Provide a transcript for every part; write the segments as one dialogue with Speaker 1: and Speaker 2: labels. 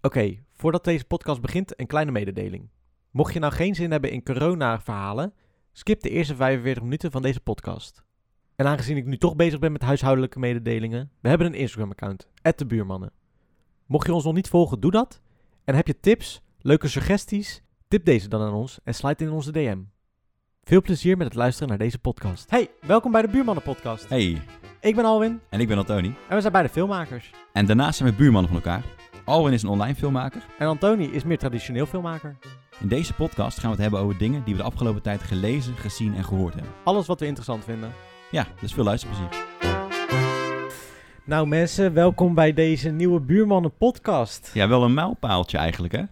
Speaker 1: Oké, voordat deze podcast begint, een kleine mededeling. Mocht je nou geen zin hebben in corona-verhalen, skip de eerste 45 minuten van deze podcast. En aangezien ik nu toch bezig ben met huishoudelijke mededelingen, we hebben een Instagram-account, de buurmannen. Mocht je ons nog niet volgen, doe dat. En heb je tips, leuke suggesties, tip deze dan aan ons en sluit in onze DM. Veel plezier met het luisteren naar deze podcast. Hey, welkom bij de Buurmannen-podcast.
Speaker 2: Hey,
Speaker 1: Ik ben Alwin
Speaker 2: en ik ben Antoni.
Speaker 1: en we zijn beide filmmakers.
Speaker 2: En daarnaast zijn we buurmannen van elkaar. Alwin is een online filmmaker.
Speaker 1: En Antoni is meer traditioneel filmmaker.
Speaker 2: In deze podcast gaan we het hebben over dingen die we de afgelopen tijd gelezen, gezien en gehoord hebben.
Speaker 1: Alles wat we interessant vinden.
Speaker 2: Ja, dus veel luisterplezier.
Speaker 1: Nou mensen, welkom bij deze nieuwe Buurmannen podcast.
Speaker 2: Ja, wel een mijlpaaltje eigenlijk, hè?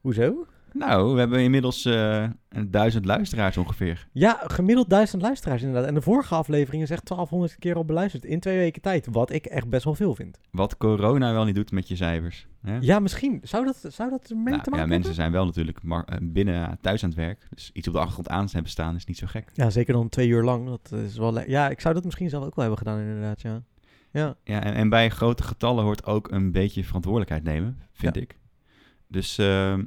Speaker 1: Hoezo?
Speaker 2: Nou, we hebben inmiddels eh, een duizend luisteraars ongeveer.
Speaker 1: Ja, gemiddeld duizend luisteraars inderdaad. En de vorige aflevering is echt 1200 keer al beluisterd in twee weken tijd. Wat ik echt best wel veel vind.
Speaker 2: Wat corona wel niet doet met je cijfers. Hè?
Speaker 1: Ja, misschien. Zou dat, zou dat ermee
Speaker 2: Nou,
Speaker 1: te maken
Speaker 2: ja,
Speaker 1: hebben?
Speaker 2: mensen zijn wel natuurlijk mar- eh, binnen thuis aan het werk. Dus iets op de achtergrond aan hebben staan is niet zo gek.
Speaker 1: Ja, zeker dan twee uur lang. Dat is wel le- ja, ik zou dat misschien zelf ook wel hebben gedaan inderdaad, ja. Ja,
Speaker 2: Ja, en, en bij grote getallen hoort ook een beetje verantwoordelijkheid nemen, vind
Speaker 1: Ja.
Speaker 2: ik. Dus ehm,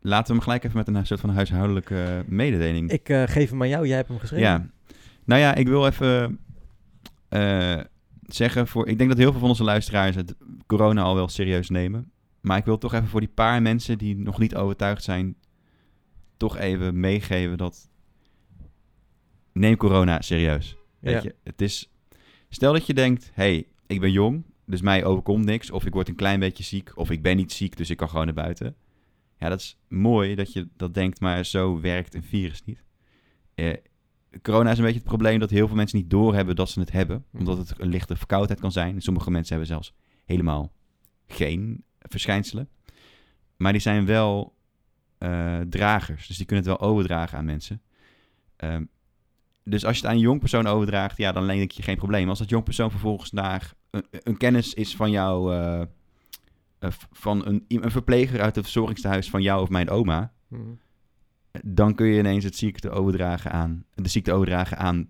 Speaker 2: laten we hem gelijk even met een soort van huishoudelijke eh, mededeling.
Speaker 1: ik eh, geef hem aan jou. Jij hebt hem geschreven.
Speaker 2: ja. Nou ja, ik wil even eh, zeggen voor. Ik denk dat heel veel van onze luisteraars het corona al wel serieus nemen. Maar ik wil toch even voor die paar mensen die nog niet overtuigd zijn, toch even meegeven dat. Neem corona serieus. Weet
Speaker 1: Ja.
Speaker 2: je, het is. Stel dat je denkt: hey, ik ben jong, dus mij overkomt niks. Of ik word een klein beetje ziek. Of ik ben niet ziek, dus ik kan gewoon naar buiten. Ja, dat is mooi dat je dat denkt, maar zo werkt een virus niet. Eh, corona is een beetje het probleem dat heel veel mensen niet doorhebben dat ze het hebben.
Speaker 1: Mhm.
Speaker 2: Omdat het een lichte verkoudheid kan zijn. Sommige mensen hebben zelfs helemaal geen verschijnselen. Maar die zijn wel eh, dragers. Dus die kunnen het wel overdragen aan mensen. Ehm, dus als je het aan een jong persoon overdraagt, ja, dan denk je geen probleem. Als dat jong persoon vervolgens naar een, een kennis is van jou, eh, eh, v- van een, een verpleger uit het verzorgingstehuis van jou of mijn oma,
Speaker 1: Hm.
Speaker 2: dan kun je ineens het ziekte overdragen aan, de ziekte overdragen aan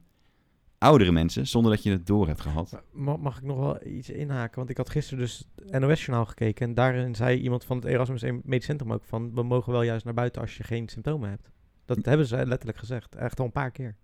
Speaker 2: oudere mensen, zonder dat je het door hebt gehad.
Speaker 1: Ma- Mag ik nog wel iets inhaken? Want ik had gisteren dus het NOS-journaal gekeken. En daarin zei iemand van het Erasmus Medisch Centrum ook van... we mogen wel juist naar buiten als je geen symptomen hebt. Dat hebben ze letterlijk gezegd. Echt al een paar keer.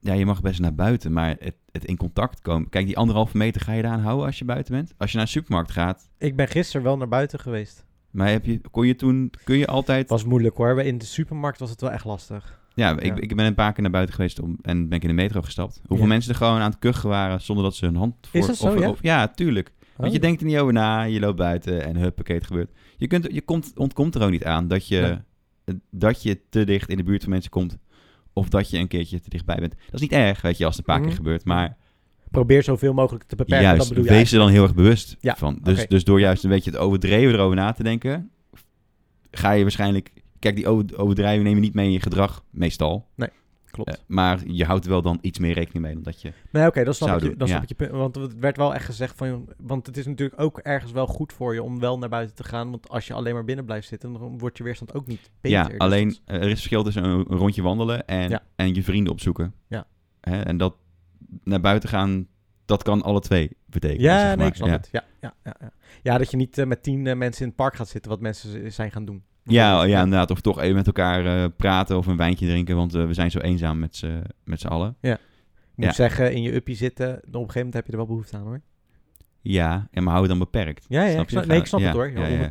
Speaker 2: Ja, je mag best naar buiten, maar het, het in contact komen. Kijk, die anderhalve meter ga je eraan houden als je buiten bent. Als je naar de supermarkt gaat,
Speaker 1: Ik ben gisteren wel naar buiten geweest.
Speaker 2: maar heb je, kon je toen, kun je altijd
Speaker 1: Het was moeilijk hoor. In de supermarkt was het wel echt lastig.
Speaker 2: Ja, ik,
Speaker 1: Ja.
Speaker 2: ik ben een paar keer naar buiten geweest om, en ben ik in de metro gestapt. Hoeveel
Speaker 1: Ja.
Speaker 2: mensen er gewoon aan het kuchen waren zonder dat ze hun hand voor...
Speaker 1: Is dat zo,
Speaker 2: of-
Speaker 1: ja?
Speaker 2: of- ja, tuurlijk. Want je
Speaker 1: denkt
Speaker 2: denkt er niet over na, je loopt buiten en huppakee, het gebeurt. Je, kunt, je komt, ontkomt er ook niet aan dat je, dat je te dicht in de buurt van mensen komt. Of dat je een keertje te dichtbij bent. Dat is niet erg, weet je, als het een paar
Speaker 1: Mhm.
Speaker 2: keer gebeurt. Maar
Speaker 1: Probeer zoveel mogelijk te beperken. dat
Speaker 2: juist,
Speaker 1: bedoel
Speaker 2: wees
Speaker 1: je eigenlijk.
Speaker 2: er dan heel erg bewust
Speaker 1: Ja,
Speaker 2: van. Dus,
Speaker 1: oké.
Speaker 2: dus door juist een beetje het overdreven erover na te denken... ga je waarschijnlijk... Kijk, die over- overdrijven neem je niet mee in je gedrag, meestal.
Speaker 1: Klopt.
Speaker 2: Eh, maar je houdt er wel dan iets meer rekening mee dan dat je...
Speaker 1: Nee, oké, dan snap,
Speaker 2: zou
Speaker 1: ik, je-
Speaker 2: doen,
Speaker 1: dan
Speaker 2: ja.
Speaker 1: snap ik je punt. Want het werd wel echt gezegd van... joh, Want het is natuurlijk ook ergens wel goed voor je om wel naar buiten te gaan. Want als je alleen maar binnen blijft zitten... dan wordt je weerstand ook niet beter.
Speaker 2: ja,
Speaker 1: Dus
Speaker 2: alleen
Speaker 1: dat-
Speaker 2: eh, er is verschil tussen een, een rondje wandelen en,
Speaker 1: Ja.
Speaker 2: en je vrienden opzoeken.
Speaker 1: Ja.
Speaker 2: Hè, en dat naar buiten gaan, dat kan alle twee betekenen.
Speaker 1: Ja,
Speaker 2: zeg maar.
Speaker 1: nee, ik snap
Speaker 2: ja.
Speaker 1: het. Ja, ja, ja, ja. ja, dat je niet eh, met tien eh, mensen in het park gaat zitten, wat mensen z- zijn gaan doen.
Speaker 2: Ja, oh, ja, inderdaad. Of toch even met elkaar eh, praten of een wijntje drinken, want eh, we zijn zo eenzaam met z'n met z'n allen.
Speaker 1: Ik moet
Speaker 2: ja.
Speaker 1: zeggen, in je uppie zitten, dan op een gegeven moment heb je er wel behoefte aan hoor.
Speaker 2: Ja, en maar hou het dan beperkt.
Speaker 1: Ja, ja,
Speaker 2: Snap
Speaker 1: ik
Speaker 2: je?
Speaker 1: snap,
Speaker 2: Ga-
Speaker 1: nee, ik snap
Speaker 2: ja,
Speaker 1: het hoor.
Speaker 2: ja,
Speaker 1: 100%,
Speaker 2: ja.
Speaker 1: 100%.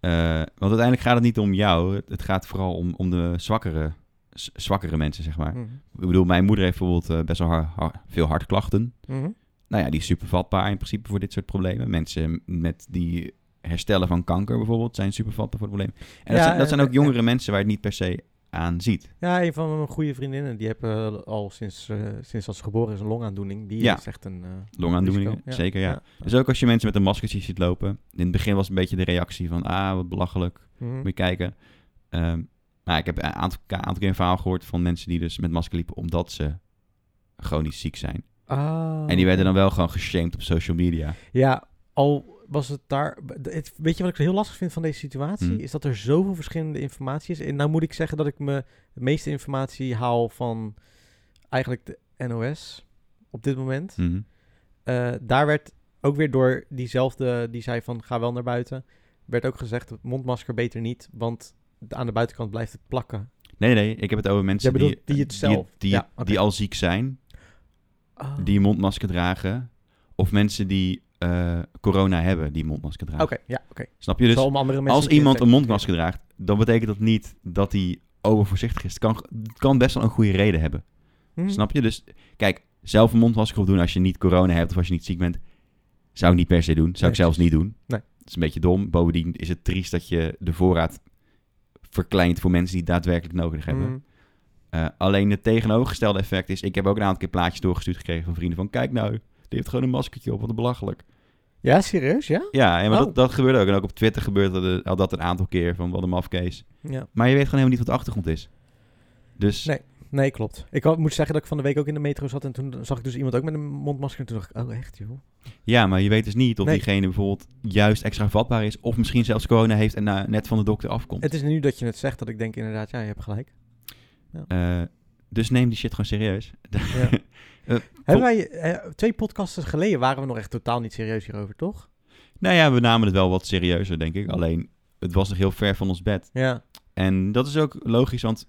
Speaker 2: Eh, want uiteindelijk gaat het niet om jou, het, het gaat vooral om, om de zwakkere, z- zwakkere mensen, zeg maar.
Speaker 1: Mhm.
Speaker 2: Ik bedoel, mijn moeder heeft bijvoorbeeld eh, best wel har- har- veel hartklachten.
Speaker 1: Mhm.
Speaker 2: nou ja, die is super vatbaar in principe voor dit soort problemen. Mensen met die herstellen van kanker bijvoorbeeld zijn super vatbaar voor het probleem.
Speaker 1: Ja,
Speaker 2: En dat, zijn, dat
Speaker 1: en-
Speaker 2: zijn ook jongere mensen waar je het niet per se aan ziet.
Speaker 1: Ja, een van mijn goede vriendinnen, die heeft eh, al sinds, eh, sinds als ze geboren is een longaandoening. Die
Speaker 2: Ja.
Speaker 1: is echt een... eh,
Speaker 2: Longaandoeningen,
Speaker 1: risico.
Speaker 2: zeker ja. Dus ook als je mensen met een maskertje ziet lopen. In het begin was een beetje de reactie van, ah, wat belachelijk,
Speaker 1: Mhm.
Speaker 2: moet je kijken. Ehm, maar ik heb een aantal, een aantal keer een verhaal gehoord van mensen die dus met masker liepen omdat ze chronisch ziek zijn.
Speaker 1: Ah.
Speaker 2: En die werden dan wel gewoon geshamed op social media.
Speaker 1: Ja, al was het daar. Het, weet je wat ik heel lastig vind van deze situatie?
Speaker 2: Hmm.
Speaker 1: Is dat er zoveel verschillende informatie is. En nou moet ik zeggen dat ik me de meeste informatie haal van eigenlijk de NOS op dit moment.
Speaker 2: Mhm.
Speaker 1: Eh, daar werd ook weer door diezelfde die zei van ga wel naar buiten. werd ook gezegd, mondmasker beter niet, want de- aan de buitenkant blijft het plakken.
Speaker 2: Nee, nee, ik heb het over mensen
Speaker 1: Jij bedoelt
Speaker 2: die,
Speaker 1: die het zelf?
Speaker 2: die, die,
Speaker 1: Ja, oké.
Speaker 2: die al ziek zijn, die een mondmasker dragen. Of mensen die eh, corona hebben, die een mondmasker dragen.
Speaker 1: Oké, ja, oké.
Speaker 2: Snap je? Dus
Speaker 1: Zal om andere mensen
Speaker 2: als
Speaker 1: niet
Speaker 2: iemand een
Speaker 1: infecten.
Speaker 2: mondmasker draagt, dan betekent dat niet dat hij overvoorzichtig is. Het kan, het kan best wel een goede reden hebben.
Speaker 1: Hm.
Speaker 2: Snap je? Dus kijk, zelf een mondmasker opdoen als je niet corona hebt of als je niet ziek bent, zou ik niet per se doen. Zou
Speaker 1: Nee,
Speaker 2: ik zelfs niet doen.
Speaker 1: Nee.
Speaker 2: Het is een beetje dom. Bovendien is het triest dat je de voorraad verkleint voor mensen die het daadwerkelijk nodig hebben.
Speaker 1: Hm.
Speaker 2: Eh, alleen het tegenovergestelde effect is, ik heb ook een aantal keer plaatjes doorgestuurd gekregen van vrienden van, kijk nou, die heeft gewoon een maskertje op, wat belachelijk.
Speaker 1: Ja, serieus, ja?
Speaker 2: Ja, en maar
Speaker 1: Oh.
Speaker 2: dat, dat gebeurde ook. En ook op Twitter gebeurde dat- al dat een aantal keer van, wat een mafkees.
Speaker 1: Ja.
Speaker 2: Maar je weet gewoon helemaal niet wat de achtergrond is. Dus
Speaker 1: Nee. Nee, klopt. Ik had- moet zeggen dat ik van de week ook in de metro zat en toen zag ik dus iemand ook met een mondmasker. En toen dacht ik, oh echt joh.
Speaker 2: ja, maar je weet dus niet of
Speaker 1: Nee.
Speaker 2: diegene bijvoorbeeld juist extra vatbaar is, of misschien zelfs corona heeft en na- net van de dokter afkomt.
Speaker 1: Het is nu dat je het zegt dat ik denk inderdaad, ja, je hebt gelijk.
Speaker 2: Eh, dus neem die shit gewoon serieus.
Speaker 1: Ja.
Speaker 2: Eh,
Speaker 1: Hebben wij, eh, twee podcasten geleden waren we nog echt totaal niet serieus hierover, toch?
Speaker 2: nou ja, we namen het wel wat serieuzer, denk ik. Alleen, het was nog heel ver van ons bed.
Speaker 1: Ja.
Speaker 2: En dat is ook logisch, want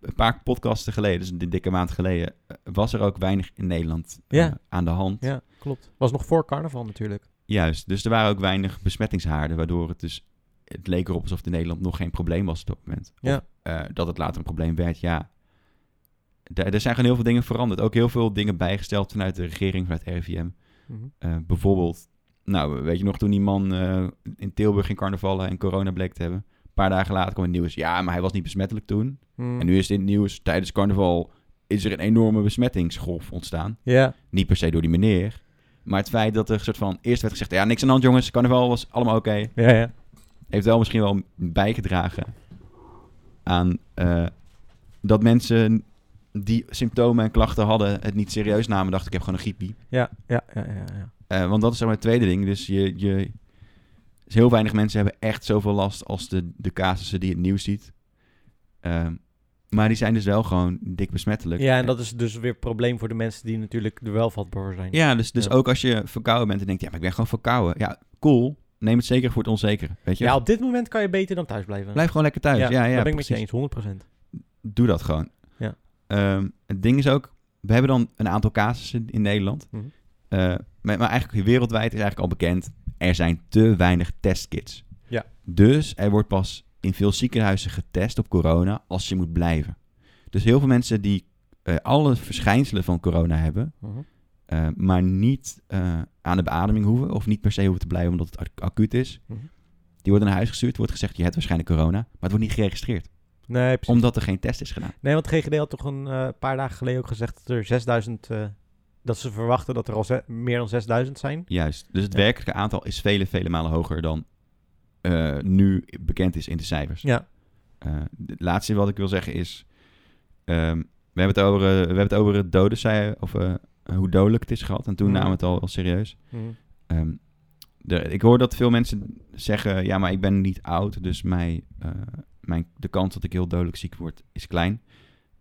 Speaker 2: een paar podcasten geleden, dus een dikke maand geleden, eh, was er ook weinig in Nederland eh,
Speaker 1: Ja.
Speaker 2: aan de hand.
Speaker 1: Ja, klopt. Was nog voor carnaval natuurlijk.
Speaker 2: Juist, dus er waren ook weinig besmettingshaarden, waardoor het dus, het leek erop alsof het in Nederland nog geen probleem was op dat moment. Of,
Speaker 1: Ja.
Speaker 2: eh, dat het later een probleem werd, ja. Er- er zijn gewoon heel veel dingen veranderd. Ook heel veel dingen bijgesteld vanuit de regering, vanuit RIVM.
Speaker 1: Mhm.
Speaker 2: Eh, bijvoorbeeld, nou, weet je nog toen die man eh, in Tilburg ging carnavallen en corona bleek te hebben? Een paar dagen later kwam het nieuws, ja, maar hij was niet besmettelijk toen.
Speaker 1: Hmm.
Speaker 2: En nu is dit nieuws, tijdens carnaval is er een enorme besmettingsgolf ontstaan.
Speaker 1: Ja.
Speaker 2: Niet per se door die meneer, maar het feit dat er een soort van eerst werd gezegd, ja niks aan de hand jongens, carnaval was allemaal oké.
Speaker 1: Ja, ja.
Speaker 2: Heeft wel misschien wel bijgedragen aan eh, dat mensen die symptomen en klachten hadden het niet serieus namen. Dacht ik heb gewoon een griepie.
Speaker 1: Ja, ja, ja, ja. ja.
Speaker 2: Eh, want dat is zeg maar het tweede ding. Dus je, je, dus heel weinig mensen hebben echt zoveel last als de, de casussen die het nieuws ziet. Ehm, maar die zijn dus wel gewoon dik besmettelijk.
Speaker 1: Ja, en dat is dus weer een probleem voor de mensen die natuurlijk er wel vatbaar voor zijn.
Speaker 2: Ja, dus, dus
Speaker 1: Ja.
Speaker 2: ook als je verkouden bent en denkt, ja, maar ik ben gewoon verkouden. Ja, cool. Neem het zeker voor het onzekere. Weet je?
Speaker 1: Ja, op dit moment kan je beter dan thuis blijven.
Speaker 2: Blijf gewoon lekker thuis. Ja, ja,
Speaker 1: Daar ben
Speaker 2: precies.
Speaker 1: ik met je eens, 100%.
Speaker 2: Doe dat gewoon.
Speaker 1: Ja.
Speaker 2: Ehm, het ding is ook, we hebben dan een aantal casussen in Nederland.
Speaker 1: Mhm.
Speaker 2: Eh, maar, maar eigenlijk wereldwijd is eigenlijk al bekend, er zijn te weinig testkits.
Speaker 1: Ja.
Speaker 2: Dus er wordt pas in veel ziekenhuizen getest op corona als je moet blijven. Dus heel veel mensen die eh, alle verschijnselen van corona hebben,
Speaker 1: Mhm.
Speaker 2: eh, maar niet eh, aan de beademing hoeven of niet per se hoeven te blijven omdat het ac- acuut is,
Speaker 1: Mhm.
Speaker 2: die worden naar huis gestuurd, wordt gezegd je hebt waarschijnlijk corona, maar het wordt niet geregistreerd
Speaker 1: Nee, precies.
Speaker 2: omdat er geen test is gedaan.
Speaker 1: Nee, want GGD had toch een eh, paar dagen geleden ook gezegd dat er 6000... eh, dat ze verwachten dat er al ze- meer dan 6000 zijn.
Speaker 2: Juist. Dus het
Speaker 1: Ja.
Speaker 2: werkelijke aantal is vele, vele malen hoger dan eh, nu bekend is in de cijfers.
Speaker 1: Ja.
Speaker 2: Eh, het laatste wat ik wil zeggen is... ehm, we, hebben het over, eh, we hebben het over het doden, zei, of eh, hoe dodelijk het is gehad. En toen
Speaker 1: Mhm.
Speaker 2: namen we het al, al serieus. Ehm, de- ik hoor dat veel mensen zeggen... Ja, maar ik ben niet oud, dus mij, eh, mijn, de kans dat ik heel dodelijk ziek word is klein.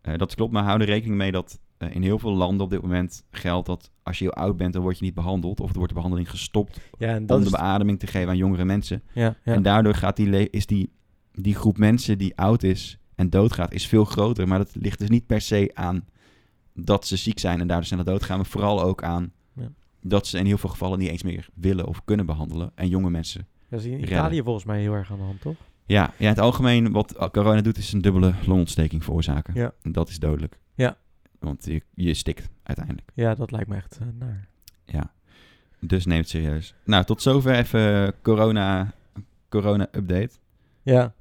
Speaker 2: Eh, dat klopt, maar hou er rekening mee dat eh, in heel veel landen op dit moment geldt... dat als je heel oud bent, dan word je niet behandeld... of er wordt de behandeling gestopt
Speaker 1: Ja, en dat
Speaker 2: om de
Speaker 1: is...
Speaker 2: beademing te geven aan jongere mensen.
Speaker 1: Ja, ja.
Speaker 2: En daardoor gaat die le- is die, die groep mensen die oud is en doodgaat, is veel groter. Maar dat ligt dus niet per se aan dat ze ziek zijn en daardoor sneller doodgaan. Maar vooral ook aan
Speaker 1: Ja.
Speaker 2: dat ze in heel veel gevallen niet eens meer willen of kunnen behandelen. En jonge mensen.
Speaker 1: Dat is in
Speaker 2: Redden.
Speaker 1: Italië volgens mij heel erg aan de hand, toch?
Speaker 2: Ja, ja in het algemeen wat corona doet is een dubbele longontsteking veroorzaken.
Speaker 1: Ja.
Speaker 2: En dat is dodelijk.
Speaker 1: Ja.
Speaker 2: Want je, je stikt uiteindelijk.
Speaker 1: Ja, dat lijkt me echt eh, naar.
Speaker 2: Ja. Dus neem het serieus. Nou, tot zover even corona, corona update.
Speaker 1: Ja.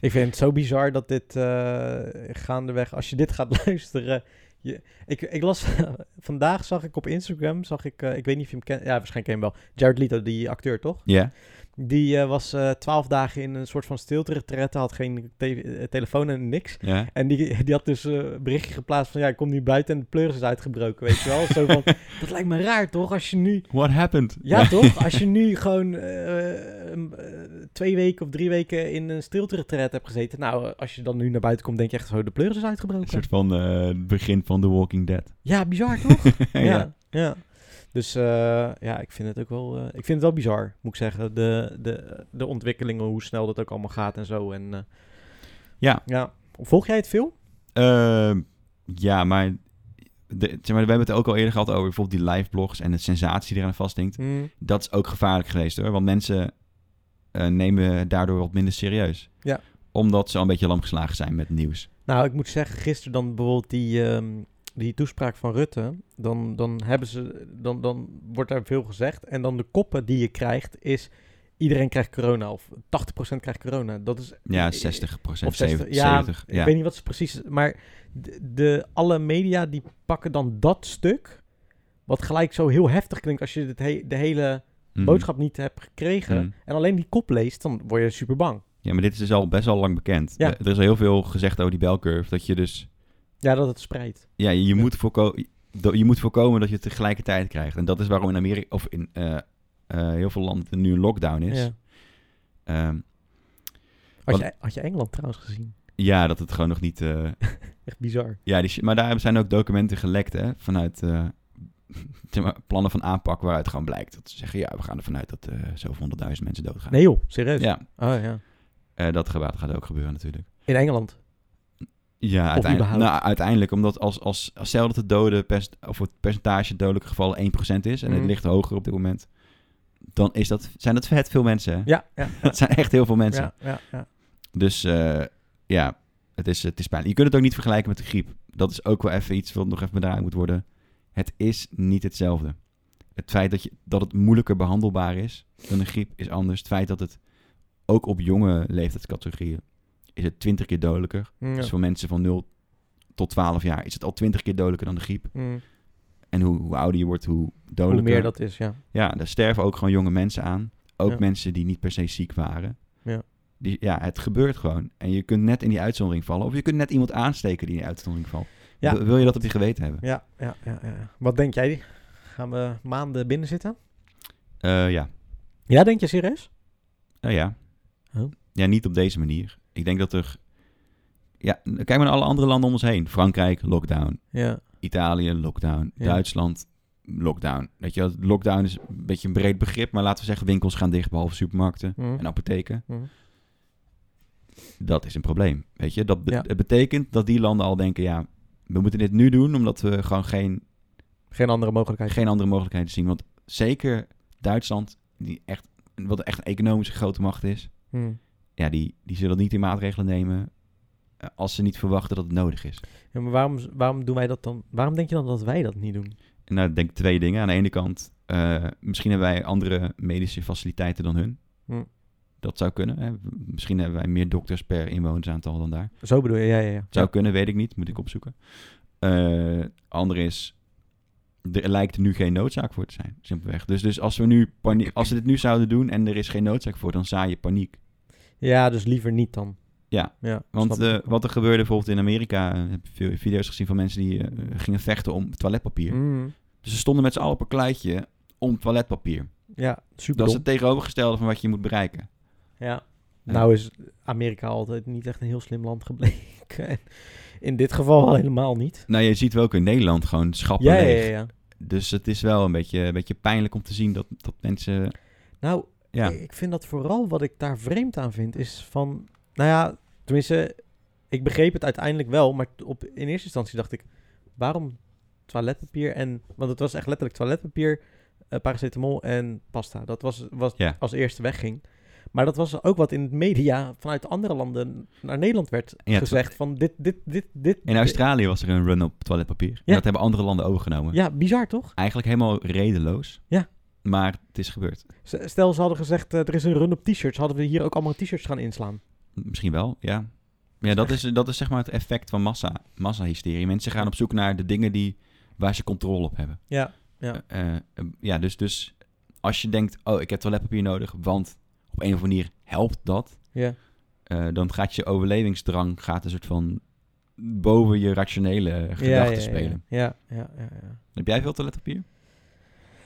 Speaker 1: ik vind het zo bizar dat dit eh, gaandeweg, als je dit gaat luisteren. Je, ik, ik las, vandaag zag ik op Instagram, zag ik, eh, ik weet niet of je hem kent, ja waarschijnlijk ken je hem wel, Jared Leto, die acteur toch?
Speaker 2: Ja.
Speaker 1: Die eh, was twaalf dagen in een soort van stilte retraite, had geen te- eh, telefoon en niks.
Speaker 2: Ja.
Speaker 1: En die, die had dus eh, een berichtje geplaatst van, ja ik kom nu buiten en de pleuris is uitgebroken, weet je wel. zo van, dat lijkt me raar toch, als je nu
Speaker 2: What happened?
Speaker 1: Ja, toch? Als je nu gewoon eh, een, eh, twee weken of drie weken in een stilteretret hebt gezeten. Nou, eh, als je dan nu naar buiten komt, denk je echt zo, de pleuris is
Speaker 2: Een
Speaker 1: uitgebroken.
Speaker 2: soort van eh, het begin van The Walking Dead.
Speaker 1: Ja, bizar toch?
Speaker 2: ja.
Speaker 1: ja. ja. Dus eh, ja, ik vind het ook wel, eh, ik vind het wel bizar, moet ik zeggen. De, de, de ontwikkelingen, hoe snel dat ook allemaal gaat en zo. En, eh,
Speaker 2: Ja.
Speaker 1: ja. Volg jij het veel?
Speaker 2: Ehm, ja, maar, de, zeg maar we hebben het er ook al eerder gehad over bijvoorbeeld die live blogs en de sensatie die eraan vasthinkt. Dat is ook gevaarlijk geweest hoor, want mensen eh, nemen het daardoor wat minder serieus.
Speaker 1: Ja.
Speaker 2: Omdat ze al een beetje lamgeslagen zijn met nieuws.
Speaker 1: Nou, ik moet zeggen, gisteren dan bijvoorbeeld die, ehm, die toespraak van Rutte. Dan, dan, hebben ze, dan, dan wordt daar veel gezegd. En dan de koppen die je krijgt is... Iedereen krijgt corona of 80% krijgt corona. Dat is
Speaker 2: Ja, 60 procent,
Speaker 1: Eh, Of 60,
Speaker 2: 70,
Speaker 1: ja,
Speaker 2: 70.
Speaker 1: Ik weet niet wat ze precies... Maar de, de- alle media die pakken dan dat stuk... Wat gelijk zo heel heftig klinkt als je het he- de hele
Speaker 2: Mhm.
Speaker 1: boodschap niet hebt gekregen.
Speaker 2: Mhm.
Speaker 1: En alleen die kop leest, dan word je super bang.
Speaker 2: Ja, maar dit is dus al best wel lang bekend.
Speaker 1: Ja.
Speaker 2: Er er is al heel veel gezegd over die belcurve, dat je dus...
Speaker 1: Ja, dat het spreidt.
Speaker 2: Ja, je, je moet voorko- do- je moet voorkomen dat je het tegelijkertijd krijgt. En dat is waarom in Amerika of in eh, eh, heel veel landen nu een lockdown is.
Speaker 1: Ja.
Speaker 2: Ehm,
Speaker 1: Had, je, e-, had je Engeland trouwens gezien?
Speaker 2: ja, dat het gewoon nog niet... eh,
Speaker 1: Echt bizar.
Speaker 2: ja, die, shi- maar daar zijn ook documenten gelekt, hè, vanuit eh, zeg maar, plannen van aanpak waaruit gewoon blijkt. Dat ze zeggen, ja, we gaan ervan uit dat eh zoveel honderdduizend mensen doodgaan.
Speaker 1: Nee joh, serieus?
Speaker 2: Ja,
Speaker 1: Oh, ja.
Speaker 2: eh, dat gebaat gaat ook gebeuren natuurlijk.
Speaker 1: In Engeland.
Speaker 2: Ja, uiteindelijk,
Speaker 1: überhaupt.
Speaker 2: nou, uiteindelijk omdat als, als, als stel dat het dode percent- of het percentage dodelijke gevallen 1% is en het
Speaker 1: Mhm.
Speaker 2: ligt hoger op dit moment, dan is dat, zijn dat vet veel mensen. Hè?
Speaker 1: Ja, ja.
Speaker 2: Dat zijn echt heel veel mensen.
Speaker 1: ja, ja, ja.
Speaker 2: Dus eh, ja, het is, het is pijnlijk. Je kunt het ook niet vergelijken met de griep. Dat is ook wel even iets wat nog even bedraaid moet worden. Het is niet hetzelfde. Het feit dat, je, dat het moeilijker behandelbaar is dan een griep is anders. Het feit dat het ook op jonge leeftijdscategorieën is het 20 keer dodelijker.
Speaker 1: Mm, ja.
Speaker 2: Dus voor mensen van 0 tot 12 jaar is het al 20 keer dodelijker dan de griep.
Speaker 1: Mm.
Speaker 2: En hoe, hoe ouder je wordt, hoe
Speaker 1: Hoe
Speaker 2: dodelijker.
Speaker 1: meer dat is, ja.
Speaker 2: Ja, daar sterven ook gewoon jonge mensen aan. Ook
Speaker 1: Ja.
Speaker 2: mensen die niet per se ziek waren.
Speaker 1: Ja.
Speaker 2: Die, ja, het gebeurt gewoon. En je kunt net in die uitzondering vallen. Of je kunt net iemand aansteken die in die uitzondering valt.
Speaker 1: Ja.
Speaker 2: Wil- Wil je dat op je geweten hebben?
Speaker 1: Ja, ja, ja, ja. Wat denk jij? Gaan we maanden binnen zitten?
Speaker 2: Eh, ja.
Speaker 1: Ja, denk je serieus?
Speaker 2: Nou ja.
Speaker 1: Oh.
Speaker 2: Ja, niet op deze manier. Ik denk dat er... Ja, kijk maar naar alle andere landen om ons heen. Frankrijk, lockdown.
Speaker 1: Ja.
Speaker 2: Italië, lockdown.
Speaker 1: Ja.
Speaker 2: Duitsland, lockdown. Weet je, wel, lockdown is een beetje een breed begrip, maar laten we zeggen winkels gaan dicht, behalve supermarkten
Speaker 1: Mm.
Speaker 2: en apotheken.
Speaker 1: Mm.
Speaker 2: Dat is een probleem, weet je. Dat be-
Speaker 1: Ja.
Speaker 2: Het betekent dat die landen al denken, ja, we moeten dit nu doen, omdat we gewoon geen,
Speaker 1: Geen andere mogelijkheid.
Speaker 2: geen andere mogelijkheden zien. Want zeker Duitsland, die echt, wat echt een economische grote macht is,
Speaker 1: Mm.
Speaker 2: ja, die, die zullen niet die maatregelen nemen eh, als ze niet verwachten dat het nodig is.
Speaker 1: Ja, maar waarom, waarom doen wij dat dan? Waarom denk je dan dat wij dat niet doen?
Speaker 2: Nou, ik denk twee dingen. Aan de ene kant, eh, misschien hebben wij andere medische faciliteiten dan hun.
Speaker 1: Hm.
Speaker 2: Dat zou kunnen. Hè. Misschien hebben wij meer dokters per inwonersaantal dan daar.
Speaker 1: Zo bedoel je, ja, ja, ja.
Speaker 2: Zou kunnen, weet ik niet. Moet ik opzoeken. Eh ander is, er lijkt nu geen noodzaak voor te zijn, simpelweg. Dus, dus als, we nu panie- als we dit nu zouden doen en er is geen noodzaak voor, dan zaai je paniek.
Speaker 1: Ja, dus liever niet dan.
Speaker 2: Ja,
Speaker 1: ja
Speaker 2: Want
Speaker 1: snap ik
Speaker 2: eh,
Speaker 1: ook wel.
Speaker 2: wat er gebeurde bijvoorbeeld in Amerika, eh, heb ik veel video's gezien van mensen die eh, gingen vechten om toiletpapier.
Speaker 1: Mm.
Speaker 2: Dus ze stonden met z'n allen op een kluitje om toiletpapier.
Speaker 1: Ja, super
Speaker 2: Dat is
Speaker 1: dom.
Speaker 2: het tegenovergestelde van wat je moet bereiken.
Speaker 1: Ja.
Speaker 2: Ja.
Speaker 1: Nou is Amerika altijd niet echt een heel slim land gebleken. En In dit geval al helemaal niet.
Speaker 2: Nou, je ziet wel ook in Nederland gewoon schappen
Speaker 1: Ja, ja,
Speaker 2: leeg.
Speaker 1: ja, ja.
Speaker 2: Dus het is wel een beetje, een beetje pijnlijk om te zien dat, dat mensen...
Speaker 1: Nou,
Speaker 2: Ja,
Speaker 1: ik ik vind dat vooral wat ik daar vreemd aan vind is van... Nou ja, tenminste, ik begreep het uiteindelijk wel. Maar op, in eerste instantie dacht ik, waarom toiletpapier en... Want het was echt letterlijk toiletpapier, eh, paracetamol en pasta. Dat was wat
Speaker 2: Ja.
Speaker 1: als eerste wegging. Maar dat was ook wat in het media vanuit andere landen naar Nederland werd
Speaker 2: Ja, het-
Speaker 1: gezegd. Van dit, dit, dit, dit.
Speaker 2: in Australië was er een run op toiletpapier. En
Speaker 1: Ja.
Speaker 2: dat hebben andere landen overgenomen.
Speaker 1: Ja, bizar toch?
Speaker 2: Eigenlijk helemaal redeloos.
Speaker 1: Ja.
Speaker 2: Maar het is gebeurd.
Speaker 1: S- Stel, ze hadden gezegd, eh, er is een run op t-shirts. Hadden we hier ook allemaal t-shirts gaan inslaan?
Speaker 2: Misschien wel, ja. Ja, dat is, dat is zeg maar het effect van massa, massahysterie. Mensen gaan op zoek naar de dingen die, waar ze controle op hebben.
Speaker 1: Ja, ja.
Speaker 2: Eh, eh, ja dus, dus als je denkt, oh, ik heb toiletpapier nodig, want op een of andere manier helpt dat.
Speaker 1: Ja.
Speaker 2: eh, dan gaat je overlevingsdrang gaat een soort van boven je rationele gedachten spelen.
Speaker 1: Ja, ja, ja, ja.
Speaker 2: Heb jij veel toiletpapier?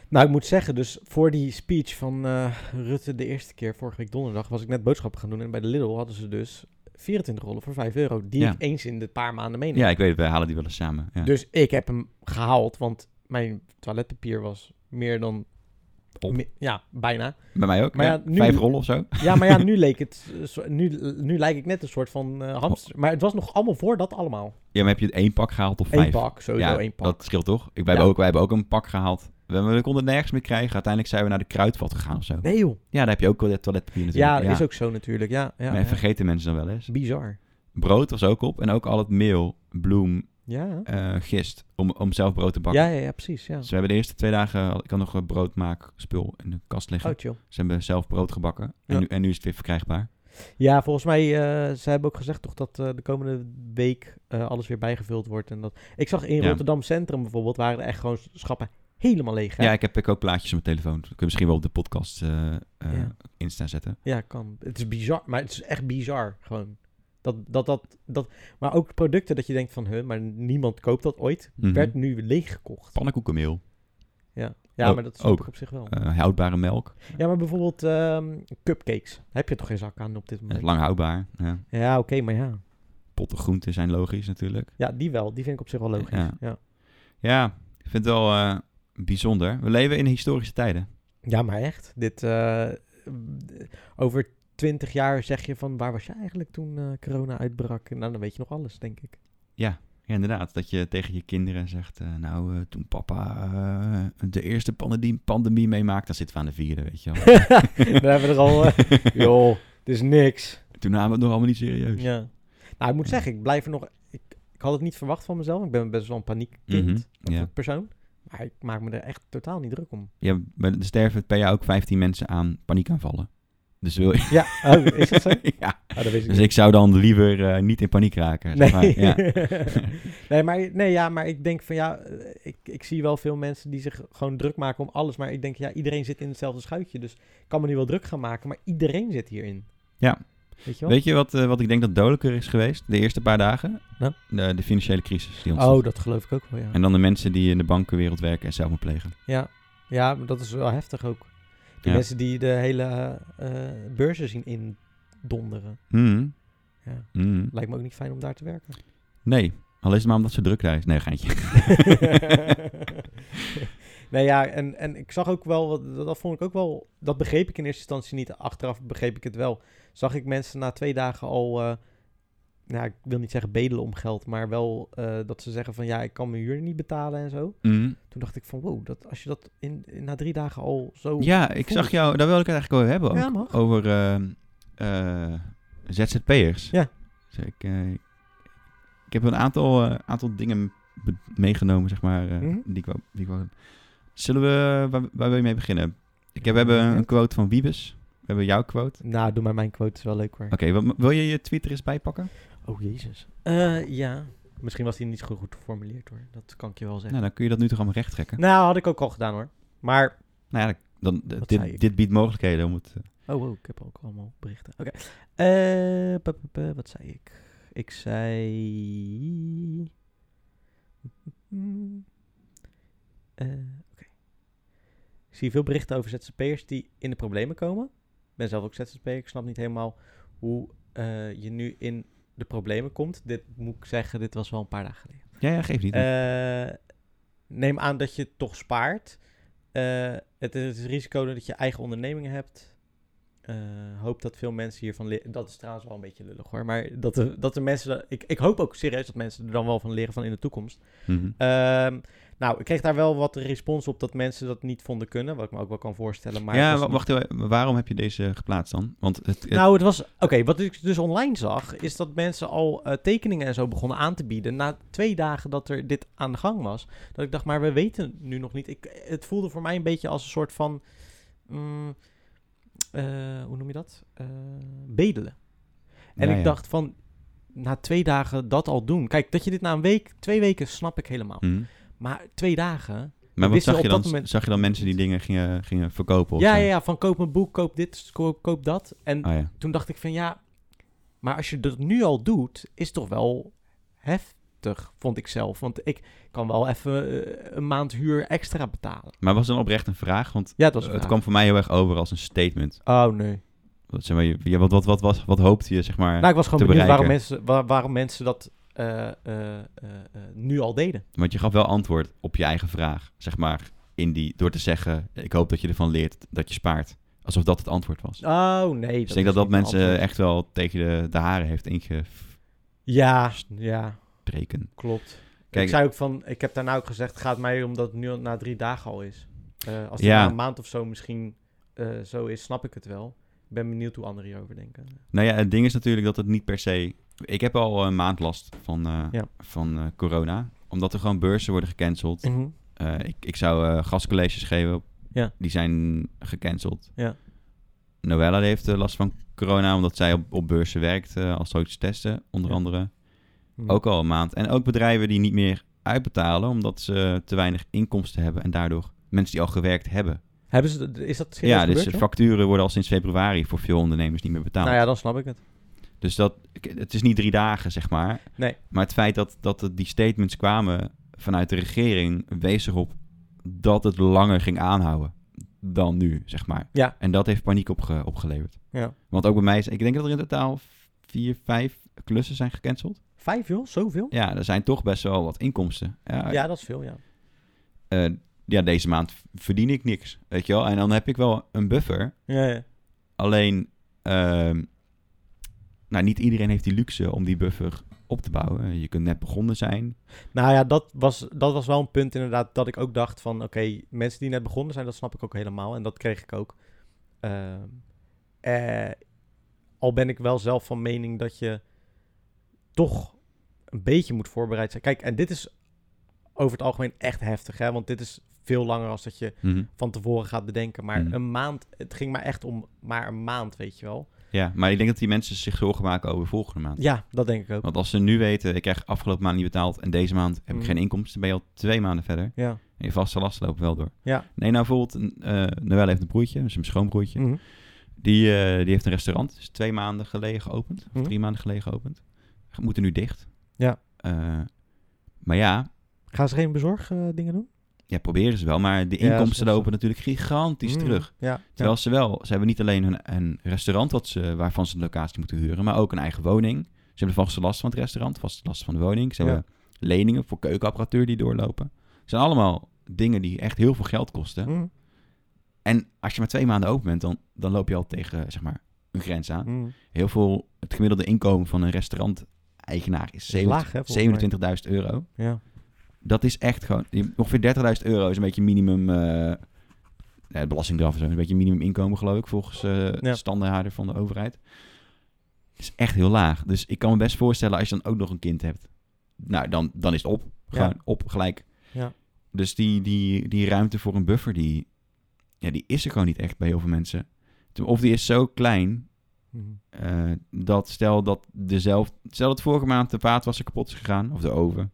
Speaker 1: Nou, ik moet zeggen, dus voor die speech van eh, Rutte de eerste keer vorige week donderdag was ik net boodschappen gaan doen. En bij de Lidl hadden ze dus 24 rollen voor 5 euro. Die
Speaker 2: Ja.
Speaker 1: ik eens in de paar maanden meeneem.
Speaker 2: Ja, ik weet het. Wij halen die wel eens samen. Ja.
Speaker 1: Dus ik heb hem gehaald, want mijn toiletpapier was meer dan...
Speaker 2: Op.
Speaker 1: mi- ja, bijna.
Speaker 2: Bij mij ook.
Speaker 1: Maar
Speaker 2: ja.
Speaker 1: ja, nu-
Speaker 2: Vijf rollen of zo.
Speaker 1: Ja, maar ja, nu leek het... eh, zo- Nu, nu lijk ik net een soort van eh, hamster. Maar het was nog allemaal voor dat allemaal.
Speaker 2: Ja, maar heb je één pak gehaald of vijf?
Speaker 1: Eén pak, sowieso
Speaker 2: ja,
Speaker 1: één pak.
Speaker 2: dat scheelt toch? Ik, wij, hebben
Speaker 1: Ja.
Speaker 2: ook, wij hebben ook een pak gehaald. We, hebben- we konden het nergens meer krijgen. Uiteindelijk zijn we naar de kruidvat gegaan of zo.
Speaker 1: Nee joh.
Speaker 2: Ja, daar heb je ook wel het toiletpapier natuurlijk.
Speaker 1: Ja, is ook zo natuurlijk. Ja, ja,
Speaker 2: maar
Speaker 1: ja.
Speaker 2: vergeten mensen dan wel eens.
Speaker 1: Bizar.
Speaker 2: Brood was ook op en ook al het meel, bloem,
Speaker 1: Ja.
Speaker 2: eh, gist om, om zelf brood te bakken.
Speaker 1: Ja, ja, ja, precies. Ja.
Speaker 2: Dus we hebben de eerste twee dagen, ik had nog eh, een broodmaakspul in de kast liggen.
Speaker 1: Oh, chill.
Speaker 2: Ze hebben zelf brood gebakken en,
Speaker 1: Ja.
Speaker 2: nu, en nu is het weer verkrijgbaar.
Speaker 1: Ja, volgens mij, eh, ze hebben ook gezegd toch dat eh, de komende week eh, alles weer bijgevuld wordt. En dat... Ik zag in
Speaker 2: Ja.
Speaker 1: Rotterdam Centrum bijvoorbeeld, waren er echt gewoon schappen helemaal leeg.
Speaker 2: Ja,
Speaker 1: hè?
Speaker 2: ik heb ik ook plaatjes op mijn telefoon. Dat kun je misschien wel op de podcast eh, eh,
Speaker 1: Ja.
Speaker 2: Insta zetten.
Speaker 1: Ja, kan. Het is bizar, maar het is echt bizar gewoon. Dat, dat, dat, dat, maar ook producten dat je denkt van, huh, maar niemand koopt dat ooit,
Speaker 2: Mhm.
Speaker 1: werd nu leeggekocht.
Speaker 2: Pannenkoekenmeel,
Speaker 1: Ja,
Speaker 2: Ook-
Speaker 1: maar dat snap
Speaker 2: ook.
Speaker 1: ik op zich wel.
Speaker 2: eh, houdbare melk,
Speaker 1: Ja, maar bijvoorbeeld ehm, cupcakes. Heb je toch geen zak aan op dit
Speaker 2: eh,
Speaker 1: moment?
Speaker 2: lang houdbaar. Ja.
Speaker 1: Ja, oké, maar ja.
Speaker 2: Potten groenten zijn logisch natuurlijk.
Speaker 1: Ja, die wel. Die vind ik op zich wel logisch.
Speaker 2: Ja.
Speaker 1: Ja, ja.
Speaker 2: Ja, ik vind het wel eh, bijzonder. We leven in historische tijden.
Speaker 1: maar echt. Dit, eh, over twintig jaar zeg je van, waar was je eigenlijk toen eh, corona uitbrak? Nou, dan weet je nog alles, denk ik.
Speaker 2: Ja, inderdaad. Dat je tegen je kinderen zegt, eh, nou, eh, toen papa eh, de eerste pandemie, pandemie meemaakte, dan zitten we aan de vierde, weet je wel.
Speaker 1: dan hebben we er al... eh, joh, het is niks.
Speaker 2: Toen namen we het nog allemaal niet serieus.
Speaker 1: Ja. Nou, ik moet zeggen, ik blijf er nog... Ik, ik had het niet verwacht van mezelf. Ik ben best wel een paniekkind
Speaker 2: Mhm,
Speaker 1: of
Speaker 2: ja.
Speaker 1: een persoon. Maar ik maak me er echt totaal niet druk om.
Speaker 2: Ja, maar er sterven per jaar ook 15 mensen aan paniekaanvallen. Dus wil je...
Speaker 1: Ja, oh, is dat zo?
Speaker 2: ja.
Speaker 1: Oh, dat weet ik
Speaker 2: Dus
Speaker 1: niet.
Speaker 2: ik zou dan liever eh, niet in paniek raken. zeg
Speaker 1: Nee.
Speaker 2: maar. Ja.
Speaker 1: nee, maar, nee ja, maar ik denk van ja, eh, ik, ik zie wel veel mensen die zich gewoon druk maken om alles. Maar ik denk, ja, iedereen zit in hetzelfde schuitje. Dus ik kan me nu wel druk gaan maken, maar iedereen zit hierin.
Speaker 2: Ja.
Speaker 1: Weet je wel?
Speaker 2: Weet je wat, eh, wat ik denk dat dodelijker is geweest de eerste paar dagen?
Speaker 1: Nou?
Speaker 2: De, de financiële crisis die ontstond.
Speaker 1: oh, dat geloof ik ook wel, ja.
Speaker 2: En dan de mensen die in de bankenwereld werken en zelfmoord plegen.
Speaker 1: Ja, ja maar dat is wel heftig ook. De
Speaker 2: Ja.
Speaker 1: mensen die de hele eh, eh, beurzen zien indonderen.
Speaker 2: Hmm.
Speaker 1: Ja.
Speaker 2: Hmm.
Speaker 1: Lijkt me ook niet fijn om daar te werken.
Speaker 2: Nee, al is het maar omdat ze druk daar is. Nee, geintje.
Speaker 1: nee, ja, en, en ik zag ook wel, wat- dat, dat vond ik ook wel, dat begreep ik in eerste instantie niet. Achteraf begreep ik het wel. Zag ik mensen na twee dagen al, eh, nou, ik wil niet zeggen bedelen om geld, maar wel eh, dat ze zeggen van ja, ik kan mijn huur niet betalen en zo.
Speaker 2: Hmm.
Speaker 1: Toen dacht ik van wow, dat, als je dat in, in- na drie dagen al zo...
Speaker 2: Ja, ik
Speaker 1: voel
Speaker 2: zag
Speaker 1: ik.
Speaker 2: jou, daar wil ik het eigenlijk over hebben. ook.
Speaker 1: Ja, mag.
Speaker 2: Over ehm, eh, ZZP'ers.
Speaker 1: Ja.
Speaker 2: Dus ik, eh, ik heb een aantal, eh, aantal dingen be- meegenomen, zeg maar, eh,
Speaker 1: Mhm.
Speaker 2: die ik wou... Die ik wou- Zullen we... Waar, waar wil je mee beginnen? Ik heb, we hebben een quote van Wiebes. We hebben jouw quote.
Speaker 1: Nou, doe maar mijn quote, is wel leuk hoor.
Speaker 2: Oké, wat- wil je je Twitter eens bijpakken?
Speaker 1: Oh jezus. Eh, ja, misschien was die niet zo goed geformuleerd hoor, dat kan ik je wel zeggen.
Speaker 2: Nou, dan kun je dat nu toch allemaal recht trekken.
Speaker 1: Nou, had ik ook al gedaan hoor. Maar
Speaker 2: Nou ja, dan, dan-
Speaker 1: Wat zei
Speaker 2: dit,
Speaker 1: ik?
Speaker 2: dit biedt mogelijkheden om het... eh,
Speaker 1: Oh, wow, ik heb ook allemaal berichten. Oké. Eh, pa, pa, pa, wat zei ik? Ik zei. Mm. Eh, Oké. Ik zie veel berichten over ZZP'ers die in de problemen komen. Ik ben zelf ook ZZP'er. Ik snap niet helemaal hoe eh, je nu in de problemen komt. Dit moet ik zeggen, dit was wel een paar dagen geleden.
Speaker 2: ja, ja, geef niet.
Speaker 1: Eh, neem aan dat je toch spaart. Eh, het is het risico dat je eigen onderneming hebt. Eh, hoop dat veel mensen hiervan leren. Dat is trouwens wel een beetje lullig hoor. Maar dat de, dat de mensen. dat- ik, ik hoop ook serieus dat mensen er dan wel van leren van in de toekomst.
Speaker 2: Mhm.
Speaker 1: Ehm, nou, ik kreeg daar wel wat respons op dat mensen dat niet vonden kunnen. Wat ik me ook wel kan voorstellen. Maar het
Speaker 2: ja,
Speaker 1: was
Speaker 2: wa-
Speaker 1: niet-
Speaker 2: wacht even. Waarom heb je deze geplaatst dan? Want het, het-
Speaker 1: Nou, het was. Oké, wat ik dus online zag, is dat mensen al eh, tekeningen en zo begonnen aan te bieden. Na twee dagen dat er dit aan de gang was. Dat ik dacht, maar we weten nu nog niet. Ik, het voelde voor mij een beetje als een soort van. mm, eh, hoe noem je dat? Eh, bedelen. En
Speaker 2: Ja,
Speaker 1: ik
Speaker 2: ja.
Speaker 1: dacht van. Na twee dagen dat al doen. Kijk, dat je dit na een week, twee weken snap ik helemaal.
Speaker 2: Mhm.
Speaker 1: Maar twee dagen.
Speaker 2: Maar wat
Speaker 1: wisten
Speaker 2: zag je
Speaker 1: op
Speaker 2: dan?
Speaker 1: dat moment-
Speaker 2: Zag je dan mensen die dingen gingen, gingen verkopen? Of
Speaker 1: Ja,
Speaker 2: zo?
Speaker 1: ja, ja, van koop een boek, koop dit, koop, koop dat. En
Speaker 2: Oh, ja.
Speaker 1: toen dacht ik van ja, maar als je dat nu al doet, is toch wel heftig, vond ik zelf. Want ik kan wel even eh, een maand huur extra betalen.
Speaker 2: Maar was dan oprecht een vraag? Want
Speaker 1: Ja, dat was
Speaker 2: eh,
Speaker 1: een
Speaker 2: het
Speaker 1: vraag.
Speaker 2: kwam voor mij heel erg over als een statement.
Speaker 1: Oh nee.
Speaker 2: Wat, zeg maar, je- ja, wat, wat, wat, wat, wat hoopte je, zeg maar?
Speaker 1: Nou, ik was gewoon
Speaker 2: te
Speaker 1: benieuwd waarom
Speaker 2: bereiken.
Speaker 1: mensen, waar- waarom mensen dat eh, eh, eh, eh, nu al deden.
Speaker 2: Want je gaf wel antwoord op je eigen vraag, zeg maar. in die, door te zeggen, ik hoop dat je ervan leert dat je spaart. Alsof dat het antwoord was.
Speaker 1: Oh, nee.
Speaker 2: dus ik denk
Speaker 1: is
Speaker 2: dat dat
Speaker 1: niet een
Speaker 2: mensen
Speaker 1: antwoord.
Speaker 2: echt wel tegen de, de haren heeft ingebreken.
Speaker 1: Ja, ja, klopt.
Speaker 2: Kijk-
Speaker 1: ik zei ook van, ik heb daarna ook gezegd, gaat mij om dat het nu al na drie dagen al is. Eh, als het
Speaker 2: Ja.
Speaker 1: na een maand of zo misschien eh, zo is, snap ik het wel. Ik ben benieuwd hoe anderen hierover denken.
Speaker 2: Nou ja, het ding is natuurlijk dat het niet per se... Ik heb al een maand last van, eh,
Speaker 1: Ja.
Speaker 2: van eh, corona. Omdat er gewoon beurzen worden gecanceld. Eh, ik, ik zou eh, gastcolleges geven.
Speaker 1: Ja.
Speaker 2: Die zijn gecanceld.
Speaker 1: Ja.
Speaker 2: Noella die heeft eh, last van corona, omdat zij op, op beurzen werkt eh, als zoiets testen, onder
Speaker 1: Ja.
Speaker 2: andere.
Speaker 1: Hm.
Speaker 2: Ook al een maand. En ook bedrijven die niet meer uitbetalen, omdat ze te weinig inkomsten hebben. En daardoor mensen die al gewerkt hebben.
Speaker 1: Hebben ze, is dat serieus
Speaker 2: ja, dus
Speaker 1: gebeurd, joh?
Speaker 2: facturen worden al sinds februari voor veel ondernemers niet meer betaald.
Speaker 1: Nou ja, dan snap ik het.
Speaker 2: Dus dat, k- het is niet drie dagen, zeg maar.
Speaker 1: Nee.
Speaker 2: Maar het feit dat, dat het- die statements kwamen vanuit de regering wees erop dat het langer ging aanhouden dan nu, zeg maar.
Speaker 1: Ja.
Speaker 2: En dat heeft paniek opge- opgeleverd.
Speaker 1: Ja.
Speaker 2: Want ook bij mij is, ik denk dat er in totaal vier, vijf klussen zijn gecanceld.
Speaker 1: Vijf, joh? Zoveel?
Speaker 2: Ja, er zijn toch best wel wat inkomsten. Ja,
Speaker 1: Ja, dat is veel, ja.
Speaker 2: eh, ja, deze maand verdien ik niks, weet je wel. En dan heb ik wel een buffer,
Speaker 1: Ja, ja.
Speaker 2: Alleen, ehm, nou, niet iedereen heeft die luxe om die buffer op te bouwen. Je kunt net begonnen zijn.
Speaker 1: Nou ja, dat was, dat was wel een punt inderdaad dat ik ook dacht van... Oké, mensen die net begonnen zijn, dat snap ik ook helemaal. En dat kreeg ik ook. Ehm, eh, al ben ik wel zelf van mening dat je toch een beetje moet voorbereid zijn. Kijk, en dit is over het algemeen echt heftig, hè. Want dit is veel langer als dat je van tevoren gaat bedenken. Maar
Speaker 2: Mhm.
Speaker 1: een maand, het ging maar echt om maar een maand, weet je wel.
Speaker 2: Ja, maar ik denk dat die mensen zich zorgen maken over volgende maand.
Speaker 1: Ja, dat denk ik ook.
Speaker 2: Want als ze nu weten, ik krijg afgelopen maand niet betaald en deze maand heb ik
Speaker 1: Mm.
Speaker 2: geen inkomsten, ben je al twee maanden verder.
Speaker 1: Ja.
Speaker 2: En je vaste lasten lopen wel door.
Speaker 1: Ja.
Speaker 2: Nee, nou bijvoorbeeld, eh Noël heeft een broertje, dus een schoonbroertje.
Speaker 1: Mhm.
Speaker 2: Die, eh, die heeft een restaurant. Is twee maanden geleden geopend. Of
Speaker 1: Mhm.
Speaker 2: drie maanden geleden geopend. Ze Moeten nu dicht.
Speaker 1: Ja.
Speaker 2: Eh, maar ja,
Speaker 1: Gaan ze geen bezorgdingen dingen doen?
Speaker 2: ja, proberen ze wel. Maar de
Speaker 1: Ja,
Speaker 2: inkomsten
Speaker 1: dat is-
Speaker 2: lopen natuurlijk gigantisch
Speaker 1: Mm,
Speaker 2: terug.
Speaker 1: Ja.
Speaker 2: Terwijl
Speaker 1: ja.
Speaker 2: ze wel, ze hebben niet alleen hun, een restaurant wat ze, waarvan ze de locatie moeten huren, maar ook een eigen woning. Ze hebben de vaste last van het restaurant, vaste last van de woning. Ze
Speaker 1: Ja.
Speaker 2: hebben leningen voor keukenapparatuur die doorlopen. Het zijn allemaal dingen die echt heel veel geld kosten.
Speaker 1: Mhm.
Speaker 2: En als je maar twee maanden open bent, dan, dan loop je al tegen zeg maar, een grens aan.
Speaker 1: Mhm.
Speaker 2: Heel veel, het gemiddelde inkomen van een restaurant-eigenaar is
Speaker 1: Is laag, hè,
Speaker 2: 70
Speaker 1: volgens
Speaker 2: 27.000 euro.
Speaker 1: Ja.
Speaker 2: Dat is echt gewoon... je- Ongeveer 30.000 euro is een beetje minimum... eh, eh, belasting eraf en zo. Een beetje minimum inkomen, geloof ik, volgens eh
Speaker 1: Ja.
Speaker 2: standaardhouder van de overheid. Het is echt heel laag. Dus ik kan me best voorstellen, als je dan ook nog een kind hebt... Nou, dan, dan is het op. Gewoon op, gelijk.
Speaker 1: Ja.
Speaker 2: Dus die, die, die ruimte voor een buffer, die, ja, die is er gewoon niet echt bij heel veel mensen. Of die is zo klein
Speaker 1: Mhm.
Speaker 2: eh, dat stel dat dezelfde, stel dat vorige maand de vaatwasser kapot is gegaan, of de oven.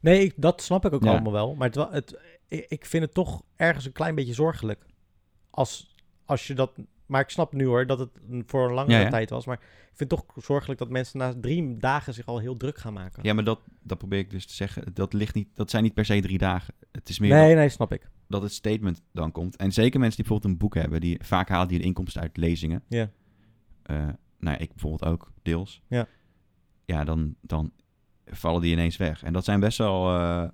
Speaker 1: Nee, ik, dat snap ik ook
Speaker 2: Ja.
Speaker 1: allemaal wel. Maar het, wa- het, ik ik vind het toch ergens een klein beetje zorgelijk. Als, als je dat... Maar ik snap nu hoor dat het een- voor een langere
Speaker 2: Ja, ja.
Speaker 1: tijd was. Maar ik vind het toch zorgelijk dat mensen na drie dagen zich al heel druk gaan maken.
Speaker 2: Ja, maar dat, dat probeer ik dus te zeggen. Dat, ligt niet, dat zijn niet per se drie dagen. Het is meer dat,
Speaker 1: nee, nee, snap ik.
Speaker 2: dat het statement dan komt. En zeker mensen die bijvoorbeeld een boek hebben, die vaak halen die hun inkomsten uit lezingen.
Speaker 1: Ja.
Speaker 2: Eh, nou ja, ik bijvoorbeeld ook, deels.
Speaker 1: Ja.
Speaker 2: Ja, dan, dan vallen die ineens weg. En dat zijn best wel eh,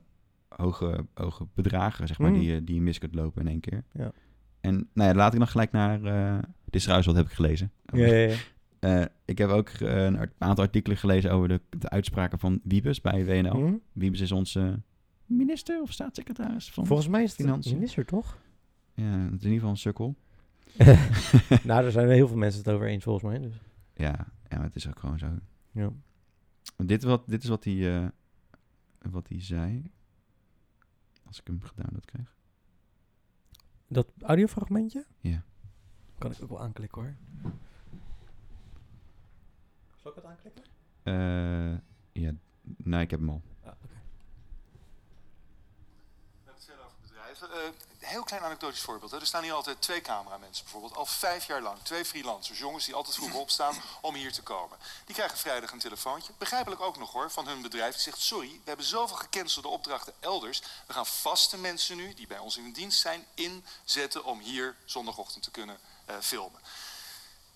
Speaker 2: hoge, hoge bedragen, zeg maar,
Speaker 1: Mm.
Speaker 2: die, je- die je mis kunt lopen in één keer.
Speaker 1: Ja.
Speaker 2: En nou ja, laat ik nog gelijk naar... eh, dit is trouwens wat heb ik gelezen.
Speaker 1: Ja, ja, ja.
Speaker 2: Eh, ik heb ook eh, een art- aantal artikelen gelezen over de, de uitspraken van Wiebes bij WNL.
Speaker 1: Mhm.
Speaker 2: Wiebes is onze minister of staatssecretaris van...
Speaker 1: Volgens mij is het een
Speaker 2: Financiën.
Speaker 1: minister, toch?
Speaker 2: Ja, het is in ieder geval een sukkel.
Speaker 1: nou, daar zijn heel veel mensen het over eens, volgens mij. Dus.
Speaker 2: Ja, ja maar het is ook gewoon zo.
Speaker 1: Ja.
Speaker 2: Dit, wat, dit is wat hij, eh, wat hij zei. Als ik hem gedownload krijg.
Speaker 1: Dat audiofragmentje?
Speaker 2: Ja.
Speaker 1: Kan ik ook wel aanklikken, hoor. Zal ik dat aanklikken?
Speaker 2: Eh, ja, nou, ik heb hem al.
Speaker 3: We hebben het verder over bedrijven. Eh, heel klein anekdotisch voorbeeld. Hè. Er staan hier altijd twee cameramensen bijvoorbeeld. Al vijf jaar lang. Twee freelancers. Jongens die altijd vroeg opstaan om hier te komen. Die krijgen vrijdag een telefoontje. Begrijpelijk ook nog hoor. Van hun bedrijf. Die zegt sorry. We hebben zoveel gecancelde opdrachten elders. We gaan vaste mensen nu. Die bij ons in dienst zijn. Inzetten om hier zondagochtend te kunnen eh, filmen.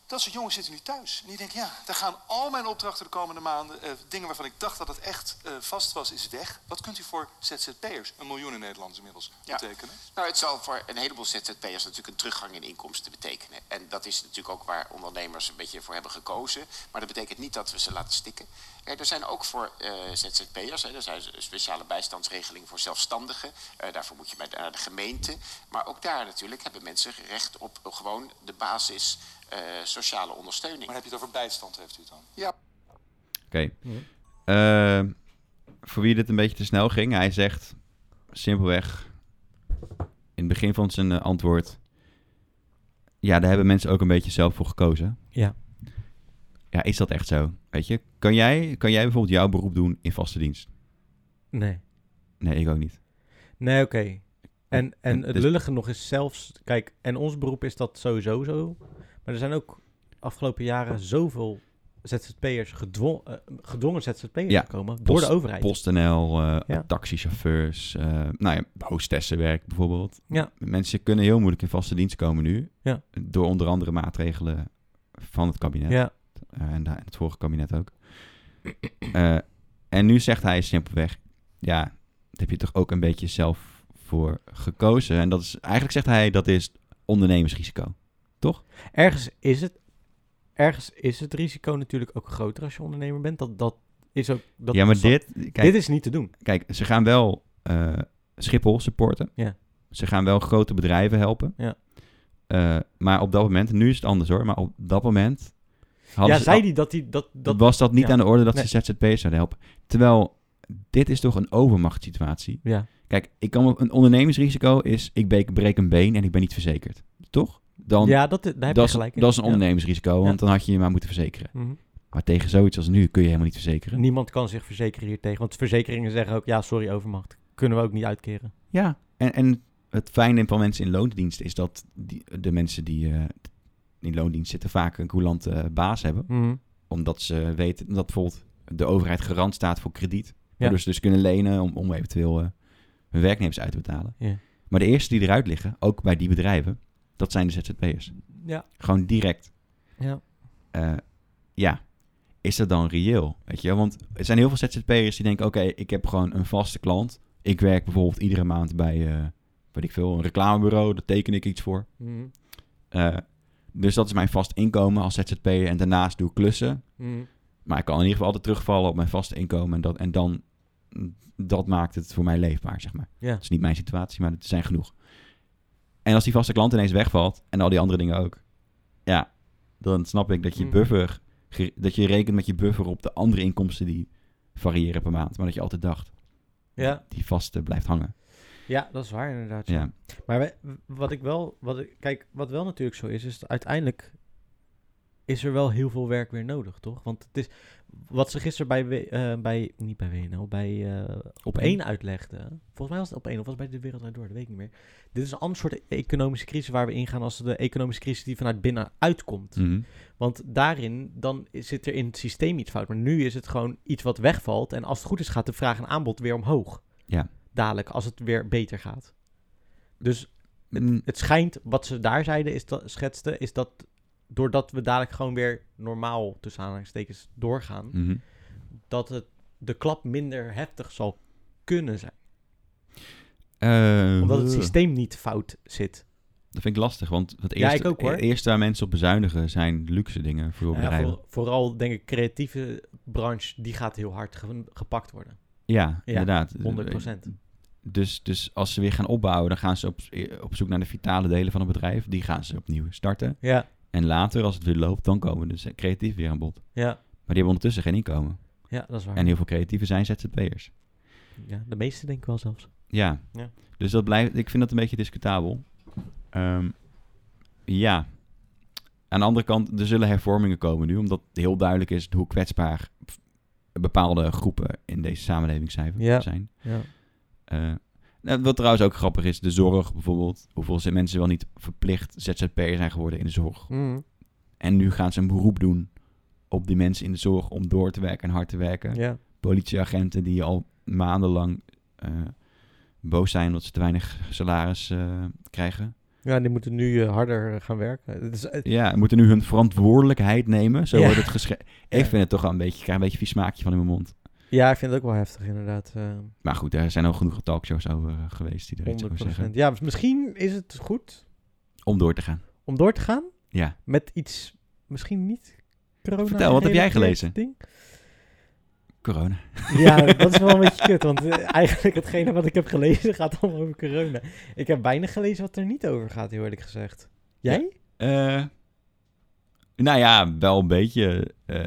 Speaker 3: Dat soort jongens zitten nu thuis. En die denken, ja, daar gaan al mijn opdrachten de komende maanden... eh, dingen waarvan ik dacht dat het echt eh, vast was, is weg. Wat kunt u voor ZZP'ers, een miljoen in Nederland inmiddels,
Speaker 4: Ja.
Speaker 3: betekenen?
Speaker 4: Nou, het zal voor een heleboel ZZP'ers natuurlijk een teruggang in inkomsten betekenen. En dat is natuurlijk ook waar ondernemers een beetje voor hebben gekozen. Maar dat betekent niet dat we ze laten stikken. Eh, Er zijn ook voor eh, ZZP'ers, hè, er zijn speciale bijstandsregelingen voor zelfstandigen. Eh, daarvoor moet je bij- naar de gemeente. Maar ook daar natuurlijk hebben mensen recht op gewoon de basis eh, sociale ondersteuning.
Speaker 3: Maar dan heb je het over bijstand, heeft u het dan?
Speaker 4: Ja.
Speaker 2: Oké. Eh, voor wie dit een beetje te snel ging, hij zegt simpelweg in het begin van zijn eh, antwoord: Ja, daar hebben mensen ook een beetje zelf voor gekozen.
Speaker 1: Ja.
Speaker 2: Ja, is dat echt zo? Weet je, kan jij, kan jij bijvoorbeeld jouw beroep doen in vaste dienst?
Speaker 1: Nee.
Speaker 2: Nee, ik ook niet.
Speaker 1: Nee, oké. En, en
Speaker 2: En
Speaker 1: het
Speaker 2: dus-
Speaker 1: lullige nog is zelfs... Kijk, en ons beroep is dat sowieso zo. Maar er zijn ook afgelopen jaren zoveel ZZP'ers, gedwongen, eh, gedwongen ZZP'ers
Speaker 2: Ja,
Speaker 1: gekomen door de
Speaker 2: post-
Speaker 1: overheid.
Speaker 2: PostNL, eh
Speaker 1: Ja.
Speaker 2: taxichauffeurs, eh, nou ja, hostessenwerk bijvoorbeeld.
Speaker 1: Ja.
Speaker 2: Mensen kunnen heel moeilijk in vaste dienst komen nu.
Speaker 1: Ja.
Speaker 2: Door onder andere maatregelen van het kabinet.
Speaker 1: Ja,
Speaker 2: Eh, en da- het vorige kabinet ook. Eh, en nu zegt hij simpelweg: Ja, daar heb je toch ook een beetje zelf voor gekozen. En dat is eigenlijk zegt hij dat is ondernemersrisico.
Speaker 1: ergens is het... Ergens is het risico natuurlijk ook groter als je ondernemer bent. Dat, dat is ook... Dat
Speaker 2: ja, maar
Speaker 1: snap-
Speaker 2: dit, kijk,
Speaker 1: dit is niet te doen.
Speaker 2: kijk, ze gaan wel eh, Schiphol supporten.
Speaker 1: Ja.
Speaker 2: Ze gaan wel grote bedrijven helpen.
Speaker 1: Ja.
Speaker 2: Eh, maar op dat moment, nu is het anders hoor, maar op dat moment. hadden
Speaker 1: Ja,
Speaker 2: ze-
Speaker 1: zei die dat die... Dat, dat,
Speaker 2: was dat niet
Speaker 1: ja.
Speaker 2: aan de orde dat
Speaker 1: Nee.
Speaker 2: ze ZZP'ers zouden helpen. Terwijl, dit is toch een overmachtssituatie.
Speaker 1: ja.
Speaker 2: Kijk, ik kan, een ondernemingsrisico is, ik be- breek een been en ik ben niet verzekerd. Toch? Dan,
Speaker 1: ja, dat, daar heb je
Speaker 2: dat, is,
Speaker 1: gelijk in.
Speaker 2: dat is een
Speaker 1: Ja.
Speaker 2: ondernemingsrisico, want dan had je je maar moeten verzekeren.
Speaker 1: Mhm.
Speaker 2: Maar tegen zoiets als nu kun je helemaal niet verzekeren.
Speaker 1: Niemand kan zich verzekeren hier tegen. Want verzekeringen zeggen ook, ja, sorry overmacht. Kunnen we ook niet uitkeren.
Speaker 2: Ja, en, en het fijne van mensen in loondienst is dat die, de mensen die eh, in loondienst zitten vaak een coulante eh, baas hebben.
Speaker 1: Mhm.
Speaker 2: Omdat ze weten dat bijvoorbeeld de overheid garant staat voor krediet. Waardoor ze dus kunnen lenen om, om eventueel eh, hun werknemers uit te betalen.
Speaker 1: Ja.
Speaker 2: Maar de eerste die eruit liggen, ook bij die bedrijven, dat zijn de ZZP'ers.
Speaker 1: Ja.
Speaker 2: Gewoon direct.
Speaker 1: ja.
Speaker 2: eh, ja, is dat dan reëel? Weet je, wel? want er zijn heel veel ZZP'ers die denken: oké, ik heb gewoon een vaste klant. Ik werk bijvoorbeeld iedere maand bij, eh weet ik veel, een reclamebureau. Daar teken ik iets voor.
Speaker 1: Mhm.
Speaker 2: Eh, dus dat is mijn vast inkomen als ZZP'er. En daarnaast doe ik klussen.
Speaker 1: Mhm.
Speaker 2: Maar ik kan in ieder geval altijd terugvallen op mijn vaste inkomen. En, dat, en dan, dat maakt het voor mij leefbaar, zeg maar.
Speaker 1: Ja.
Speaker 2: Dat is niet mijn situatie, maar het zijn genoeg. En als die vaste klant ineens wegvalt en al die andere dingen ook, ja, dan snap ik dat je
Speaker 1: Mm.
Speaker 2: buffer, ge- dat je rekent met je buffer op de andere inkomsten die variëren per maand, maar dat je altijd dacht,
Speaker 1: Ja.
Speaker 2: die vaste blijft hangen.
Speaker 1: ja, dat is waar inderdaad. ja.
Speaker 2: Ja,
Speaker 1: Maar we- wat ik wel, wat ik, kijk, wat wel natuurlijk zo is, is dat uiteindelijk is er wel heel veel werk weer nodig, toch? Want het is, wat ze gisteren bij, W- eh, bij niet bij WNL, bij eh op
Speaker 2: één.
Speaker 1: één uitlegde. Volgens mij was het op één of was het bij de wereld Draait door, dat weet ik niet meer. Dit is een ander soort economische crisis waar we ingaan als de economische crisis die vanuit binnenuit komt.
Speaker 2: Mhm.
Speaker 1: Want daarin, dan zit er in het systeem iets fout. Maar nu is het gewoon iets wat wegvalt. En als het goed is, gaat de vraag en aanbod weer omhoog.
Speaker 2: Ja.
Speaker 1: Dadelijk, als het weer beter gaat. Dus
Speaker 2: Mm,
Speaker 1: het schijnt, wat ze daar zeiden, is dat, schetste, is dat doordat we dadelijk gewoon weer normaal, tussen aanhalingstekens, doorgaan,
Speaker 2: mhm.
Speaker 1: dat het de klap minder heftig zal kunnen zijn.
Speaker 2: Eh,
Speaker 1: Omdat het systeem niet fout zit.
Speaker 2: Dat vind ik lastig, want het
Speaker 1: Ja,
Speaker 2: eerste,
Speaker 1: ik ook, hoor.
Speaker 2: het eerste waar mensen op bezuinigen zijn luxe dingen voor
Speaker 1: Nou ja,
Speaker 2: bedrijven.
Speaker 1: voor- vooral, denk ik, creatieve branche, die gaat heel hard ge- gepakt worden.
Speaker 2: Ja, inderdaad.
Speaker 1: 100%.
Speaker 2: Dus, dus als ze weer gaan opbouwen, dan gaan ze op, eh, op zoek naar de vitale delen van het bedrijf. Die gaan ze opnieuw starten.
Speaker 1: Ja,
Speaker 2: En later, als het weer loopt, dan komen dus creatief weer aan bod.
Speaker 1: ja,
Speaker 2: Maar die hebben ondertussen geen inkomen.
Speaker 1: ja, dat is waar.
Speaker 2: En heel veel creatieven zijn ZZP'ers.
Speaker 1: Ja, de meeste denk ik wel zelfs.
Speaker 2: Ja.
Speaker 1: Ja.
Speaker 2: Dus dat blijft, ik vind dat een beetje discutabel. Ehm, ja. Aan de andere kant, er zullen hervormingen komen nu, omdat heel duidelijk is hoe kwetsbaar bepaalde groepen in deze samenleving zijn.
Speaker 1: Ja.
Speaker 2: zijn.
Speaker 1: Ja.
Speaker 2: Eh, nou, wat trouwens ook grappig is, de zorg bijvoorbeeld. Hoeveel ze- mensen wel niet verplicht ZZP'er zijn geworden in de zorg.
Speaker 1: Mm.
Speaker 2: En nu gaan ze een beroep doen op die mensen in de zorg om door te werken en hard te werken.
Speaker 1: Ja.
Speaker 2: Politieagenten die al maandenlang eh, boos zijn omdat ze te weinig salaris eh, krijgen.
Speaker 1: Ja, die moeten nu eh, harder gaan werken. Het is, eh, het-
Speaker 2: Ja, moeten nu hun verantwoordelijkheid nemen. Zo
Speaker 1: Ja.
Speaker 2: wordt het geschreven. Ik
Speaker 1: Ja.
Speaker 2: vind het toch wel een beetje, ik krijg een beetje vies smaakje van in mijn mond.
Speaker 1: ja, ik vind het ook wel heftig inderdaad. eh,
Speaker 2: Maar goed, er zijn al genoeg talkshows over eh, geweest die er iets over
Speaker 1: 100%.
Speaker 2: zeggen.
Speaker 1: Ja, dus misschien is het goed
Speaker 2: Om door te gaan.
Speaker 1: om door te gaan
Speaker 2: Ja.
Speaker 1: met iets misschien niet corona
Speaker 2: Vertel, wat heb jij gelezen?
Speaker 1: ding.
Speaker 2: Corona.
Speaker 1: Ja, dat is wel een beetje kut, want eh, eigenlijk hetgene wat ik heb gelezen gaat allemaal over corona. Ik heb weinig gelezen wat er niet over gaat, heel eerlijk gezegd. Jij?
Speaker 2: Eh, nou ja, wel een beetje. eh,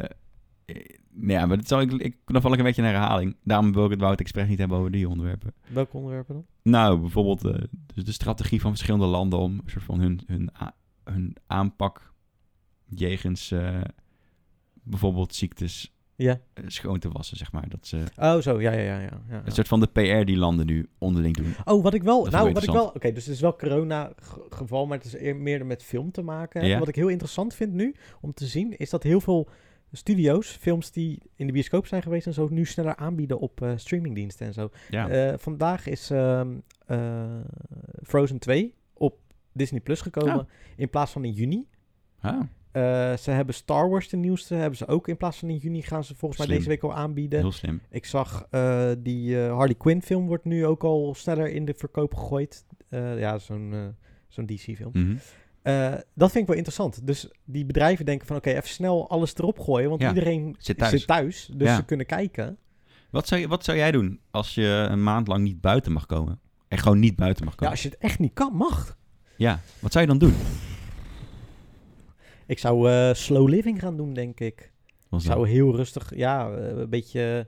Speaker 2: eh, nou ja, maar dat zal ik, ik, dan val ik een beetje in herhaling. Daarom wil ik het Wout Express niet hebben over die onderwerpen.
Speaker 1: Welke onderwerpen dan?
Speaker 2: Nou, bijvoorbeeld eh, dus de strategie van verschillende landen om een soort van hun, hun, a- hun aanpak jegens eh, bijvoorbeeld ziektes
Speaker 1: Ja.
Speaker 2: eh, schoon te wassen, zeg maar. Dat ze
Speaker 1: Oh, zo, ja, ja, ja. ja, ja.
Speaker 2: een soort van de PR die landen nu onderling doen.
Speaker 1: Oh, wat ik wel.
Speaker 2: Dat is
Speaker 1: nou,
Speaker 2: wel
Speaker 1: wat ik wel.
Speaker 2: interessant.
Speaker 1: Oké, dus het is wel corona-geval, maar het is eer- meer met film te maken.
Speaker 2: Ja.
Speaker 1: Wat ik heel interessant vind nu om te zien, is dat heel veel studio's, films die in de bioscoop zijn geweest en zo, nu sneller aanbieden op eh, streamingdiensten en zo.
Speaker 2: Ja,
Speaker 1: Eh, vandaag is ehm, eh, Frozen 2 op Disney Plus gekomen
Speaker 2: Oh.
Speaker 1: in plaats van in juni.
Speaker 2: Ah,
Speaker 1: Eh, ze hebben Star Wars, de nieuwste, hebben ze ook in plaats van in juni gaan ze volgens mij
Speaker 2: Slim.
Speaker 1: deze week al aanbieden.
Speaker 2: heel slim.
Speaker 1: Ik zag eh, die eh, Harley Quinn film wordt nu ook al sneller in de verkoop gegooid. Eh, ja, zo'n eh, zo'n DC film.
Speaker 2: Mhm.
Speaker 1: Eh, dat vind ik wel interessant. Dus die bedrijven denken van oké, even snel alles erop gooien. Want
Speaker 2: Ja,
Speaker 1: iedereen
Speaker 2: zit thuis.
Speaker 1: dus
Speaker 2: Ja.
Speaker 1: ze kunnen kijken.
Speaker 2: Wat, zou, je- wat zou jij doen als je een maand lang niet buiten mag komen? En gewoon niet buiten mag
Speaker 1: Ja,
Speaker 2: komen?
Speaker 1: als je het echt niet kan, mag.
Speaker 2: Ja, wat zou je dan doen?
Speaker 1: Ik zou eh, slow living gaan doen, denk ik.
Speaker 2: Wat
Speaker 1: Ik
Speaker 2: is dat?
Speaker 1: zou heel rustig, ja, eh, een beetje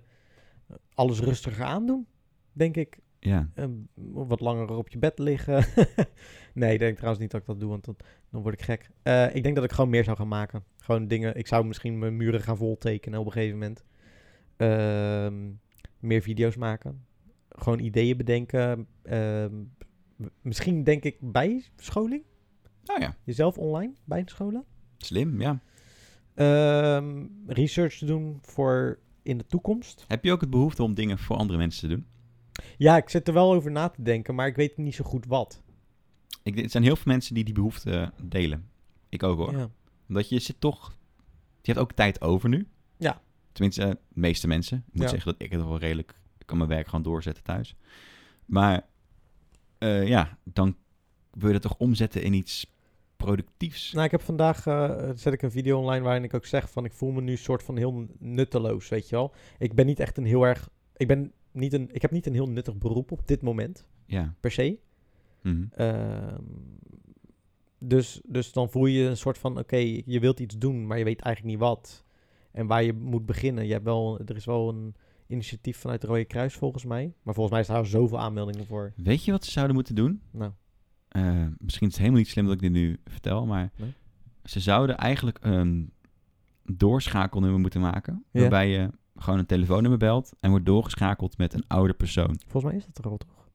Speaker 1: alles rustiger aandoen, denk ik.
Speaker 2: Ja,
Speaker 1: eh, wat langer op je bed liggen. nee, ik denk trouwens niet dat ik dat doe, want dat- dan word ik gek. Eh, ik denk dat ik gewoon meer zou gaan maken. Gewoon dingen. Ik zou misschien mijn muren gaan voltekenen op een gegeven moment. Ehm, meer video's maken. Gewoon ideeën bedenken. Ehm, m- misschien denk ik bijscholing.
Speaker 2: nou ja,
Speaker 1: Jezelf online bijscholen.
Speaker 2: slim, ja.
Speaker 1: Ehm, research te doen voor in de toekomst.
Speaker 2: Heb je ook het behoefte om dingen voor andere mensen te doen?
Speaker 1: Ja, ik zit er wel over na te denken, maar ik weet niet zo goed wat.
Speaker 2: Ik, denk- er zijn heel veel mensen die die behoefte eh, delen. Ik ook hoor.
Speaker 1: Ja.
Speaker 2: Omdat je zit toch... Je hebt ook tijd over nu.
Speaker 1: Ja.
Speaker 2: Tenminste, eh, de meeste mensen. Ik moet
Speaker 1: Ja.
Speaker 2: zeggen dat ik het wel redelijk... Ik kan mijn werk gewoon doorzetten thuis. Maar eh, ja, dan wil je dat toch omzetten in iets productiefs.
Speaker 1: Nou, ik heb vandaag eh, zet ik een video online waarin ik ook zeg van ik voel me nu soort van heel nutteloos, weet je wel. Ik ben niet echt een heel erg. Ik ben niet een. Ik heb niet een heel nuttig beroep op dit moment
Speaker 2: Ja.
Speaker 1: per se.
Speaker 2: Mhm.
Speaker 1: Ehm, dus, dus dan voel je een soort van oké, je wilt iets doen, maar je weet eigenlijk niet wat en waar je moet beginnen. Je hebt wel, er is wel een initiatief vanuit het Rode Kruis volgens mij, maar volgens mij is daar zoveel aanmeldingen voor.
Speaker 2: Weet je wat ze zouden moeten doen?
Speaker 1: Nou,
Speaker 2: Eh, misschien is het helemaal niet slim dat ik dit nu vertel, maar
Speaker 1: Nee.
Speaker 2: ze zouden eigenlijk een doorschakelnummer moeten maken.
Speaker 1: Ja.
Speaker 2: Waarbij je gewoon een telefoonnummer belt en wordt doorgeschakeld met een ouder persoon.
Speaker 1: volgens mij is dat er al toch?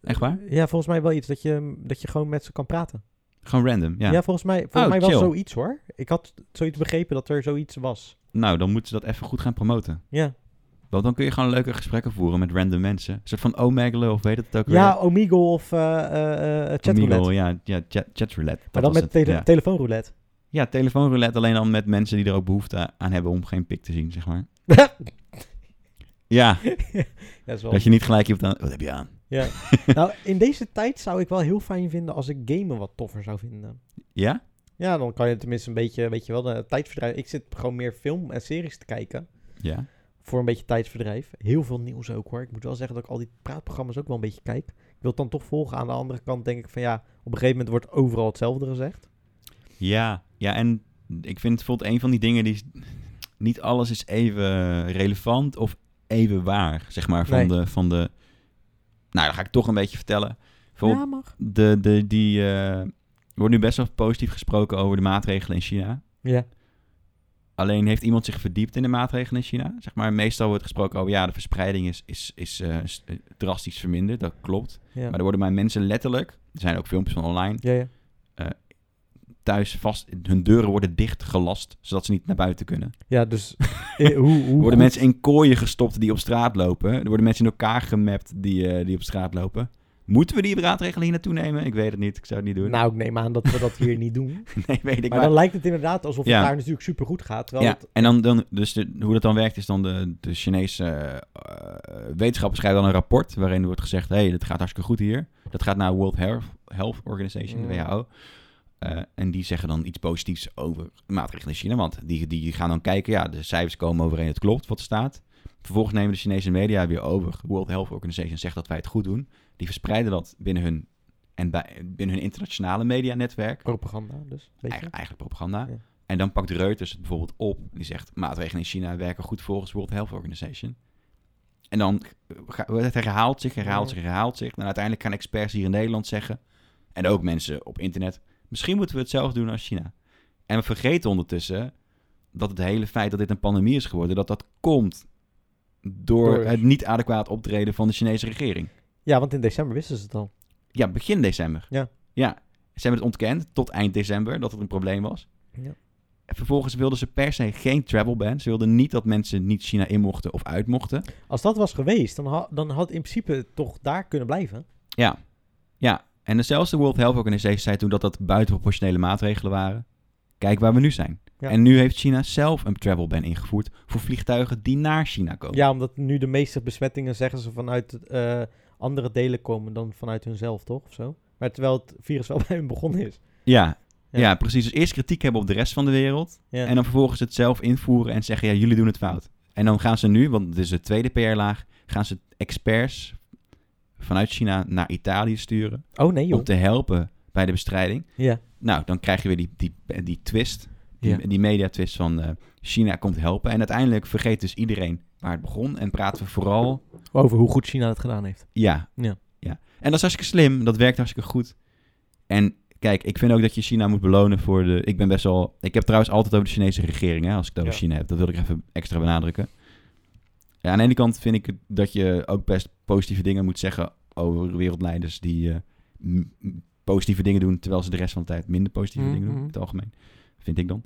Speaker 2: Echt waar?
Speaker 1: Ja, volgens mij wel iets dat je, dat je gewoon met ze kan praten.
Speaker 2: Gewoon random, ja.
Speaker 1: Ja, volgens mij, volgens
Speaker 2: Oh,
Speaker 1: mij was
Speaker 2: chill.
Speaker 1: zoiets hoor. Ik had zoiets begrepen dat er zoiets was.
Speaker 2: Nou, dan moeten ze dat even goed gaan promoten.
Speaker 1: Ja,
Speaker 2: Want dan kun je gewoon leuke gesprekken voeren met random mensen. Een soort van omegelen of weet het ook
Speaker 1: ja Omegle of eh eh, eh, chatroulette.
Speaker 2: Omegle, ja, ja chat, chatroulette.
Speaker 1: maar dan
Speaker 2: dat was
Speaker 1: met
Speaker 2: het,
Speaker 1: tele-
Speaker 2: ja.
Speaker 1: telefoonroulette.
Speaker 2: ja, telefoonroulette alleen dan met mensen die er ook behoefte aan hebben om geen pik te zien, zeg maar. Ja,
Speaker 1: Dat is wel...
Speaker 2: dat je niet gelijk hebt aan... Wat heb je aan?
Speaker 1: nou, in deze tijd zou ik wel heel fijn vinden als ik gamen wat toffer zou vinden.
Speaker 2: Ja?
Speaker 1: Ja, dan kan je tenminste een beetje, weet je wel, de tijdverdrijf. Ik zit gewoon meer film en series te kijken.
Speaker 2: Ja.
Speaker 1: Voor een beetje tijdsverdrijf. Heel veel nieuws ook hoor. Ik moet wel zeggen dat ik al die praatprogramma's ook wel een beetje kijk. Ik wil het dan toch volgen. Aan de andere kant denk ik van ja, op een gegeven moment wordt overal hetzelfde gezegd.
Speaker 2: Ja, ja, en ik vind bijvoorbeeld een van die dingen die... Niet alles is even relevant of even waar, zeg maar, van,
Speaker 1: Nee.
Speaker 2: de, van de... Nou, dan ga ik toch een beetje vertellen. Bijvoorbeeld,
Speaker 1: Ja, mag.
Speaker 2: de, de, die... eh, er wordt nu best wel positief gesproken over de maatregelen in China.
Speaker 1: Ja.
Speaker 2: Alleen heeft iemand zich verdiept in de maatregelen in China. Zeg maar, meestal wordt gesproken over... Ja, de verspreiding is, is, is eh, s- eh, drastisch verminderd, dat klopt.
Speaker 1: Ja.
Speaker 2: Maar er worden maar mensen letterlijk... Er zijn ook filmpjes van online...
Speaker 1: Ja, ja.
Speaker 2: thuis vast. Hun deuren worden dicht gelast, zodat ze niet naar buiten kunnen.
Speaker 1: ja dus eh, hoe, hoe
Speaker 2: Er worden
Speaker 1: goed-
Speaker 2: mensen in kooien gestopt die op straat lopen. Er worden mensen in elkaar gemapt die, eh, die op straat lopen. Moeten we die maatregelen hier naartoe nemen? Ik weet het niet. Ik zou het niet doen.
Speaker 1: Nou, ik neem aan dat we dat hier niet doen.
Speaker 2: nee, weet ik
Speaker 1: Maar
Speaker 2: maar.
Speaker 1: dan lijkt het inderdaad alsof het
Speaker 2: Ja.
Speaker 1: daar natuurlijk supergoed gaat. Terwijl
Speaker 2: Ja,
Speaker 1: het,
Speaker 2: en dan, dan dus de- hoe dat dan werkt is dan de, de Chinese eh, wetenschappers schrijven dan een rapport waarin wordt gezegd, hé, hey, dit gaat hartstikke goed hier. Dat gaat naar World Health, Health Organization, de
Speaker 1: Mm.
Speaker 2: WHO. Eh, en die zeggen dan iets positiefs over de maatregelen in China, want die, die gaan dan kijken, ja, de cijfers komen overeen, het klopt wat er staat. Vervolgens nemen de Chinese media weer over. World Health Organization zegt dat wij het goed doen. Die verspreiden dat binnen hun, en bij, binnen hun internationale medianetwerk.
Speaker 1: propaganda dus, weet je.
Speaker 2: Eigen- eigenlijk propaganda.
Speaker 1: Ja.
Speaker 2: En dan pakt Reuters het bijvoorbeeld op. en Die zegt, maatregelen in China werken goed volgens World Health Organization. En dan ga- het herhaalt zich, herhaalt
Speaker 1: Ja.
Speaker 2: zich, herhaalt zich. En uiteindelijk gaan experts hier in Nederland zeggen, en ook mensen op internet, misschien moeten we het zelf doen als China. En we vergeten ondertussen dat het hele feit dat dit een pandemie is geworden, dat dat komt door,
Speaker 1: Door-
Speaker 2: het niet adequaat optreden van de Chinese regering.
Speaker 1: Ja, want in december wisten ze het al.
Speaker 2: Ja, begin december.
Speaker 1: Ja.
Speaker 2: ja. Ze hebben het ontkend tot eind december dat het een probleem was.
Speaker 1: Ja.
Speaker 2: En vervolgens wilden ze per se geen travel ban. Ze wilden niet dat mensen niet China in mochten of uit mochten.
Speaker 1: Als dat was geweest, dan, ha- dan had in principe het toch daar kunnen blijven.
Speaker 2: Ja, ja. En zelfs de World Health Organization zei toen dat dat buitenproportionele maatregelen waren. Kijk waar we nu zijn.
Speaker 1: Ja.
Speaker 2: En nu heeft China zelf een travel ban ingevoerd voor vliegtuigen die naar China komen.
Speaker 1: Ja, omdat nu de meeste besmettingen, zeggen ze, vanuit eh, andere delen komen dan vanuit hunzelf, toch? Of zo? Maar terwijl het virus wel bij hun begonnen is.
Speaker 2: Ja.
Speaker 1: Ja.
Speaker 2: Ja. precies. Dus eerst kritiek hebben op de rest van de wereld.
Speaker 1: Ja.
Speaker 2: En dan vervolgens het zelf invoeren en zeggen, ja, jullie doen het fout. En dan gaan ze nu, want het is de tweede PR-laag, gaan ze experts vanuit China naar Italië sturen.
Speaker 1: Oh nee, joh.
Speaker 2: om te helpen bij de bestrijding.
Speaker 1: Ja.
Speaker 2: Nou, dan krijg je weer die, die, die twist, die,
Speaker 1: Ja.
Speaker 2: die mediatwist van eh, China komt helpen. En uiteindelijk vergeet dus iedereen waar het begon en praten we vooral,
Speaker 1: Over hoe goed China het gedaan heeft.
Speaker 2: ja,
Speaker 1: Ja.
Speaker 2: En dat is hartstikke slim, dat werkt hartstikke goed. En kijk, ik vind ook dat je China moet belonen voor de, ik ben best wel, ik heb trouwens altijd over de Chinese regering, hè, als ik het over
Speaker 1: Ja.
Speaker 2: China heb, dat wil ik even extra benadrukken. Ja, aan de ene kant vind ik het dat je ook best positieve dingen moet zeggen over wereldleiders die eh, m- m- positieve dingen doen, terwijl ze de rest van de tijd minder positieve dingen doen,
Speaker 1: Mhm.
Speaker 2: in het algemeen. Vind ik dan.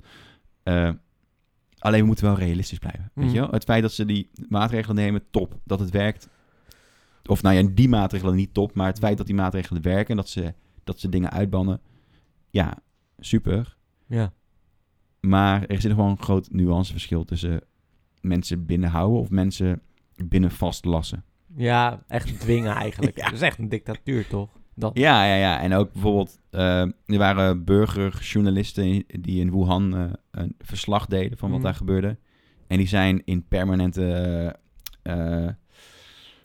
Speaker 2: Eh, alleen we moeten wel realistisch blijven. Weet
Speaker 1: Mhm.
Speaker 2: je wel? Het feit dat ze die maatregelen nemen, top. Dat het werkt. Of nou ja, die maatregelen niet top, maar het feit dat die maatregelen werken en dat ze, dat ze dingen uitbannen, ja, super.
Speaker 1: Ja.
Speaker 2: Maar er zit gewoon een groot nuanceverschil tussen mensen binnenhouden of mensen binnen vastlassen.
Speaker 1: Ja, echt dwingen eigenlijk.
Speaker 2: Ja.
Speaker 1: Dat is echt een dictatuur, toch? Dan.
Speaker 2: Ja, ja, ja. En ook bijvoorbeeld, eh, er waren burgerjournalisten in- die in Wuhan eh, een verslag deden van wat
Speaker 1: Mhm.
Speaker 2: daar gebeurde. En die zijn in permanente, eh, eh,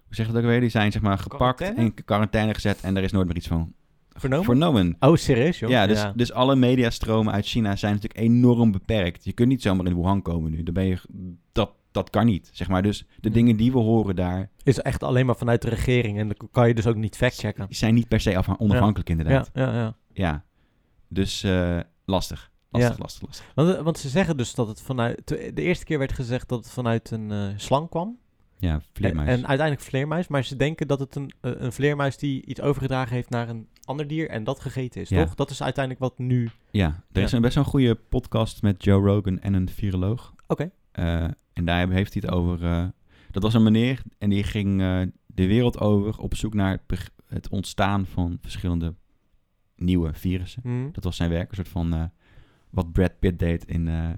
Speaker 2: hoe zeg je dat ook weer? Die zijn zeg maar gepakt en
Speaker 1: Quarantaine?
Speaker 2: in quarantaine gezet en er is nooit meer iets van
Speaker 1: Vernomen?
Speaker 2: vernomen.
Speaker 1: Oh, serieus, joh?
Speaker 2: Ja, dus, dus alle mediastromen uit China zijn natuurlijk enorm beperkt. Je kunt niet zomaar in Wuhan komen nu. Dan ben je, dat, dat kan niet, zeg maar. Dus de
Speaker 1: Hmm.
Speaker 2: dingen die we horen daar
Speaker 1: Is echt alleen maar vanuit de regering. En dan kan je dus ook niet factchecken.
Speaker 2: zijn niet per se afha- onafhankelijk,
Speaker 1: Ja,
Speaker 2: inderdaad.
Speaker 1: ja, ja.
Speaker 2: Ja. Dus eh, lastig. Lastig,
Speaker 1: Ja.
Speaker 2: lastig, lastig.
Speaker 1: Want, eh, want ze zeggen dus dat het vanuit... De eerste keer werd gezegd dat het vanuit een eh, slang kwam.
Speaker 2: Ja, vleermuis.
Speaker 1: En, en uiteindelijk vleermuis. Maar ze denken dat het een, eh, een vleermuis die iets overgedragen heeft naar een ander dier en dat gegeten is,
Speaker 2: Ja.
Speaker 1: toch? Dat is uiteindelijk wat nu... Oké.
Speaker 2: Ja, er is
Speaker 1: Ja.
Speaker 2: een best wel een goede podcast met Joe Rogan en een viroloog. Eh, en daar heeft hij het over. eh, dat was een meneer en die ging eh, de wereld over op zoek naar het beg- het ontstaan van verschillende nieuwe virussen.
Speaker 1: Hm.
Speaker 2: Dat was zijn werk, een soort van eh, wat Brad Pitt deed in eh,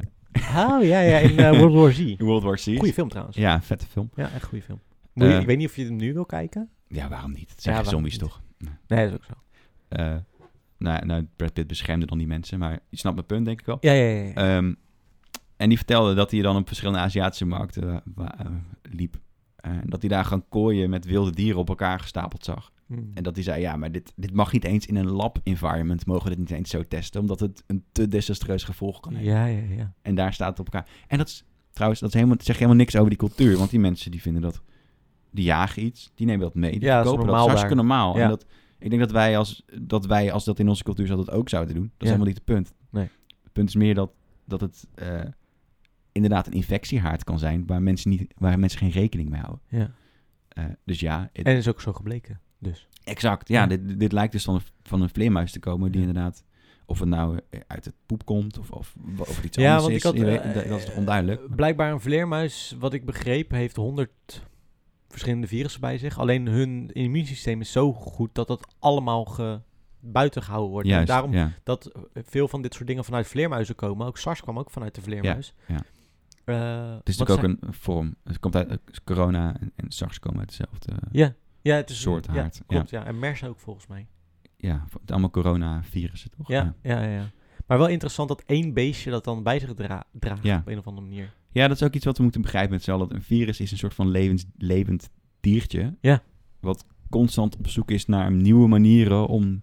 Speaker 1: Oh, ja, ja, in eh, World War Z.
Speaker 2: World War C.
Speaker 1: Goeie film trouwens. Ja,
Speaker 2: Ja, vette film.
Speaker 1: echt goeie film. Moet je-
Speaker 2: Eh.
Speaker 1: ik weet niet of je hem nu wil kijken.
Speaker 2: Ja, waarom niet? Het zijn
Speaker 1: Ja,
Speaker 2: geen
Speaker 1: waarom
Speaker 2: zombies
Speaker 1: niet?
Speaker 2: toch?
Speaker 1: Nee, dat is ook zo.
Speaker 2: Eh, nou, nou, Brad Pitt beschermde dan die mensen, maar je snapt mijn punt denk ik wel.
Speaker 1: Ja, ja, ja. ja.
Speaker 2: Ehm, en die vertelde dat hij dan op verschillende Aziatische markten eh, wa- eh, liep. Eh, en dat hij daar gewoon kooien met wilde dieren op elkaar gestapeld zag.
Speaker 1: Hm.
Speaker 2: En dat hij zei, ja, maar dit, dit mag niet eens in een lab-environment, mogen we dit niet eens zo testen, omdat het een te desastreus gevolg kan hebben.
Speaker 1: Ja, ja, ja.
Speaker 2: En daar staat het op elkaar. En dat is trouwens, dat is helemaal, dat zegt helemaal niks over die cultuur. Want die mensen die vinden dat, die jagen iets, die nemen dat mee, die
Speaker 1: Ja, dat is
Speaker 2: verkopen dat.
Speaker 1: normaal
Speaker 2: Dat is hartstikke normaal.
Speaker 1: Ja.
Speaker 2: En dat, ik denk dat wij, als, dat wij, als dat in onze cultuur zat, dat ook zouden doen. Dat is
Speaker 1: Ja.
Speaker 2: helemaal niet het punt.
Speaker 1: Nee.
Speaker 2: Het punt is meer dat, dat het eh, inderdaad een infectiehaard kan zijn waar mensen, niet, waar mensen geen rekening mee houden.
Speaker 1: ja.
Speaker 2: Eh, dus ja, het-
Speaker 1: En is ook zo gebleken, dus.
Speaker 2: exact. Ja,
Speaker 1: Ja.
Speaker 2: Dit, dit lijkt dus dan van een vleermuis te komen die
Speaker 1: Ja.
Speaker 2: inderdaad... Of het nou eh, uit het poep komt of, of, of iets
Speaker 1: ja,
Speaker 2: anders
Speaker 1: want
Speaker 2: is.
Speaker 1: ik had...
Speaker 2: Je weet-
Speaker 1: eh,
Speaker 2: dat- dat is toch onduidelijk.
Speaker 1: Blijkbaar een vleermuis, wat ik begreep, heeft 100 verschillende virussen bij zich. Alleen hun immuunsysteem is zo goed dat dat allemaal ge- buiten gehouden wordt. en
Speaker 2: Juist,
Speaker 1: daarom
Speaker 2: ja.
Speaker 1: dat eh, veel van dit soort dingen vanuit vleermuizen komen. Ook SARS kwam ook vanuit de vleermuis.
Speaker 2: ja.
Speaker 1: Eh,
Speaker 2: Het is
Speaker 1: want
Speaker 2: natuurlijk
Speaker 1: zij-
Speaker 2: ook een vorm. Het komt uit eh, corona en, en SARS komen uit dezelfde. eh,
Speaker 1: Ja, ja het is een-
Speaker 2: soort haard,
Speaker 1: Ja,
Speaker 2: ja.
Speaker 1: klopt, ja. En MERS ook volgens mij.
Speaker 2: Ja, het allemaal coronavirussen toch?
Speaker 1: Ja, ja, ja. ja. Maar wel interessant dat één beestje dat dan bij zich dra- draagt
Speaker 2: Ja.
Speaker 1: op een of andere manier.
Speaker 2: Ja, dat is ook iets wat we moeten begrijpen met z'n allen. Dat Een virus is een soort van levens, levend diertje.
Speaker 1: Ja.
Speaker 2: Wat constant op zoek is naar nieuwe manieren om,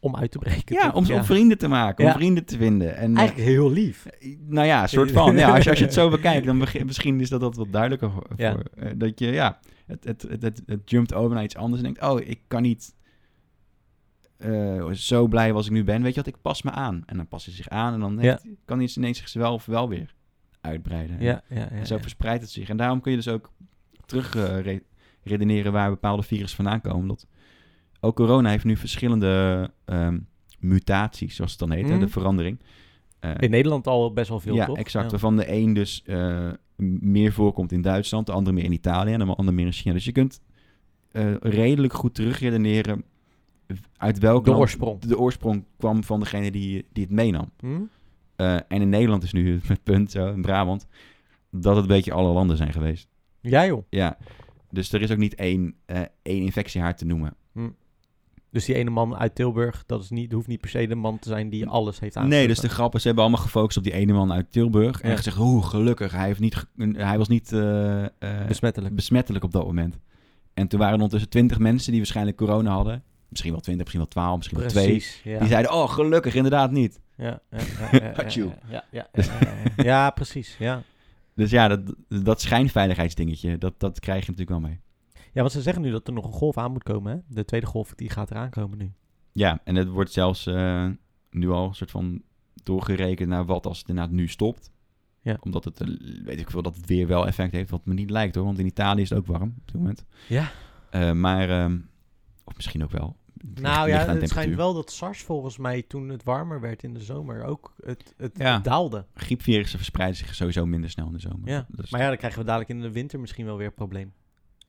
Speaker 1: Om uit te breken.
Speaker 2: ja,
Speaker 1: toch?
Speaker 2: om, om vrienden te maken,
Speaker 1: Ja.
Speaker 2: om vrienden te vinden. En, eh,
Speaker 1: Eigenlijk heel lief.
Speaker 2: nou ja, een soort van. Ja, als, je, als je het zo bekijkt, dan beg- misschien is dat, dat wat duidelijker. Voor,
Speaker 1: Ja.
Speaker 2: voor, eh, dat je, ja, het, het, het, het, het jumpt over naar iets anders en denkt, oh, ik kan niet eh, zo blij als ik nu ben. Weet je wat, ik pas me aan. En dan past hij zich aan en dan heeft- kan hij ineens zichzelf of wel weer uitbreiden.
Speaker 1: Ja, ja, ja.
Speaker 2: En zo
Speaker 1: ja.
Speaker 2: verspreidt het zich. En daarom kun je dus ook terug eh, re- redeneren waar bepaalde virussen vandaan komen. Omdat ook corona heeft nu verschillende ehm, mutaties, zoals het dan heet, hè,
Speaker 1: Mhm.
Speaker 2: de verandering. Eh,
Speaker 1: In Nederland al best wel veel,
Speaker 2: ja,
Speaker 1: toch?
Speaker 2: exact.
Speaker 1: Ja.
Speaker 2: Waarvan de een dus eh, m- meer voorkomt in Duitsland, de andere meer in Italië en de ander meer in China. Dus je kunt eh, redelijk goed terugredeneren uit welke
Speaker 1: De
Speaker 2: land
Speaker 1: oorsprong.
Speaker 2: de oorsprong kwam van degene die, die het meenam.
Speaker 1: Hm?
Speaker 2: Eh, en in Nederland is nu het punt, zo, in Brabant, dat het een beetje alle landen zijn geweest.
Speaker 1: Ja, joh.
Speaker 2: Ja, dus er is ook niet één, eh één infectiehaard te noemen.
Speaker 1: Dus die ene man uit Tilburg, dat is niet, hoeft niet per se de man te zijn die alles heeft aan.
Speaker 2: Nee, dus de grap is, ze hebben allemaal gefocust op die ene man uit Tilburg. En
Speaker 1: Ja.
Speaker 2: gezegd, hoe gelukkig, hij, heeft niet ge- hij was niet eh, eh,
Speaker 1: besmettelijk.
Speaker 2: besmettelijk op dat moment. En toen waren er ondertussen twintig mensen die waarschijnlijk corona hadden. Misschien wel twintig, misschien wel twaalf, misschien wel twee.
Speaker 1: Precies. Ja.
Speaker 2: Die zeiden, oh gelukkig, inderdaad niet.
Speaker 1: Ja, ja, ja, ja, ja,
Speaker 2: Hatsjoe.
Speaker 1: ja, ja, ja, ja, ja. Ja, precies. Ja.
Speaker 2: Dus ja, dat, dat schijnveiligheidsdingetje, dat, dat krijg je natuurlijk wel mee.
Speaker 1: ja, want ze zeggen nu dat er nog een golf aan moet komen. Hè? De tweede golf die gaat eraan komen nu.
Speaker 2: Ja, en het wordt zelfs eh, nu al een soort van doorgerekend naar wat als het inderdaad nu stopt.
Speaker 1: Ja.
Speaker 2: Omdat het, eh, weet ik veel, dat het weer wel effect heeft, wat me niet lijkt hoor. Want in Italië is het ook warm op dit moment.
Speaker 1: Ja.
Speaker 2: Eh, maar, ehm, of misschien ook wel. Het
Speaker 1: Nou
Speaker 2: ligt- ligt
Speaker 1: ja,
Speaker 2: aan de
Speaker 1: het schijnt
Speaker 2: temperatuur.
Speaker 1: wel dat SARS volgens mij toen het warmer werd in de zomer ook het, het,
Speaker 2: Ja.
Speaker 1: het daalde.
Speaker 2: Griepvirussen verspreiden zich sowieso minder snel in de zomer.
Speaker 1: Ja.
Speaker 2: Dus-
Speaker 1: Maar ja, dan krijgen we dadelijk in de winter misschien wel weer een probleem.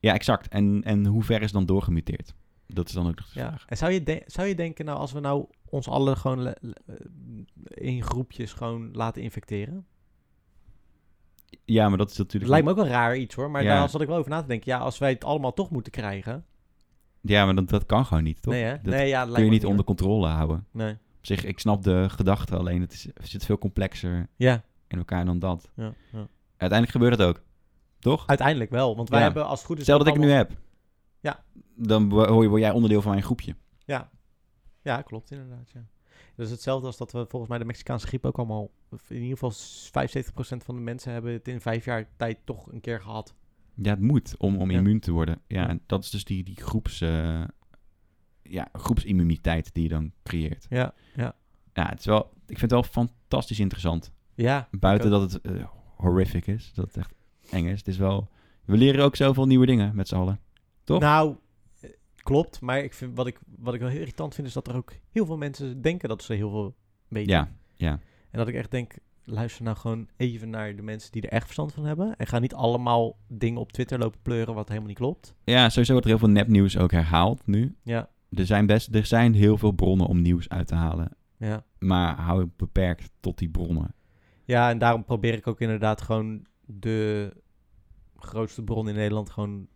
Speaker 2: ja, exact. En, en hoe ver is het dan doorgemuteerd? Dat is dan ook nog de
Speaker 1: Ja.
Speaker 2: vraag.
Speaker 1: En zou je, de- zou je denken, nou, als we nou ons allen gewoon le- le- eh, in groepjes gewoon laten infecteren?
Speaker 2: Ja, maar dat is
Speaker 1: Het
Speaker 2: natuurlijk...
Speaker 1: lijkt me ook wel raar iets hoor, maar
Speaker 2: Ja.
Speaker 1: daar zat ik wel over na te denken. Ja, als wij het allemaal toch moeten krijgen.
Speaker 2: Ja, maar dat, dat kan gewoon niet, toch?
Speaker 1: Nee, hè?
Speaker 2: Dat
Speaker 1: nee, ja, dat
Speaker 2: kun
Speaker 1: lijkt
Speaker 2: je
Speaker 1: me
Speaker 2: niet onder controle houden.
Speaker 1: hoor. Nee.
Speaker 2: Op zich, ik snap de gedachte, alleen het, is, het zit veel complexer
Speaker 1: Ja,
Speaker 2: in elkaar dan dat.
Speaker 1: ja, ja.
Speaker 2: Uiteindelijk gebeurt dat ook. Toch?
Speaker 1: Uiteindelijk wel, want wij
Speaker 2: Ja.
Speaker 1: hebben als het goed is.
Speaker 2: Stel dat ik het nu
Speaker 1: allemaal-
Speaker 2: heb.
Speaker 1: Ja.
Speaker 2: Dan wo- hoor je- word jij onderdeel van mijn groepje.
Speaker 1: Ja, klopt inderdaad. Ja. Dat is hetzelfde als dat we volgens mij de Mexicaanse griep ook allemaal. of In ieder geval 75% van de mensen hebben het in vijf jaar tijd toch een keer gehad.
Speaker 2: Ja, het moet om, om
Speaker 1: Ja.
Speaker 2: immuun te worden. Ja,
Speaker 1: Ja.
Speaker 2: en dat is dus die, die groeps, eh, ja, groepsimmuniteit die je dan creëert.
Speaker 1: Ja, ja.
Speaker 2: Ja, het is wel, ik vind het wel fantastisch interessant.
Speaker 1: Ja,
Speaker 2: Buiten dat het eh, horrific is, dat het echt eng is. Het is wel, we leren ook zoveel nieuwe dingen met z'n allen. Toch?
Speaker 1: Nou, eh, klopt. Maar ik vind, wat, ik, wat ik wel heel irritant vind, is dat er ook heel veel mensen denken dat ze heel veel weten.
Speaker 2: Ja, ja.
Speaker 1: En dat ik echt denk, luister nou gewoon even naar de mensen die er echt verstand van hebben. En ga niet allemaal dingen op Twitter lopen pleuren wat helemaal niet klopt.
Speaker 2: Ja, sowieso wordt er heel veel nepnieuws ook herhaald nu.
Speaker 1: Ja,
Speaker 2: Er zijn, best, er zijn heel veel bronnen om nieuws uit te halen.
Speaker 1: ja.
Speaker 2: Maar hou het beperkt tot die bronnen.
Speaker 1: Ja, en daarom probeer ik ook inderdaad gewoon de grootste bron in Nederland gewoon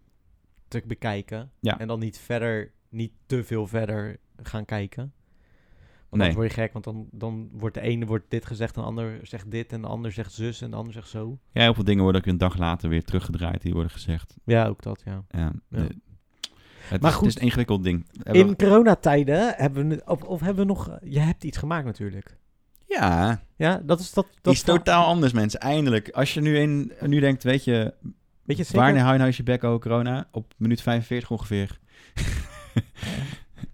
Speaker 1: te bekijken.
Speaker 2: Ja.
Speaker 1: En dan niet verder, niet te veel verder gaan kijken. Want
Speaker 2: Nee.
Speaker 1: dan word je gek, want dan, dan wordt de ene wordt dit gezegd, en de ander zegt dit, en de ander zegt zus, en de ander zegt zo.
Speaker 2: Ja, heel veel dingen worden ook een dag later weer teruggedraaid. Die worden gezegd.
Speaker 1: Ja, ook dat, ja.
Speaker 2: Ja,
Speaker 1: Ja.
Speaker 2: de- het,
Speaker 1: Maar
Speaker 2: is,
Speaker 1: goed,
Speaker 2: het is een ingewikkeld ding. We hebben-
Speaker 1: In coronatijden hebben we, of, of hebben we nog, je hebt iets gemaakt natuurlijk.
Speaker 2: ja,
Speaker 1: Ja, dat is dat. dat
Speaker 2: is totaal anders mensen. Eindelijk. Als je nu, in, nu denkt, weet je,
Speaker 1: Weet je het
Speaker 2: waar
Speaker 1: zeker?
Speaker 2: hou je nou eens je bek over corona? Op minuut 45 ongeveer.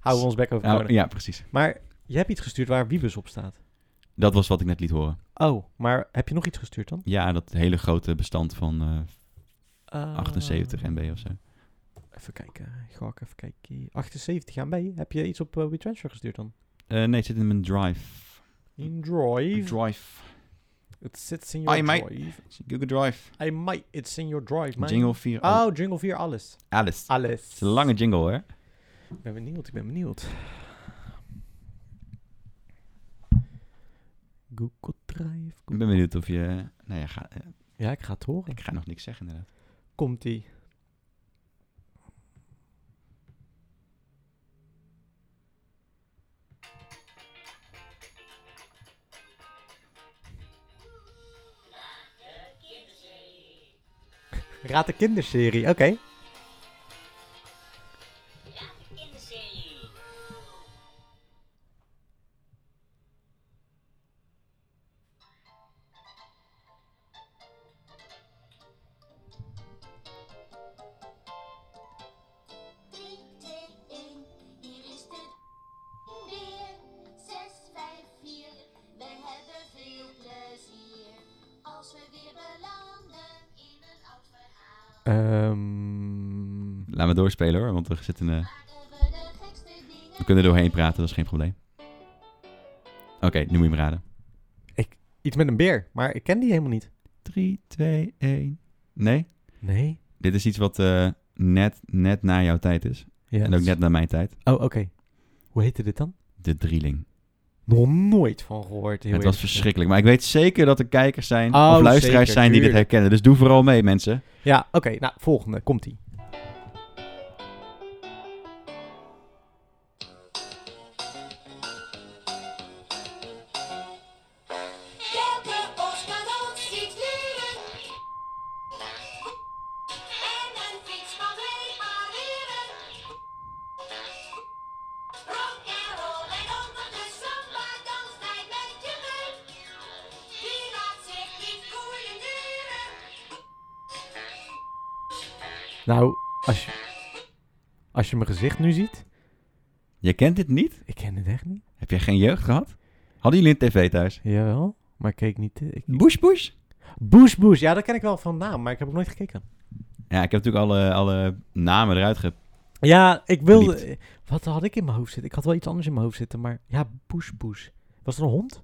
Speaker 1: Houden we ons bek over.
Speaker 2: Nou,
Speaker 1: corona.
Speaker 2: ja, precies.
Speaker 1: Maar je hebt iets gestuurd waar Wiebes op staat.
Speaker 2: Dat was wat ik net liet horen.
Speaker 1: Oh, maar heb je nog iets gestuurd dan?
Speaker 2: Ja, dat hele grote bestand van eh,
Speaker 1: Ah.
Speaker 2: 78 MB of zo.
Speaker 1: Ehm, Even kijken. Ga ik even kijken. 78 aan bij. Heb je iets op eh, WeTransfer gestuurd dan?
Speaker 2: Eh, nee, het zit in mijn drive.
Speaker 1: In Drive.
Speaker 2: Drive.
Speaker 1: It sits in your
Speaker 2: I Ah, might-
Speaker 1: drive.
Speaker 2: Google Drive.
Speaker 1: I might. It's in your drive, man.
Speaker 2: Jingle 4. Oh,
Speaker 1: Oh, Jingle 4, alles.
Speaker 2: Alice. Het
Speaker 1: Alles.
Speaker 2: is een lange jingle, hè?
Speaker 1: Ik ben benieuwd, ik ben benieuwd. Google Drive.
Speaker 2: Ik ben benieuwd of je... Nou ja, ga, eh,
Speaker 1: Ja, ik ga het horen.
Speaker 2: ik ga nog niks zeggen, inderdaad.
Speaker 1: Komt-ie. Raad de kinderserie, oké.
Speaker 5: Drie, twee, één, hier is het weer. Zes, vijf, vier, we hebben veel plezier. Als we weer belanden in een oud verhaal,
Speaker 1: Ehm,
Speaker 2: Laat me doorspelen, hoor. Want er zit een... eh,
Speaker 5: maken we de gekste dingen.
Speaker 2: we kunnen er doorheen praten, dat is geen probleem. Oké, nu moet je me raden.
Speaker 1: iets met een beer, maar ik ken die helemaal niet.
Speaker 2: 3, 2, 1... Nee?
Speaker 1: Nee?
Speaker 2: Dit is iets wat eh, net, net na jouw tijd is.
Speaker 1: Ja.
Speaker 2: En ook net na mijn tijd.
Speaker 1: Oh, oké. Hoe heette dit dan?
Speaker 2: De drieling.
Speaker 1: Nog nooit van gehoord. Heel
Speaker 2: het was
Speaker 1: eerlijk gezegd.
Speaker 2: verschrikkelijk. Maar ik weet zeker dat er kijkers zijn
Speaker 1: Oh,
Speaker 2: of luisteraars
Speaker 1: zeker,
Speaker 2: zijn die dit
Speaker 1: tuurlijk.
Speaker 2: herkennen. Dus doe vooral mee, mensen.
Speaker 1: Ja, oké. nou, volgende. Komt-ie.
Speaker 5: Welke ons kan ons iets leren? En een fiets mag repareren. Rock'n'roll en onder de samba dans mij met je mee. Die laat zich niet coördineren.
Speaker 1: Nou, als je, als je mijn gezicht nu ziet...
Speaker 2: Je kent dit niet?
Speaker 1: Ik ken het echt niet.
Speaker 2: Heb jij geen jeugd gehad? Hadden jullie een tv thuis?
Speaker 1: Jawel, maar ik keek niet... eh, Ik...
Speaker 2: Bush Bush?
Speaker 1: Boes Boes, ja, dat ken ik wel van naam, maar ik heb ook nooit gekeken.
Speaker 2: Ja, ik heb natuurlijk alle, alle namen eruit ge...
Speaker 1: Ja, ik wilde... Wat had ik in mijn hoofd zitten? Ik had wel iets anders in mijn hoofd zitten, maar... Ja, Boes Boes. Was het een hond?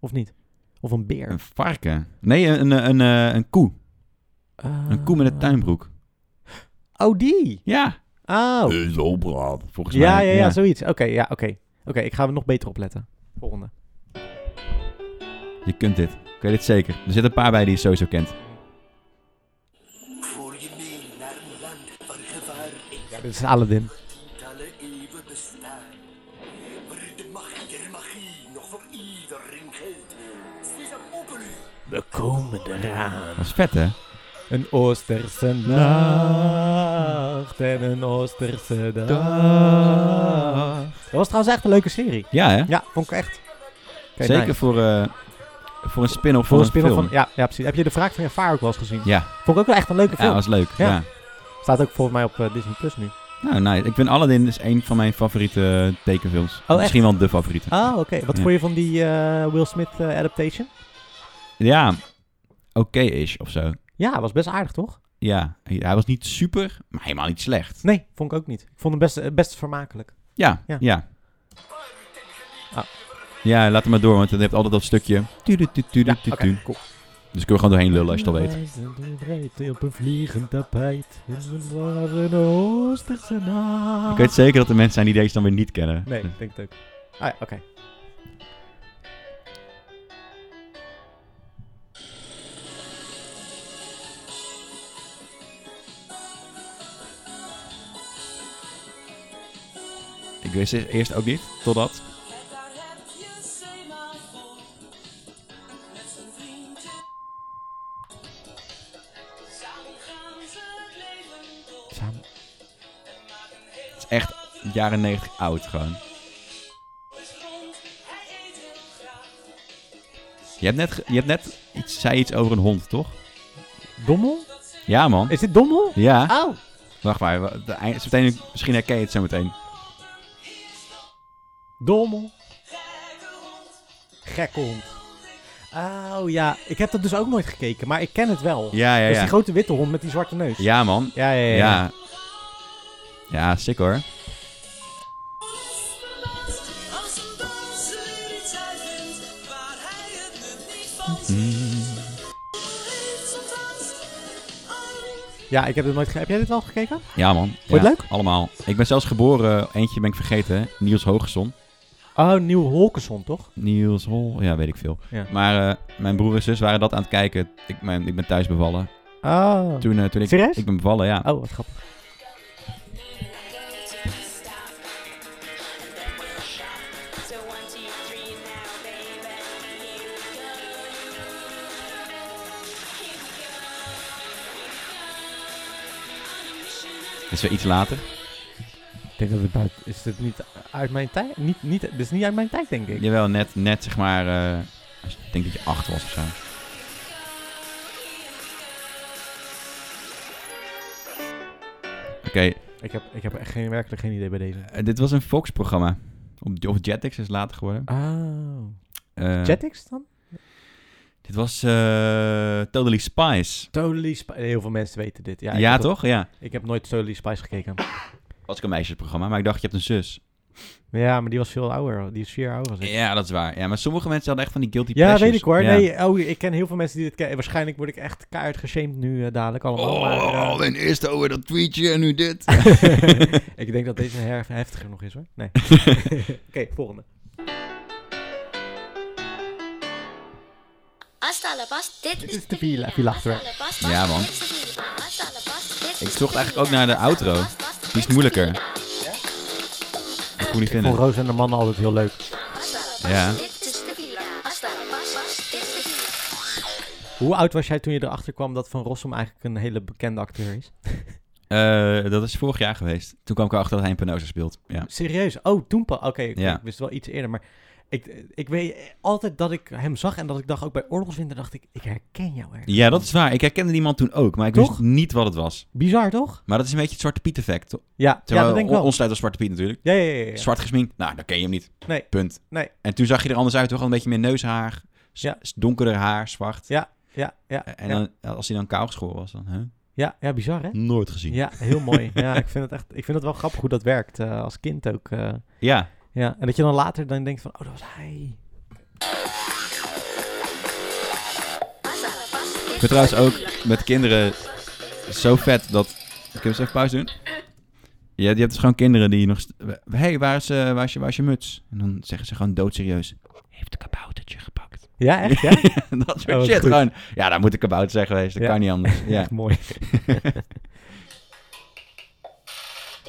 Speaker 1: Of niet? Of een beer?
Speaker 2: Een varken. Nee, een, een, een, eh, een koe. Een koe met een
Speaker 1: Ah.
Speaker 2: tuinbroek.
Speaker 1: Oh, die!
Speaker 2: Ja.
Speaker 1: Oh.
Speaker 2: Zo braaf. Volgens
Speaker 1: ja,
Speaker 2: mij.
Speaker 1: ja, ja, zoiets. Oké, ja, oké. Oké, ik ga er nog beter op letten. Volgende.
Speaker 2: Je kunt dit. Ik weet het zeker. Er zitten een paar bij die je sowieso kent.
Speaker 6: Voer je mee naar een land van gevaar en
Speaker 1: Ja, dit is Aladdin.
Speaker 6: tientallen eeuwen bestaan. Waar de macht der magie nog voor iedereen geldt. Sesam, open u!
Speaker 1: We komen eraan.
Speaker 2: Dat is vet, hè?
Speaker 1: Een Oosterse nacht en een Oosterse dag. Dat was trouwens echt een leuke serie.
Speaker 2: Ja, hè?
Speaker 1: Ja, vond ik echt. Oké,
Speaker 2: Zeker
Speaker 1: nice.
Speaker 2: voor, eh, voor een spin-off
Speaker 1: voor een
Speaker 2: van een
Speaker 1: spin-off
Speaker 2: film.
Speaker 1: van... Ja, ja, precies. Heb je de vraag van je vader ook wel eens gezien?
Speaker 2: Ja,
Speaker 1: Vond ik ook wel echt een leuke
Speaker 2: ja,
Speaker 1: film.
Speaker 2: was leuk.
Speaker 1: Ja.
Speaker 2: Ja.
Speaker 1: Staat ook volgens mij op eh, Disney Plus nu.
Speaker 2: Nou, nice. Ik vind Aladdin is een van mijn favoriete eh, tekenfilms.
Speaker 1: Oh, echt?
Speaker 2: Misschien wel de favoriete.
Speaker 1: Oh, oké. Wat
Speaker 2: Ja.
Speaker 1: vond je van die eh, Will Smith eh, adaptation?
Speaker 2: Ja, oké-ish of zo.
Speaker 1: Ja, was best aardig, toch?
Speaker 2: Ja, hij hij was niet super, maar helemaal niet slecht.
Speaker 1: Nee, vond ik ook niet. Ik vond hem best, eh, best vermakelijk.
Speaker 2: Ja,
Speaker 1: Ja.
Speaker 2: ja. Ja,
Speaker 1: Ah.
Speaker 2: laat hem maar door, want het heeft altijd dat stukje. Tudutudutudu.
Speaker 1: Ja, oké, cool.
Speaker 2: Dus ik wil gewoon doorheen lullen als je het al weet.
Speaker 1: Wij zijn doorwreed op een vliegend tapijt. In een warme Oosterse nacht.
Speaker 2: Ik weet zeker dat er mensen zijn die deze dan weer niet kennen.
Speaker 1: Nee, ik denk het ook. Ah ja, oké.
Speaker 2: Ik wist het eerst ook niet, totdat...
Speaker 7: En daar heb je zee maar voor. Met zijn vriendje. Samen gaan ze het leven door.
Speaker 1: Samen.
Speaker 7: En maken heel
Speaker 2: Het is echt jaren 90 oud gewoon.
Speaker 7: eens rond. Hij eet heel graag.
Speaker 2: Je hebt net, ge- je hebt net iets, zei iets over een hond, toch?
Speaker 1: Dommel?
Speaker 2: Ja, man.
Speaker 1: Is dit Dommel?
Speaker 2: Ja.
Speaker 1: Oh.
Speaker 2: Wacht maar, wa- de eind- zo meteen- misschien herken je het zo meteen.
Speaker 1: Dommel. Gekke hond. Oh ja, ik heb dat dus ook nooit gekeken, maar ik ken het wel.
Speaker 2: Ja, ja,
Speaker 1: Dat is
Speaker 2: ja.
Speaker 1: die grote witte hond met die zwarte neus.
Speaker 2: Ja, man.
Speaker 1: ja, ja. ja, ja.
Speaker 2: Ja. Ja, sick hoor.
Speaker 7: Als een danser iets uitvindt waar hij het nut niet van
Speaker 1: Ja, ik heb het nooit gekeken. Heb jij dit wel gekeken?
Speaker 2: Ja, man.
Speaker 1: je het
Speaker 2: Ja,
Speaker 1: leuk?
Speaker 2: Allemaal. Ik ben zelfs geboren, eentje ben ik vergeten, hè? Niels Hoogson.
Speaker 1: Oh, Nieuw Holkersson, toch?
Speaker 2: Niels Hol, ja, weet ik veel.
Speaker 1: Ja.
Speaker 2: Maar eh, mijn broer en zus waren dat aan het kijken. Ik, mijn, ik ben thuis bevallen.
Speaker 1: Oh.
Speaker 2: Toen, eh, toen ik,
Speaker 1: Serieus?
Speaker 2: ik ben bevallen, ja.
Speaker 1: Oh, wat grappig.
Speaker 2: Dat is weer iets later.
Speaker 1: Ik denk dat het buiten... Is dit niet uit mijn tijd? Niet, niet, dit is niet uit mijn tijd, denk ik.
Speaker 2: Jawel, net, net zeg maar. eh, als je- ik denk dat je acht was of zo. Oké,
Speaker 1: Ik, heb, ik heb echt geen, werkelijk geen idee bij deze.
Speaker 2: eh, dit was een Fox-programma. Op- Of Jetix is later geworden.
Speaker 1: Oh.
Speaker 2: Eh,
Speaker 1: Jetix dan?
Speaker 2: Dit was eh, Totally Spice.
Speaker 1: Totally Spice. Heel veel mensen weten dit. Ja,
Speaker 2: Ja,
Speaker 1: ik heb
Speaker 2: toch? Ja.
Speaker 1: ook- ik heb nooit Totally Spice gekeken.
Speaker 2: Was ik een meisjesprogramma, maar ik dacht, je hebt een zus.
Speaker 1: Ja, maar die was veel ouder. Die is vier jaar ouder. als ik.
Speaker 2: Ja, dat is waar. Ja, maar sommige mensen hadden echt van Eh, die guilty
Speaker 1: Ja,
Speaker 2: pleasures.
Speaker 1: weet ik hoor.
Speaker 2: Ja.
Speaker 1: Nee, oh, ik ken heel veel mensen die dit kennen. Waarschijnlijk word ik echt keihard geshamed nu eh, dadelijk allemaal. maar, eh,
Speaker 2: Oh, en eerst over dat tweetje en nu dit.
Speaker 1: eh, ik denk dat deze her- heftiger nog is hoor. Nee. Oké, volgende.
Speaker 5: Hasta la pas, dit
Speaker 1: is de Villa- Villa achterweg.
Speaker 2: Ja, man.
Speaker 5: Ik
Speaker 2: zocht eigenlijk ook naar de outro. Die is moeilijker. Ik kon niet
Speaker 1: Ik vond
Speaker 2: vinden.
Speaker 1: Roos en de mannen altijd heel leuk.
Speaker 2: Ja.
Speaker 1: Hoe oud was jij toen je erachter kwam dat Van Rossum eigenlijk een hele bekende acteur is?
Speaker 2: Eh, dat is vorig jaar geweest. Toen kwam ik erachter dat hij een Penosa speelt. Ja.
Speaker 1: Serieus? Oh, toen pas. Oké, ik-
Speaker 2: Ja.
Speaker 1: ik wist wel iets eerder, maar ik, ik weet altijd dat ik hem zag en dat ik dacht, ook bij Oorlogswinter dacht ik, ik herken jou ergens.
Speaker 2: ja, dat is waar. Ik herkende die man toen ook, maar ik
Speaker 1: Toch?
Speaker 2: wist niet wat het was.
Speaker 1: Bizar, toch?
Speaker 2: Maar dat is een beetje het Zwarte Piet effect. toch?
Speaker 1: Ja, ja
Speaker 2: Terwijl
Speaker 1: dat denk ik
Speaker 2: on-
Speaker 1: wel.
Speaker 2: ons tijd was Zwarte Piet natuurlijk.
Speaker 1: Ja, ja, ja. ja, ja.
Speaker 2: Zwart gesminkt, nou, dan ken je hem niet.
Speaker 1: Nee.
Speaker 2: Punt.
Speaker 1: Nee.
Speaker 2: En toen zag je er anders uit, toch? Al een beetje meer neushaar, s-
Speaker 1: Ja.
Speaker 2: s- donkerder haar, zwart. Eh,
Speaker 1: Ja, ja,
Speaker 2: En
Speaker 1: ja.
Speaker 2: dan, als hij dan kaal geschoren was, dan hè?
Speaker 1: ja, ja, bizar hè?
Speaker 2: nooit gezien.
Speaker 1: Ja, heel mooi. Ja, ik vind het echt, ik vind het wel grappig hoe dat werkt eh, als kind ook. eh.
Speaker 2: ja.
Speaker 1: ja, en dat je dan later dan denkt van, oh, dat was hij.
Speaker 2: Ik ben trouwens ook met kinderen zo vet dat... Kunnen we eens even pauze doen? Ja, je hebt dus gewoon kinderen die nog... st- Hé, hey, waar, is, eh, waar, is je- waar is je muts? En dan zeggen ze gewoon doodserieus... Heeft de kaboutertje gepakt.
Speaker 1: Ja, echt, ja?
Speaker 2: dat soort
Speaker 1: Oh, wat
Speaker 2: shit
Speaker 1: goed.
Speaker 2: gewoon. Ja, daar moet de kabouter zijn geweest. Dat
Speaker 1: Ja.
Speaker 2: kan niet anders. Ja.
Speaker 1: Echt mooi.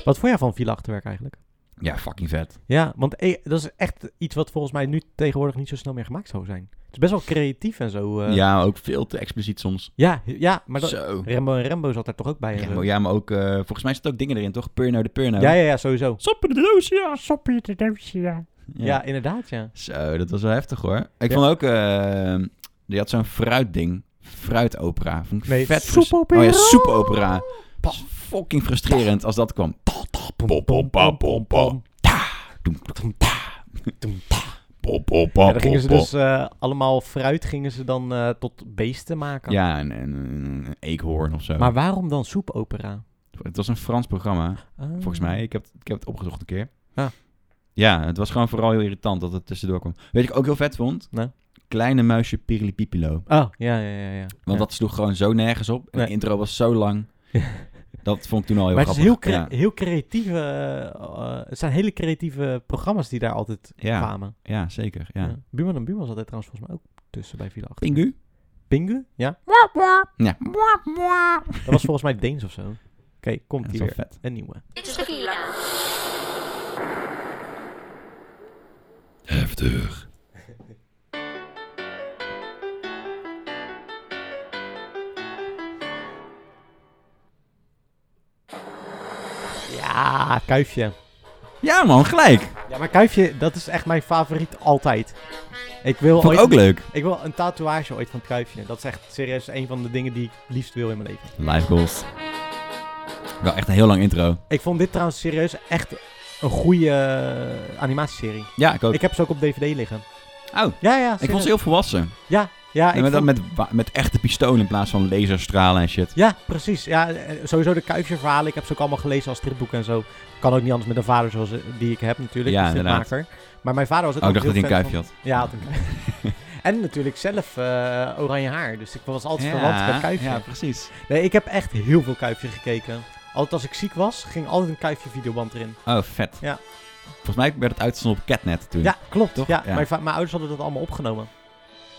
Speaker 1: Wat vond jij van Villa Achterwerk eigenlijk?
Speaker 2: ja, fucking vet.
Speaker 1: Ja, want eh, dat is echt iets wat volgens mij nu tegenwoordig niet zo snel meer gemaakt zou zijn. Het is best wel creatief en zo. eh.
Speaker 2: ja, ook veel te expliciet soms.
Speaker 1: ja, ja, maar dat,
Speaker 2: zo.
Speaker 1: Rembo en Rembo zat daar toch ook bij? en
Speaker 2: Ja,
Speaker 1: zo?
Speaker 2: maar, ja, maar ook... eh, volgens mij zitten ook dingen erin, toch? Purno de Purno.
Speaker 1: ja, ja, ja, sowieso.
Speaker 2: Soppen de doosje, ja.
Speaker 1: Soppie de ja.
Speaker 2: Ja. Oh,
Speaker 1: Ja, inderdaad, ja.
Speaker 2: Zo, dat was wel heftig hoor. Ik
Speaker 1: Ja.
Speaker 2: vond ook, eh, die had zo'n fruitding. Fruitopera. Vond ik
Speaker 1: Nee,
Speaker 2: vet
Speaker 1: soepopera.
Speaker 2: Oh ja, soepopera. Dat is fucking frustrerend als dat kwam. Ta, ta, pom, pom, pom, pom, pom, pom. Ta, doem, doem, ta, doem, ta. Pom, pom, pom,
Speaker 1: Ja, dan gingen ze
Speaker 2: pom,
Speaker 1: dus eh, allemaal fruit gingen ze dan eh, tot beesten
Speaker 2: pom.
Speaker 1: maken.
Speaker 2: Ja, en, en een eekhoorn of zo.
Speaker 1: Maar waarom dan soepopera?
Speaker 2: het was een Frans programma,
Speaker 1: Ah.
Speaker 2: volgens mij. Ik heb, ik heb het opgezocht een keer.
Speaker 1: Ah.
Speaker 2: Ja, het was gewoon vooral heel irritant dat het tussendoor kwam. Weet je wat ik ook heel vet vond?
Speaker 1: Nou?
Speaker 2: Kleine muisje Pirlipipilo.
Speaker 1: Oh, ja, ja, ja. ja.
Speaker 2: Want
Speaker 1: Ja.
Speaker 2: dat sloeg gewoon zo nergens op. En
Speaker 1: Nee.
Speaker 2: de intro was zo lang. Dat vond ik toen al heel
Speaker 1: maar het is
Speaker 2: grappig.
Speaker 1: heel, cre-
Speaker 2: ja.
Speaker 1: heel creatieve... eh, eh, het zijn hele creatieve programma's die daar altijd
Speaker 2: Ja.
Speaker 1: kwamen.
Speaker 2: ja, zeker. Ja.
Speaker 1: Ja. Buurman en Buurman zat er trouwens volgens mij ook tussen bij Villa Achter.
Speaker 2: Pingu?
Speaker 1: Pingu? Ja.
Speaker 2: Ja.
Speaker 1: Dat was volgens mij Deens of zo. Oké, komt
Speaker 2: Dat is
Speaker 1: hier
Speaker 2: wel
Speaker 1: weer.
Speaker 2: vet.
Speaker 1: Een nieuwe.
Speaker 5: Dit is de villa.
Speaker 2: Heftig.
Speaker 1: Ja, Kuifje.
Speaker 2: Ja man, gelijk.
Speaker 1: Ja, maar Kuifje, dat is echt mijn favoriet altijd. Ik wil
Speaker 2: Vond ik
Speaker 1: ooit-
Speaker 2: ook leuk.
Speaker 1: Ik wil een tatoeage ooit van het kuifje. Dat is echt serieus een van de dingen die ik het liefst wil in mijn leven.
Speaker 2: Live goals. Wel echt een heel lang intro.
Speaker 1: Ik vond dit trouwens serieus echt een goede eh, animatieserie.
Speaker 2: Ja, ik ook.
Speaker 1: Ik heb ze ook op DVD liggen.
Speaker 2: oh,
Speaker 1: Ja, ja.
Speaker 2: ik
Speaker 1: serieus.
Speaker 2: vond ze heel volwassen.
Speaker 1: Ja, ja.
Speaker 2: En
Speaker 1: ik
Speaker 2: met,
Speaker 1: vond-
Speaker 2: met, wa- met echte pistolen in plaats van laserstralen en shit.
Speaker 1: Ja, precies. Ja, eh, sowieso de kuifjeverhalen. Ik heb ze ook allemaal gelezen als stripboeken en zo. Kan ook niet anders met een vader zoals eh, die ik heb natuurlijk.
Speaker 2: Ja,
Speaker 1: een stripmaker. Maar mijn vader was ook
Speaker 2: Oh, ik
Speaker 1: altijd
Speaker 2: dacht dat hij een
Speaker 1: heel
Speaker 2: kuifje
Speaker 1: fan
Speaker 2: had.
Speaker 1: van- Ja, had een kuifje. En natuurlijk zelf eh, oranje haar. Dus ik was altijd verwant met kuifje.
Speaker 2: Ja, precies.
Speaker 1: Nee, ik heb echt heel veel kuifje gekeken. Altijd als ik ziek was, ging altijd een kuifje videoband erin.
Speaker 2: Oh, vet.
Speaker 1: Ja.
Speaker 2: Volgens mij werd het uitgezonden op Catnet toen.
Speaker 1: Ja, klopt.
Speaker 2: Toch?
Speaker 1: Ja,
Speaker 2: Ja.
Speaker 1: Mijn, va- mijn ouders hadden dat allemaal opgenomen.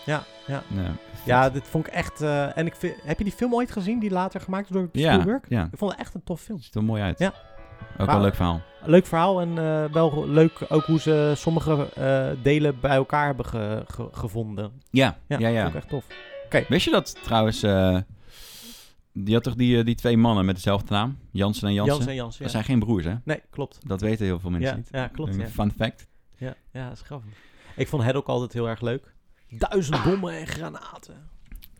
Speaker 1: Ja, ja.
Speaker 2: Ja,
Speaker 1: Ja, dit vond ik echt... eh, en ik vind- heb je die film ooit gezien die later gemaakt is door
Speaker 2: ja,
Speaker 1: Spielberg?
Speaker 2: ja.
Speaker 1: Ik vond het echt een tof film.
Speaker 2: Ziet er mooi uit.
Speaker 1: Ja.
Speaker 2: Ook wel
Speaker 1: Wauw.
Speaker 2: een leuk verhaal.
Speaker 1: Leuk verhaal en eh, wel leuk ook hoe ze sommige eh, delen bij elkaar hebben ge- ge- gevonden.
Speaker 2: Ja, ja,
Speaker 1: Ja,
Speaker 2: ja.
Speaker 1: vond ik echt tof.
Speaker 2: Wist je dat trouwens... eh, die had toch die, eh, die twee mannen met dezelfde naam? Jansen en Jansen?
Speaker 1: Jans en Jans, ja.
Speaker 2: Dat zijn geen broers, hè?
Speaker 1: Nee, klopt.
Speaker 2: Dat weten heel veel mensen
Speaker 1: Ja,
Speaker 2: niet.
Speaker 1: ja, klopt.
Speaker 2: Een
Speaker 1: Ja.
Speaker 2: Fun fact.
Speaker 1: Ja, ja, dat is grappig. Ik vond het ook altijd heel erg leuk.
Speaker 2: Ah.
Speaker 1: Duizend bommen en granaten.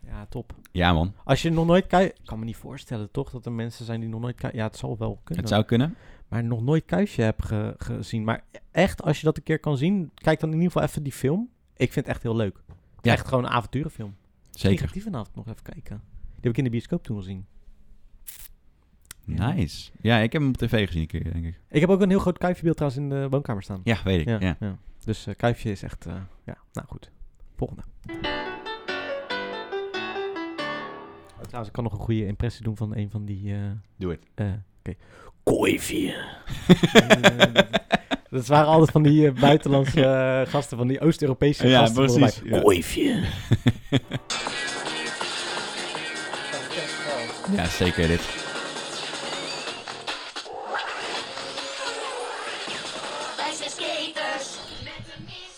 Speaker 1: Ja, top.
Speaker 2: Ja, man.
Speaker 1: Als je nog nooit kuif... Ik kan me niet voorstellen, toch, dat er mensen zijn die nog nooit kuif... Ja, het zal wel kunnen.
Speaker 2: Het zou kunnen.
Speaker 1: Maar nog nooit kuifje heb ge- gezien. Maar echt, als je dat een keer kan zien, kijk dan in ieder geval even die film. Ik vind het echt heel leuk.
Speaker 2: Ja.
Speaker 1: Echt gewoon een avonturenfilm. Ik ga
Speaker 2: Zeker.
Speaker 1: die vanavond nog even kijken. Die heb ik in de bioscoop toen gezien. Ja.
Speaker 2: Nice. Ja, ik heb hem op tv gezien een keer, denk ik.
Speaker 1: Ik heb ook een heel groot kuifjebeeld trouwens in de woonkamer staan.
Speaker 2: Ja, weet ik. Ja.
Speaker 1: ja. Dus eh, kuifje is echt... eh, ja, nou goed. Volgende. Oh, trouwens, ik kan nog een goede impressie doen van een van die... eh,
Speaker 2: Doe het.
Speaker 1: eh, Oké. Koifje. Eh, dat waren altijd van die eh, buitenlandse eh, gasten, van die Oost-Europese
Speaker 2: Ja,
Speaker 1: gasten. volgens
Speaker 2: precies,
Speaker 1: mij.
Speaker 2: ja.
Speaker 1: Koifje.
Speaker 2: Ja, zeker dit.
Speaker 5: Wij zijn skaters.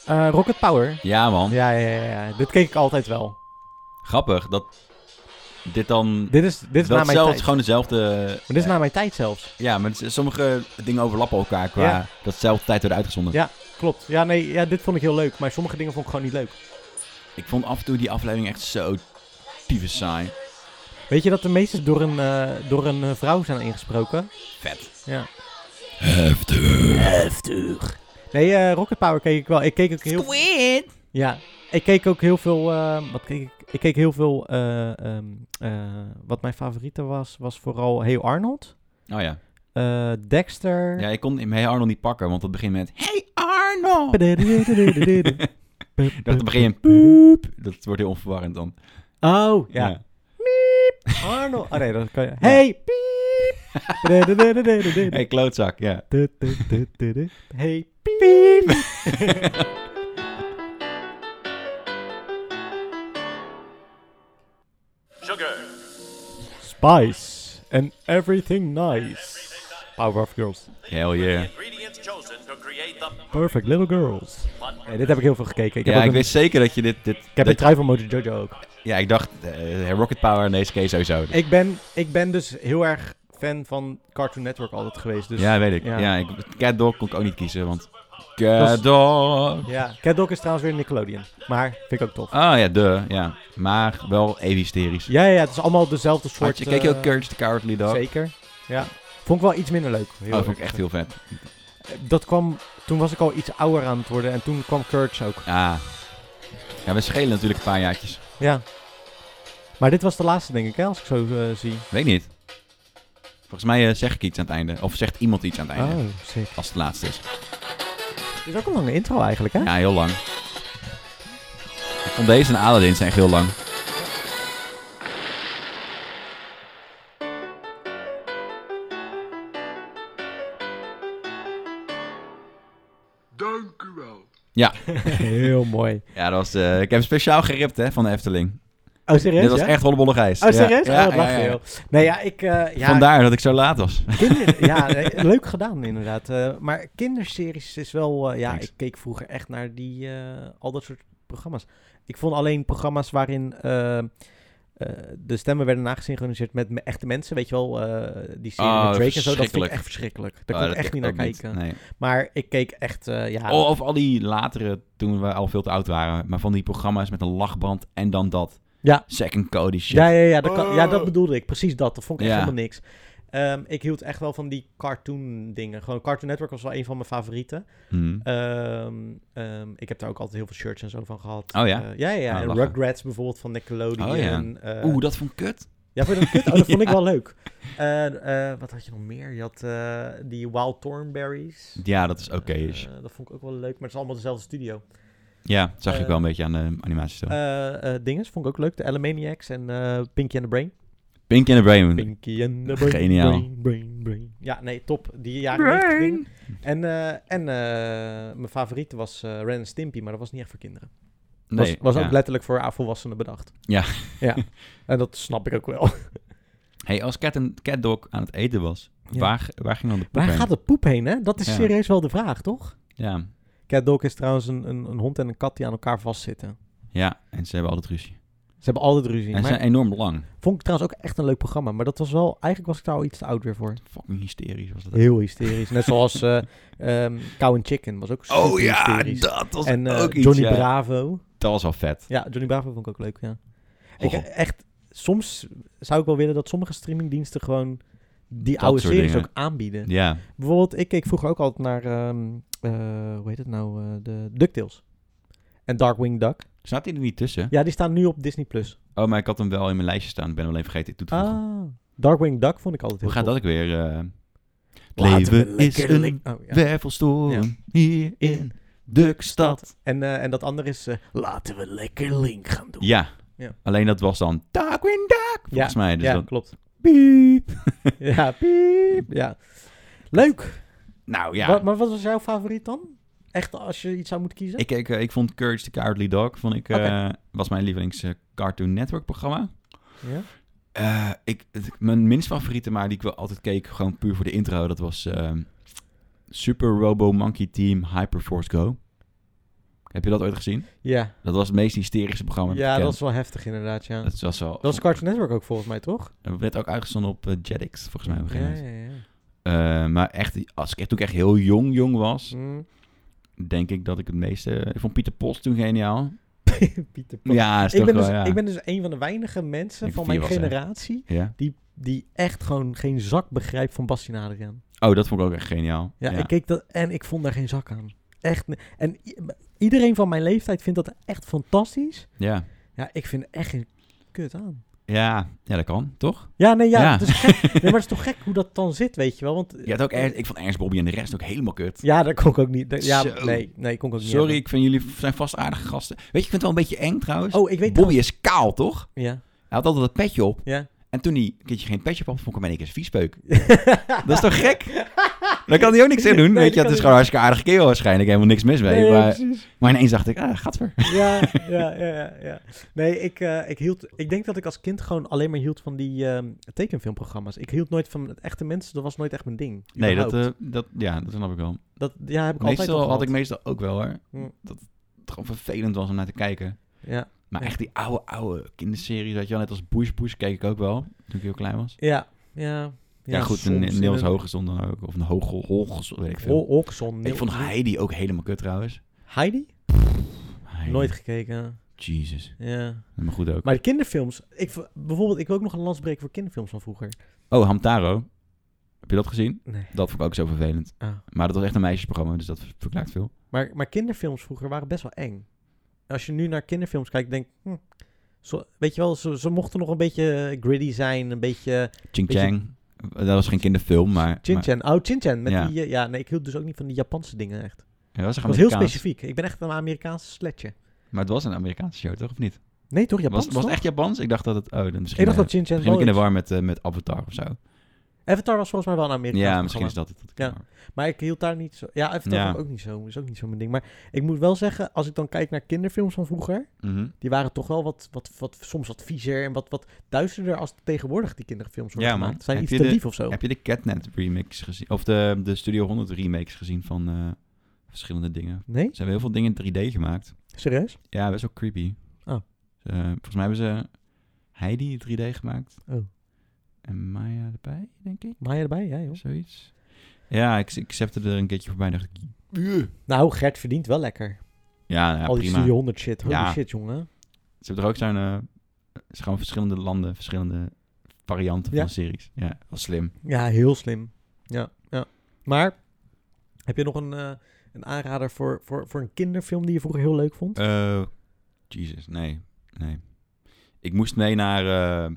Speaker 1: Eh, Rocket Power.
Speaker 2: Ja, man.
Speaker 1: Ja, ja, ja, ja. Dit keek ik altijd wel.
Speaker 2: Grappig dat dit dan...
Speaker 1: Dit is, dit is
Speaker 2: dat
Speaker 1: na mijn
Speaker 2: zelf-
Speaker 1: tijd.
Speaker 2: gewoon dezelfde...
Speaker 1: Maar dit is na mijn tijd zelfs.
Speaker 2: Ja, maar het is- sommige dingen overlappen elkaar qua
Speaker 1: Ja.
Speaker 2: datzelfde tijd worden uitgezonden.
Speaker 1: Ja, klopt. Ja, nee, ja, dit vond ik heel leuk. Maar sommige dingen vond ik gewoon niet leuk.
Speaker 2: Ik vond af en toe die aflevering echt zo tyfus saai.
Speaker 1: Weet je dat de meeste door een, eh, door een eh, vrouw zijn ingesproken?
Speaker 2: Vet.
Speaker 1: Ja. Heftig. Heftig. Nee, eh, Rocket Power keek ik wel. Ik keek ook heel... Ja. Ik keek ook heel veel... eh, wat keek ik? Ik keek heel veel... eh, ehm, eh, wat mijn favoriete was, was vooral Hey Arnold.
Speaker 2: Oh ja.
Speaker 1: eh, Dexter.
Speaker 2: Ja, ik kon hem Hey Arnold niet pakken, want het begint met Hey Arnold! Dat het begin een poep. Dat wordt heel onverwarrend dan.
Speaker 1: Oh, ja. Arnold. Oh nee, dat kan je. Hey, piep.
Speaker 2: Hey klootzak, ja.
Speaker 1: Du- du- du- du- du. Hey, piep. Spice and everything nice. Power of Girls.
Speaker 2: Hell yeah.
Speaker 8: Ingredients chosen to create the
Speaker 1: Perfect little girls. Nee, dit heb ik heel veel gekeken. Ik heb,
Speaker 2: ja,
Speaker 1: ook
Speaker 2: ik
Speaker 1: een-
Speaker 2: weet zeker dat je dit... dit
Speaker 1: ik heb
Speaker 2: dat-
Speaker 1: een trui van Mojo Jojo ook.
Speaker 2: ja, ik dacht eh, Rocket Power in deze case sowieso.
Speaker 1: Ik ben, ik ben dus heel erg fan van Cartoon Network altijd geweest. Dus
Speaker 2: ja, weet ik. Ja.
Speaker 1: ja.
Speaker 2: ik, Cat Dog kon ik ook niet kiezen, want... Cat Dog!
Speaker 1: Ja, Cat Dog is trouwens weer Nickelodeon. Maar vind ik ook tof.
Speaker 2: Ah ja, de, ja. Maar wel even hysterisch.
Speaker 1: Ja, ja, ja, het is allemaal dezelfde soort...
Speaker 2: Had je, keek je ook
Speaker 1: eh,
Speaker 2: Courage the Cowardly Dog?
Speaker 1: Zeker, ja. Vond ik wel iets minder leuk.
Speaker 2: Oh, dat vond ik echt heel vet.
Speaker 1: heel... Dat kwam... Toen was ik al iets ouder aan het worden en toen kwam Courage ook.
Speaker 2: Ah. Ja, we schelen natuurlijk een paar jaartjes.
Speaker 1: Ja. Maar dit was de laatste, denk ik, hè, als ik zo eh, zie.
Speaker 2: Weet niet. Volgens mij eh, zeg ik iets aan het einde. Of zegt iemand iets aan het einde.
Speaker 1: Oh, sick.
Speaker 2: Als het laatste is.
Speaker 1: Dit is ook een lange intro eigenlijk, hè?
Speaker 2: Ja, heel lang. Ik vond deze en Aladdin zijn echt heel lang.
Speaker 6: Dank u wel.
Speaker 2: Ja,
Speaker 1: Heel mooi.
Speaker 2: ja dat was, eh, ik heb hem speciaal geript hè, van de Efteling.
Speaker 1: Oh, serieus,
Speaker 2: Dit was
Speaker 1: ja?
Speaker 2: echt hollebolle geest.
Speaker 1: Oh, serieus?
Speaker 2: Ja,
Speaker 1: oh, dat
Speaker 2: ja,
Speaker 1: lacht
Speaker 2: ja, ja.
Speaker 1: heel. Nee, ja, ik... eh, ja,
Speaker 2: Vandaar dat ik zo laat was.
Speaker 1: Kinder, ja, nee, leuk gedaan inderdaad. Eh, maar kinderseries is wel... eh, ja,
Speaker 2: Thanks.
Speaker 1: ik keek vroeger echt naar die, eh, al dat soort programma's. Ik vond alleen programma's waarin eh, eh, de stemmen werden nagesynchroniseerd met me- echte mensen. Weet je wel, eh, die serie
Speaker 2: Oh,
Speaker 1: met Drake en zo. Dat vind ik
Speaker 2: verschrikkelijk.
Speaker 1: echt verschrikkelijk. Daar
Speaker 2: Oh,
Speaker 1: kon ik
Speaker 2: dat
Speaker 1: echt niet naar
Speaker 2: ook
Speaker 1: kijken.
Speaker 2: Nee.
Speaker 1: Maar ik keek echt, eh, ja...
Speaker 2: Oh, of al die latere, toen we al veel te oud waren. Maar van die programma's met een lachband en dan dat.
Speaker 1: Ja.
Speaker 2: Second Cody shit. Oh.
Speaker 1: Ja, ja, ja, dat kan, ja, dat bedoelde ik. Precies dat. Dat vond ik echt
Speaker 2: Ja.
Speaker 1: helemaal niks. Ehm, ik hield echt wel van die cartoon dingen. Gewoon Cartoon Network was wel een van mijn favorieten.
Speaker 2: Mhm.
Speaker 1: Ehm, ehm, ik heb daar ook altijd heel veel shirts en zo van gehad.
Speaker 2: Oh ja?
Speaker 1: Eh, ja, ja.
Speaker 2: Ah,
Speaker 1: en
Speaker 2: lachen.
Speaker 1: Rugrats bijvoorbeeld van Nickelodeon.
Speaker 2: Oh ja.
Speaker 1: eh,
Speaker 2: Oeh, dat vond ik kut.
Speaker 1: ja, vond je dat kut? Oh, dat vond ik
Speaker 2: Ja.
Speaker 1: wel leuk. Eh, eh, wat had je nog meer? Je had eh, die Wild Thornberries.
Speaker 2: Ja, dat is oké. Dus,
Speaker 1: Eh, dat vond ik ook wel leuk, maar het is allemaal dezelfde studio.
Speaker 2: Ja, dat zag ik
Speaker 1: Eh,
Speaker 2: wel een beetje aan de animatiestijl.
Speaker 1: Eh, eh, dinges vond ik ook leuk. De Elemaniacs en eh, Pinky and the Brain.
Speaker 2: Pinky and the Brain.
Speaker 1: Pinky and the Brain.
Speaker 2: Geniaal.
Speaker 1: Brain, brain, brain. Ja, nee, top. Die jaren 90 ding. En, eh, en eh, mijn favoriete was eh Ren en Stimpy, maar dat was niet echt voor kinderen.
Speaker 2: Nee,
Speaker 1: was was
Speaker 2: ja.
Speaker 1: ook letterlijk voor volwassenen bedacht.
Speaker 2: Ja.
Speaker 1: ja. En dat snap ik ook wel.
Speaker 2: Hey, als Cat en Cat Dog aan het eten was,
Speaker 1: Ja.
Speaker 2: waar, waar ging dan de poep
Speaker 1: Waar
Speaker 2: heen?
Speaker 1: gaat het poep heen, hè? Dat is
Speaker 2: Ja.
Speaker 1: serieus wel de vraag, toch?
Speaker 2: Ja.
Speaker 1: Cat dog is trouwens een, een, een hond en een kat die aan elkaar vastzitten.
Speaker 2: ja, en ze hebben altijd ruzie.
Speaker 1: Ze hebben altijd ruzie.
Speaker 2: En ze
Speaker 1: Maar
Speaker 2: zijn enorm lang.
Speaker 1: Vond ik trouwens ook echt een leuk programma. Maar dat was wel... Eigenlijk was ik daar al iets te oud weer voor.
Speaker 2: Fucking hysterisch was dat.
Speaker 1: Heel hysterisch. Net zoals eh ehm, Cow and Chicken was ook super
Speaker 2: oh ja,
Speaker 1: hysterisch.
Speaker 2: dat was
Speaker 1: en eh,
Speaker 2: ook iets.
Speaker 1: Johnny
Speaker 2: ja.
Speaker 1: Bravo.
Speaker 2: Dat was wel vet.
Speaker 1: Ja, Johnny Bravo vond ik ook leuk, ja. Ik,
Speaker 2: Oh.
Speaker 1: echt, soms zou ik wel willen dat sommige streamingdiensten gewoon die
Speaker 2: Dat
Speaker 1: oude
Speaker 2: soort
Speaker 1: series
Speaker 2: dingen.
Speaker 1: ook aanbieden.
Speaker 2: Ja,
Speaker 1: Bijvoorbeeld, ik keek vroeger ook altijd naar, ehm, eh, hoe heet het nou, eh, de DuckTales. En Darkwing Duck.
Speaker 2: staat hij er niet tussen?
Speaker 1: Ja, die staan nu op Disney+. Plus.
Speaker 2: Oh, maar ik had hem wel in mijn lijstje staan. Ik ben hem alleen vergeten toe te voegen.
Speaker 1: Ah, Darkwing Duck vond ik altijd heel
Speaker 2: Hoe gaat dat ook weer? eh? Het
Speaker 1: Laten we
Speaker 2: leven is
Speaker 1: lekker
Speaker 2: een
Speaker 1: le- oh, ja.
Speaker 2: wervelstorm hier in Dukstad.
Speaker 1: En, eh, en dat andere is, eh, laten we lekker Link gaan doen.
Speaker 2: Ja.
Speaker 1: Ja.
Speaker 2: alleen dat was dan Darkwing Duck, volgens mij. Dus
Speaker 1: ja,
Speaker 2: dat,
Speaker 1: klopt.
Speaker 2: piep.
Speaker 1: Ja, piep. Ja. Leuk.
Speaker 2: Nou ja,
Speaker 1: Wat, maar wat was jouw favoriet dan? Echt als je iets zou moeten kiezen?
Speaker 2: ik, ik, eh, ik vond Courage the Cowardly Dog, vond ik, eh, was mijn lievelings eh, Cartoon Network programma.
Speaker 1: Ja?
Speaker 2: Eh, ik, het- mijn minst favoriete, maar die ik wel altijd keek, gewoon puur voor de intro, dat was ehm, Super Robo Monkey Team Hyperforce Go. Heb je dat ooit gezien?
Speaker 1: Ja,
Speaker 2: Dat was het meest hysterische programma. dat ik
Speaker 1: ja
Speaker 2: ken.
Speaker 1: dat is wel heftig inderdaad, ja.
Speaker 2: Dat was wel...
Speaker 1: Dat was Cartoon Network ook volgens mij, toch?
Speaker 2: Dat werd ook uitgezonden op eh, Jetix, volgens mij. Op een
Speaker 1: Ja,
Speaker 2: gegeven
Speaker 1: ja,
Speaker 2: moment.
Speaker 1: ja.
Speaker 2: Eh, maar echt, als ik, toen ik echt heel jong jong was,
Speaker 1: Mm.
Speaker 2: denk ik dat ik het meeste... Ik vond Pieter Post toen geniaal.
Speaker 1: Pieter Pan.
Speaker 2: Ja, is
Speaker 1: ik,
Speaker 2: toch
Speaker 1: ben
Speaker 2: wel,
Speaker 1: dus,
Speaker 2: ja.
Speaker 1: ik ben dus een van de weinige mensen
Speaker 2: Ik
Speaker 1: van
Speaker 2: vier
Speaker 1: mijn
Speaker 2: was, hè.
Speaker 1: generatie
Speaker 2: ja.
Speaker 1: die echt gewoon geen zak begrijpt van Bastien Adriaan.
Speaker 2: Oh, dat vond ik ook echt geniaal.
Speaker 1: Ja, ik keek dat en ik vond daar geen zak aan. Echt. ni- En i- iedereen van mijn leeftijd vindt dat echt fantastisch.
Speaker 2: ja.
Speaker 1: Ja, ik vind er echt geen kut aan.
Speaker 2: Ja. ja, dat kan, toch?
Speaker 1: Ja, nee, ja,
Speaker 2: Ja.
Speaker 1: Het is gek. Nee, maar het is toch gek hoe dat dan zit, weet je wel? Want
Speaker 2: Je had ook Ernst- ik vond Ernst Bobby en de rest ook helemaal kut.
Speaker 1: Ja, dat kon ik ook niet. dat- Ja,
Speaker 2: Zo.
Speaker 1: nee, nee, kon ik ook niet.
Speaker 2: Sorry,
Speaker 1: hebben.
Speaker 2: ik vind jullie zijn vast aardige gasten. Weet je, ik vind het wel een beetje eng trouwens.
Speaker 1: Oh, ik weet
Speaker 2: Bobby is kaal, toch?
Speaker 1: Ja,
Speaker 2: Hij had altijd dat petje op.
Speaker 1: ja.
Speaker 2: En toen hij een keertje geen petje op had, vond ik hem in één keer een viespeuk. dat is toch gek? Daar kan hij ook niks in doen.
Speaker 1: Nee,
Speaker 2: Weet je,
Speaker 1: dat
Speaker 2: het is
Speaker 1: kan
Speaker 2: gewoon een hartstikke aardige kerel waarschijnlijk. Helemaal niks mis mee.
Speaker 1: Nee, ja,
Speaker 2: maar,
Speaker 1: precies.
Speaker 2: maar ineens dacht ik, ah, gaat weer.
Speaker 1: Ja, ja, ja, ja, ja. Nee, ik, eh, ik hield... Ik denk dat ik als kind gewoon alleen maar hield van die ehm, tekenfilmprogramma's. Ik hield nooit van het echte mensen. Dat was nooit echt mijn ding.
Speaker 2: Nee, dat,
Speaker 1: überhaupt.
Speaker 2: eh, dat, ja, dat snap ik wel.
Speaker 1: dat... Ja, heb ik altijd
Speaker 2: Meestal
Speaker 1: al
Speaker 2: had ik
Speaker 1: gehad.
Speaker 2: meestal ook wel hoor.
Speaker 1: Hm.
Speaker 2: Dat het gewoon vervelend was om naar te kijken.
Speaker 1: Ja,
Speaker 2: Maar
Speaker 1: Ja.
Speaker 2: echt die oude, oude kinderseries, weet je wel. Net als Bush Bush keek ik ook wel, toen ik heel klein was.
Speaker 1: ja, ja.
Speaker 2: Ja, goed, een
Speaker 1: soms eh,
Speaker 2: een Niels
Speaker 1: in
Speaker 2: Hogestond dan ook. Of een Hogel, Hogel, weet ik veel.
Speaker 1: Ho- Oxon,
Speaker 2: ik vond Heidi ook helemaal kut trouwens.
Speaker 1: Heidi?
Speaker 2: Heidi.
Speaker 1: Nooit gekeken,
Speaker 2: Jesus.
Speaker 1: ja.
Speaker 2: Maar goed ook.
Speaker 1: Maar de kinderfilms... Ik, v- bijvoorbeeld, ik wil ook nog een lans breken voor kinderfilms van vroeger.
Speaker 2: Oh, Hamtaro. Heb je dat gezien?
Speaker 1: Nee.
Speaker 2: Dat vond ik ook zo vervelend.
Speaker 1: Ah.
Speaker 2: Maar dat was echt een meisjesprogramma, dus dat verklaart veel.
Speaker 1: Maar, maar kinderfilms vroeger waren best wel eng. Als je nu naar kinderfilms kijkt, denk ik, hm, zo, weet je wel, ze, ze mochten nog een beetje gritty zijn, een beetje
Speaker 2: Ching
Speaker 1: Beetje-
Speaker 2: Chang. Dat was geen kinderfilm, maar... maar-
Speaker 1: Chin-chan. Oh, Chin-chan. Met
Speaker 2: Ja.
Speaker 1: die, eh, ja, nee, ik hield dus ook niet van die Japanse dingen echt.
Speaker 2: Ja, dat was, echt
Speaker 1: Het was heel
Speaker 2: Amerikaans.
Speaker 1: specifiek. Ik ben echt een Amerikaanse sletje.
Speaker 2: Maar het was een Amerikaanse show, toch? Of niet?
Speaker 1: Nee, toch?
Speaker 2: was,
Speaker 1: Japans,
Speaker 2: was het
Speaker 1: toch?
Speaker 2: echt Japans? Ik dacht dat het... Oh, dan misschien...
Speaker 1: Ik dacht
Speaker 2: eh,
Speaker 1: dat Chin-chan
Speaker 2: Misschien ben ik
Speaker 1: wel
Speaker 2: in de war met, eh, met Avatar of zo.
Speaker 1: is. Avatar was volgens mij wel een Amerikaans
Speaker 2: Ja, misschien is
Speaker 1: programma.
Speaker 2: dat het.
Speaker 1: Ja. Maar ik hield daar niet zo... Ja, Avatar
Speaker 2: Ja.
Speaker 1: vond ik ook niet zo. Is ook niet zo mijn ding. Maar ik moet wel zeggen, als ik dan kijk naar kinderfilms van vroeger...
Speaker 2: Mhm.
Speaker 1: Die waren toch wel wat, wat, wat soms wat viezer en wat, wat duisterder als tegenwoordig die kinderfilms worden
Speaker 2: Ja, man.
Speaker 1: gemaakt. Zijn
Speaker 2: Heb
Speaker 1: iets
Speaker 2: je
Speaker 1: te
Speaker 2: de-
Speaker 1: lief of zo.
Speaker 2: Heb je de Catnet remakes gezien? Of de, de Studio 100 remakes gezien van eh, verschillende dingen?
Speaker 1: Nee?
Speaker 2: Ze hebben heel veel dingen in 3D gemaakt.
Speaker 1: Serieus?
Speaker 2: Ja, best wel creepy.
Speaker 1: Oh.
Speaker 2: Eh, volgens mij hebben ze Heidi in 3D gemaakt.
Speaker 1: Oh.
Speaker 2: En Maya erbij, denk ik.
Speaker 1: Maai erbij, ja joh.
Speaker 2: Zoiets. Ja, ik, ik zette er een keertje voorbij en dacht ik... "Ugh."
Speaker 1: Nou, Gert verdient wel lekker.
Speaker 2: Ja, nou ja
Speaker 1: Al die
Speaker 2: prima.
Speaker 1: Studio 100 shit. Holy
Speaker 2: Ja.
Speaker 1: shit, jongen.
Speaker 2: Ze hebben er ook zo'n... eh, het is gewoon verschillende landen, verschillende varianten
Speaker 1: Ja.
Speaker 2: van series. Ja, wel slim.
Speaker 1: Ja, heel slim. Ja, ja. Maar, heb je nog een, eh, een aanrader voor, voor, voor een kinderfilm die je vroeger heel leuk vond?
Speaker 2: Eh Jesus, nee. Nee. Ik moest mee naar eh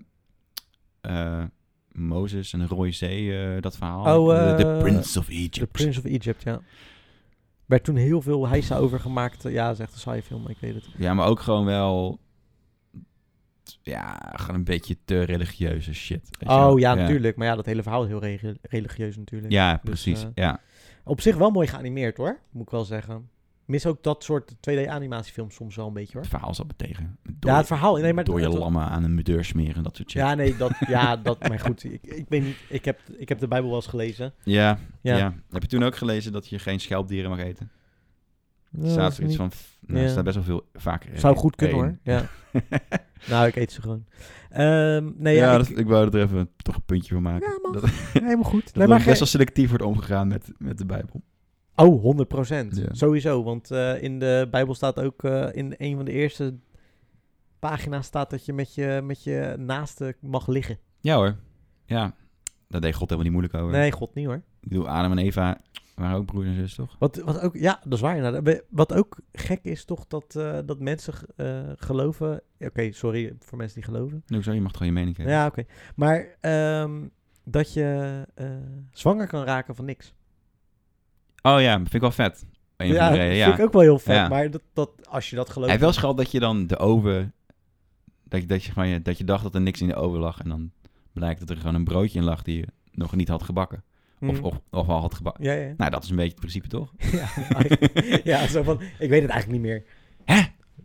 Speaker 2: eh, Mozes en de Rode Zee, eh, dat verhaal.
Speaker 1: Oh,
Speaker 2: De- de
Speaker 1: eh,
Speaker 2: Prince of Egypt.
Speaker 1: The Prince of Egypt, ja. werd toen heel veel heisa over gemaakt. Ja, dat is echt een saaie film, ik weet het.
Speaker 2: Ja, maar ook gewoon wel... Ja, gewoon een beetje te religieuze shit. weet je wel.
Speaker 1: Oh ja, natuurlijk. Maar ja, dat hele verhaal is heel regi- religieus natuurlijk.
Speaker 2: Ja,
Speaker 1: Dus,
Speaker 2: precies.
Speaker 1: eh,
Speaker 2: ja.
Speaker 1: Op zich wel mooi geanimeerd hoor, moet ik wel zeggen. Mis ook dat soort 2D-animatiefilms soms wel een beetje hoor.
Speaker 2: Het verhaal zat me tegen.
Speaker 1: ja, het verhaal. Nee, maar
Speaker 2: door je
Speaker 1: het-
Speaker 2: lammen aan een muur smeren en dat soort shit.
Speaker 1: Ja, nee, dat, ja, dat, maar goed, ik, ik weet niet, ik heb, ik heb de Bijbel wel eens gelezen.
Speaker 2: Ja,
Speaker 1: Ja.
Speaker 2: ja. Heb je toen ook gelezen dat je geen schelpdieren mag eten?
Speaker 1: Ja,
Speaker 2: Er staat er iets van... Nou, er
Speaker 1: Ja.
Speaker 2: staat best wel veel vaker.
Speaker 1: Zou goed kunnen
Speaker 2: één.
Speaker 1: hoor, ja. nou, ik eet ze gewoon. Ehm, nee,
Speaker 2: ja,
Speaker 1: ja, ik-
Speaker 2: dat- ik, wou er even een- toch een puntje van maken.
Speaker 1: Ja, man.
Speaker 2: Dat,
Speaker 1: helemaal goed.
Speaker 2: dat
Speaker 1: Nee, maar
Speaker 2: er
Speaker 1: geen-
Speaker 2: best wel selectief wordt omgegaan met, met de Bijbel.
Speaker 1: Oh, 100 procent.
Speaker 2: Ja.
Speaker 1: Sowieso, want eh, in de Bijbel staat ook eh, in een van de eerste pagina's staat dat je met je, met je naaste mag liggen.
Speaker 2: Ja hoor. Ja, daar deed God helemaal niet moeilijk over.
Speaker 1: Nee, god niet hoor.
Speaker 2: Ik bedoel, Adam en Eva waren ook broers en zus, toch?
Speaker 1: Wat, wat ook, ja, dat is waar. inderdaad. We- Wat ook gek is toch dat, eh, dat mensen eh, geloven. Oké, sorry voor mensen die geloven.
Speaker 2: Nee, zo, je mag toch gewoon je mening geven.
Speaker 1: Ja, oké. Maar ehm, dat je eh, zwanger kan raken van niks.
Speaker 2: Oh ja, vind ik wel vet. Een
Speaker 1: ja,
Speaker 2: van de redenen,
Speaker 1: dat
Speaker 2: ja.
Speaker 1: vind ik ook wel heel vet.
Speaker 2: Ja.
Speaker 1: Maar dat, dat, als je dat gelooft.
Speaker 2: Hij heeft wel schat dat je dan de oven... Dat je, dat, je, gewoon- dat je dacht dat er niks in de oven lag. En dan blijkt dat er gewoon een broodje in lag die je nog niet had gebakken.
Speaker 1: Mm.
Speaker 2: Of, of, of al had gebakken.
Speaker 1: Ja, ja.
Speaker 2: Nou, dat is een beetje het principe, toch?
Speaker 1: ja, ja, zo van, ik weet het eigenlijk niet meer.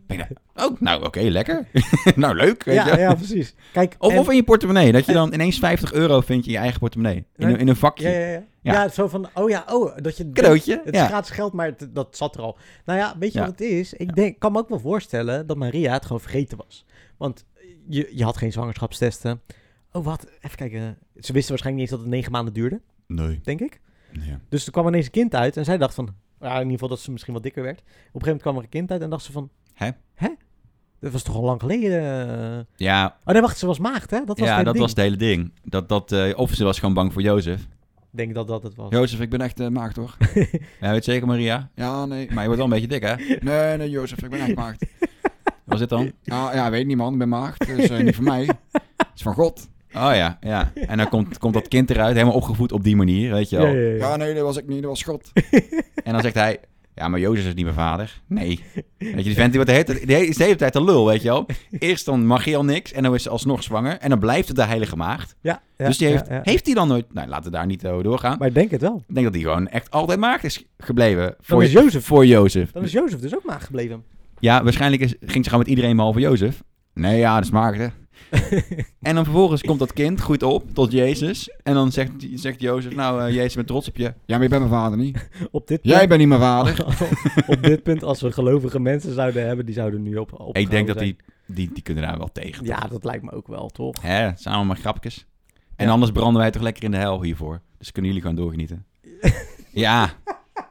Speaker 2: Ben je nou- oh, nou oké, lekker. nou, leuk. Weet je.
Speaker 1: Ja, ja, precies. Kijk,
Speaker 2: Of,
Speaker 1: en-
Speaker 2: of in je portemonnee. Dat je dan ineens 50 euro vindt in je eigen portemonnee. In, een- in een vakje.
Speaker 1: ja, ja, ja.
Speaker 2: Ja.
Speaker 1: Ja, zo van, oh ja, oh, dat je...
Speaker 2: Cadeautje.
Speaker 1: Het is
Speaker 2: ja.
Speaker 1: gratis geld, maar het- dat zat er al. Nou ja, weet je
Speaker 2: Ja.
Speaker 1: wat het is? Ik denk, kan me ook wel voorstellen dat Maria het gewoon vergeten was. Want je, je had geen zwangerschapstesten. Oh, wat? Even kijken. Ze wisten waarschijnlijk niet eens dat het negen maanden duurde,
Speaker 2: Nee.
Speaker 1: denk ik.
Speaker 2: Ja.
Speaker 1: Dus er kwam ineens een kind uit en zij dacht van... Ja, in ieder geval dat ze misschien wat dikker werd. Op een gegeven moment kwam er een kind uit en dacht ze van...
Speaker 2: Hè?
Speaker 1: Hè? Dat was toch al lang geleden?
Speaker 2: Ja,
Speaker 1: Oh nee, wacht, ze was maagd, hè? Dat was het hele
Speaker 2: dat
Speaker 1: ding.
Speaker 2: was het hele ding. Dat, dat, eh, of ze was gewoon bang voor Jozef.
Speaker 1: Ik denk dat dat het was.
Speaker 2: Jozef, ik ben echt maakt maagd, hoor. ja, weet zeker, Maria? Ja, nee. Maar je wordt wel een beetje dik, hè? Nee, nee, Jozef, ik ben echt maagd. Was dit dan? Ja, ja, weet niet, man. Ik ben maagd. Dus niet van mij. Het is van God. Oh ja, ja. En dan komt, komt dat kind eruit, helemaal opgevoed op die manier, weet je wel. nee, dat was ik niet, dat was God. en dan zegt hij, ja, maar Jozef is niet mijn vader. Nee. Weet je, die vent die wordt de hele, tijd- die hele- is de hele tijd een lul, weet je wel. Eerst dan mag hij al niks en dan is ze alsnog zwanger. En dan blijft het de heilige maagd.
Speaker 1: Ja, ja,
Speaker 2: dus die
Speaker 1: ja,
Speaker 2: heeft,
Speaker 1: ja.
Speaker 2: heeft hij dan nooit... Nou, laten we daar niet over doorgaan.
Speaker 1: Maar ik denk het wel.
Speaker 2: ik denk dat hij gewoon echt altijd maagd is gebleven. Voor,
Speaker 1: is Jozef-
Speaker 2: Voor Jozef.
Speaker 1: Dan is Jozef dus ook maag gebleven.
Speaker 2: Ja, waarschijnlijk is, ging ze gewoon met iedereen behalve Jozef. Nee, ja, dat is maagd, hè. en dan vervolgens komt dat kind, groeit op tot Jezus. En dan zegt, zegt Jozef, nou, eh, Jezus, ik ben trots op je. Ja, maar je bent mijn vader niet.
Speaker 1: Op dit
Speaker 2: Jij bent niet mijn vader.
Speaker 1: op dit punt, als we gelovige mensen zouden hebben, die zouden nu op. op
Speaker 2: Ik denk dat die, die, die kunnen daar wel tegen.
Speaker 1: Oh, Ja, dat lijkt me ook wel, toch?
Speaker 2: Hè, het zijn allemaal maar grapjes. En anders branden wij toch lekker in de hel hiervoor. Dus kunnen jullie gewoon doorgenieten. ja,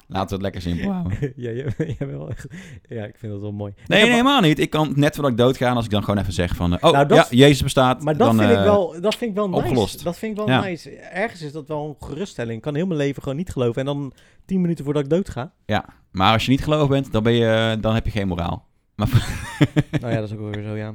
Speaker 2: laten we het lekker simpel houden.
Speaker 1: ja, jij, jij wel echt- ja, ik vind dat wel mooi.
Speaker 2: Nee,
Speaker 1: Ja,
Speaker 2: nee,
Speaker 1: maar,
Speaker 2: helemaal niet. Ik kan net voordat ik doodga, als ik dan gewoon even zeg van... eh, oh,
Speaker 1: Nou, dat-
Speaker 2: ja, Jezus bestaat.
Speaker 1: maar dat,
Speaker 2: dan,
Speaker 1: vind ik
Speaker 2: eh,
Speaker 1: wel, dat vind ik wel nice.
Speaker 2: opgelost.
Speaker 1: Dat vind ik wel
Speaker 2: Ja.
Speaker 1: nice. Ergens is dat wel een geruststelling. Ik kan heel mijn leven gewoon niet geloven. En dan tien minuten voordat ik dood ga.
Speaker 2: Maar als je niet gelovig bent, dan, ben je, eh, dan heb je geen moraal. Maar
Speaker 1: Nou ja, dat is ook wel weer zo, ja.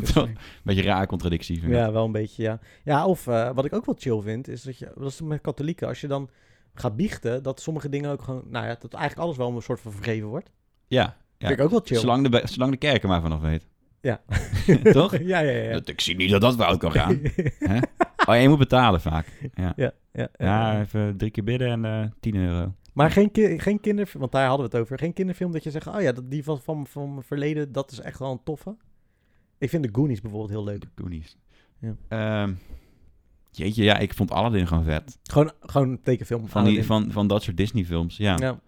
Speaker 1: Dus, eh,
Speaker 2: een beetje rare contradictie. vind ik.
Speaker 1: Ja, wel een beetje, ja. Ja, of eh, wat ik ook wel chill vind, is dat je, dat is met katholieken, als je dan gaat biechten, dat sommige dingen ook gewoon, nou ja, dat eigenlijk alles wel een soort van vergeven wordt.
Speaker 2: ja. ja.
Speaker 1: Vind ik ook wel chill.
Speaker 2: Zolang, de, be- zolang de kerk er maar vanaf weet.
Speaker 1: Ja.
Speaker 2: Toch?
Speaker 1: ja, ja, ja.
Speaker 2: Dat- Ik zie niet dat dat fout kan gaan. Hè? Oh, je moet betalen vaak. Ja.
Speaker 1: ja, ja, ja.
Speaker 2: Ja, even drie keer bidden en eh 10 euro.
Speaker 1: Maar geen, ki- geen kinderfilm, want daar hadden we het over. Geen kinderfilm dat je zegt, oh ja, dat, die van, van, van mijn verleden, dat is echt wel een toffe. Ik vind de Goonies bijvoorbeeld heel leuk.
Speaker 2: De Goonies.
Speaker 1: Ja.
Speaker 2: Ehm, jeetje, ja, ik vond Aladdin gewoon vet.
Speaker 1: Gewoon, gewoon een tekenfilm.
Speaker 2: Van, die,
Speaker 1: Aladdin.
Speaker 2: van, van dat soort Disney-films, ja.
Speaker 1: Ja,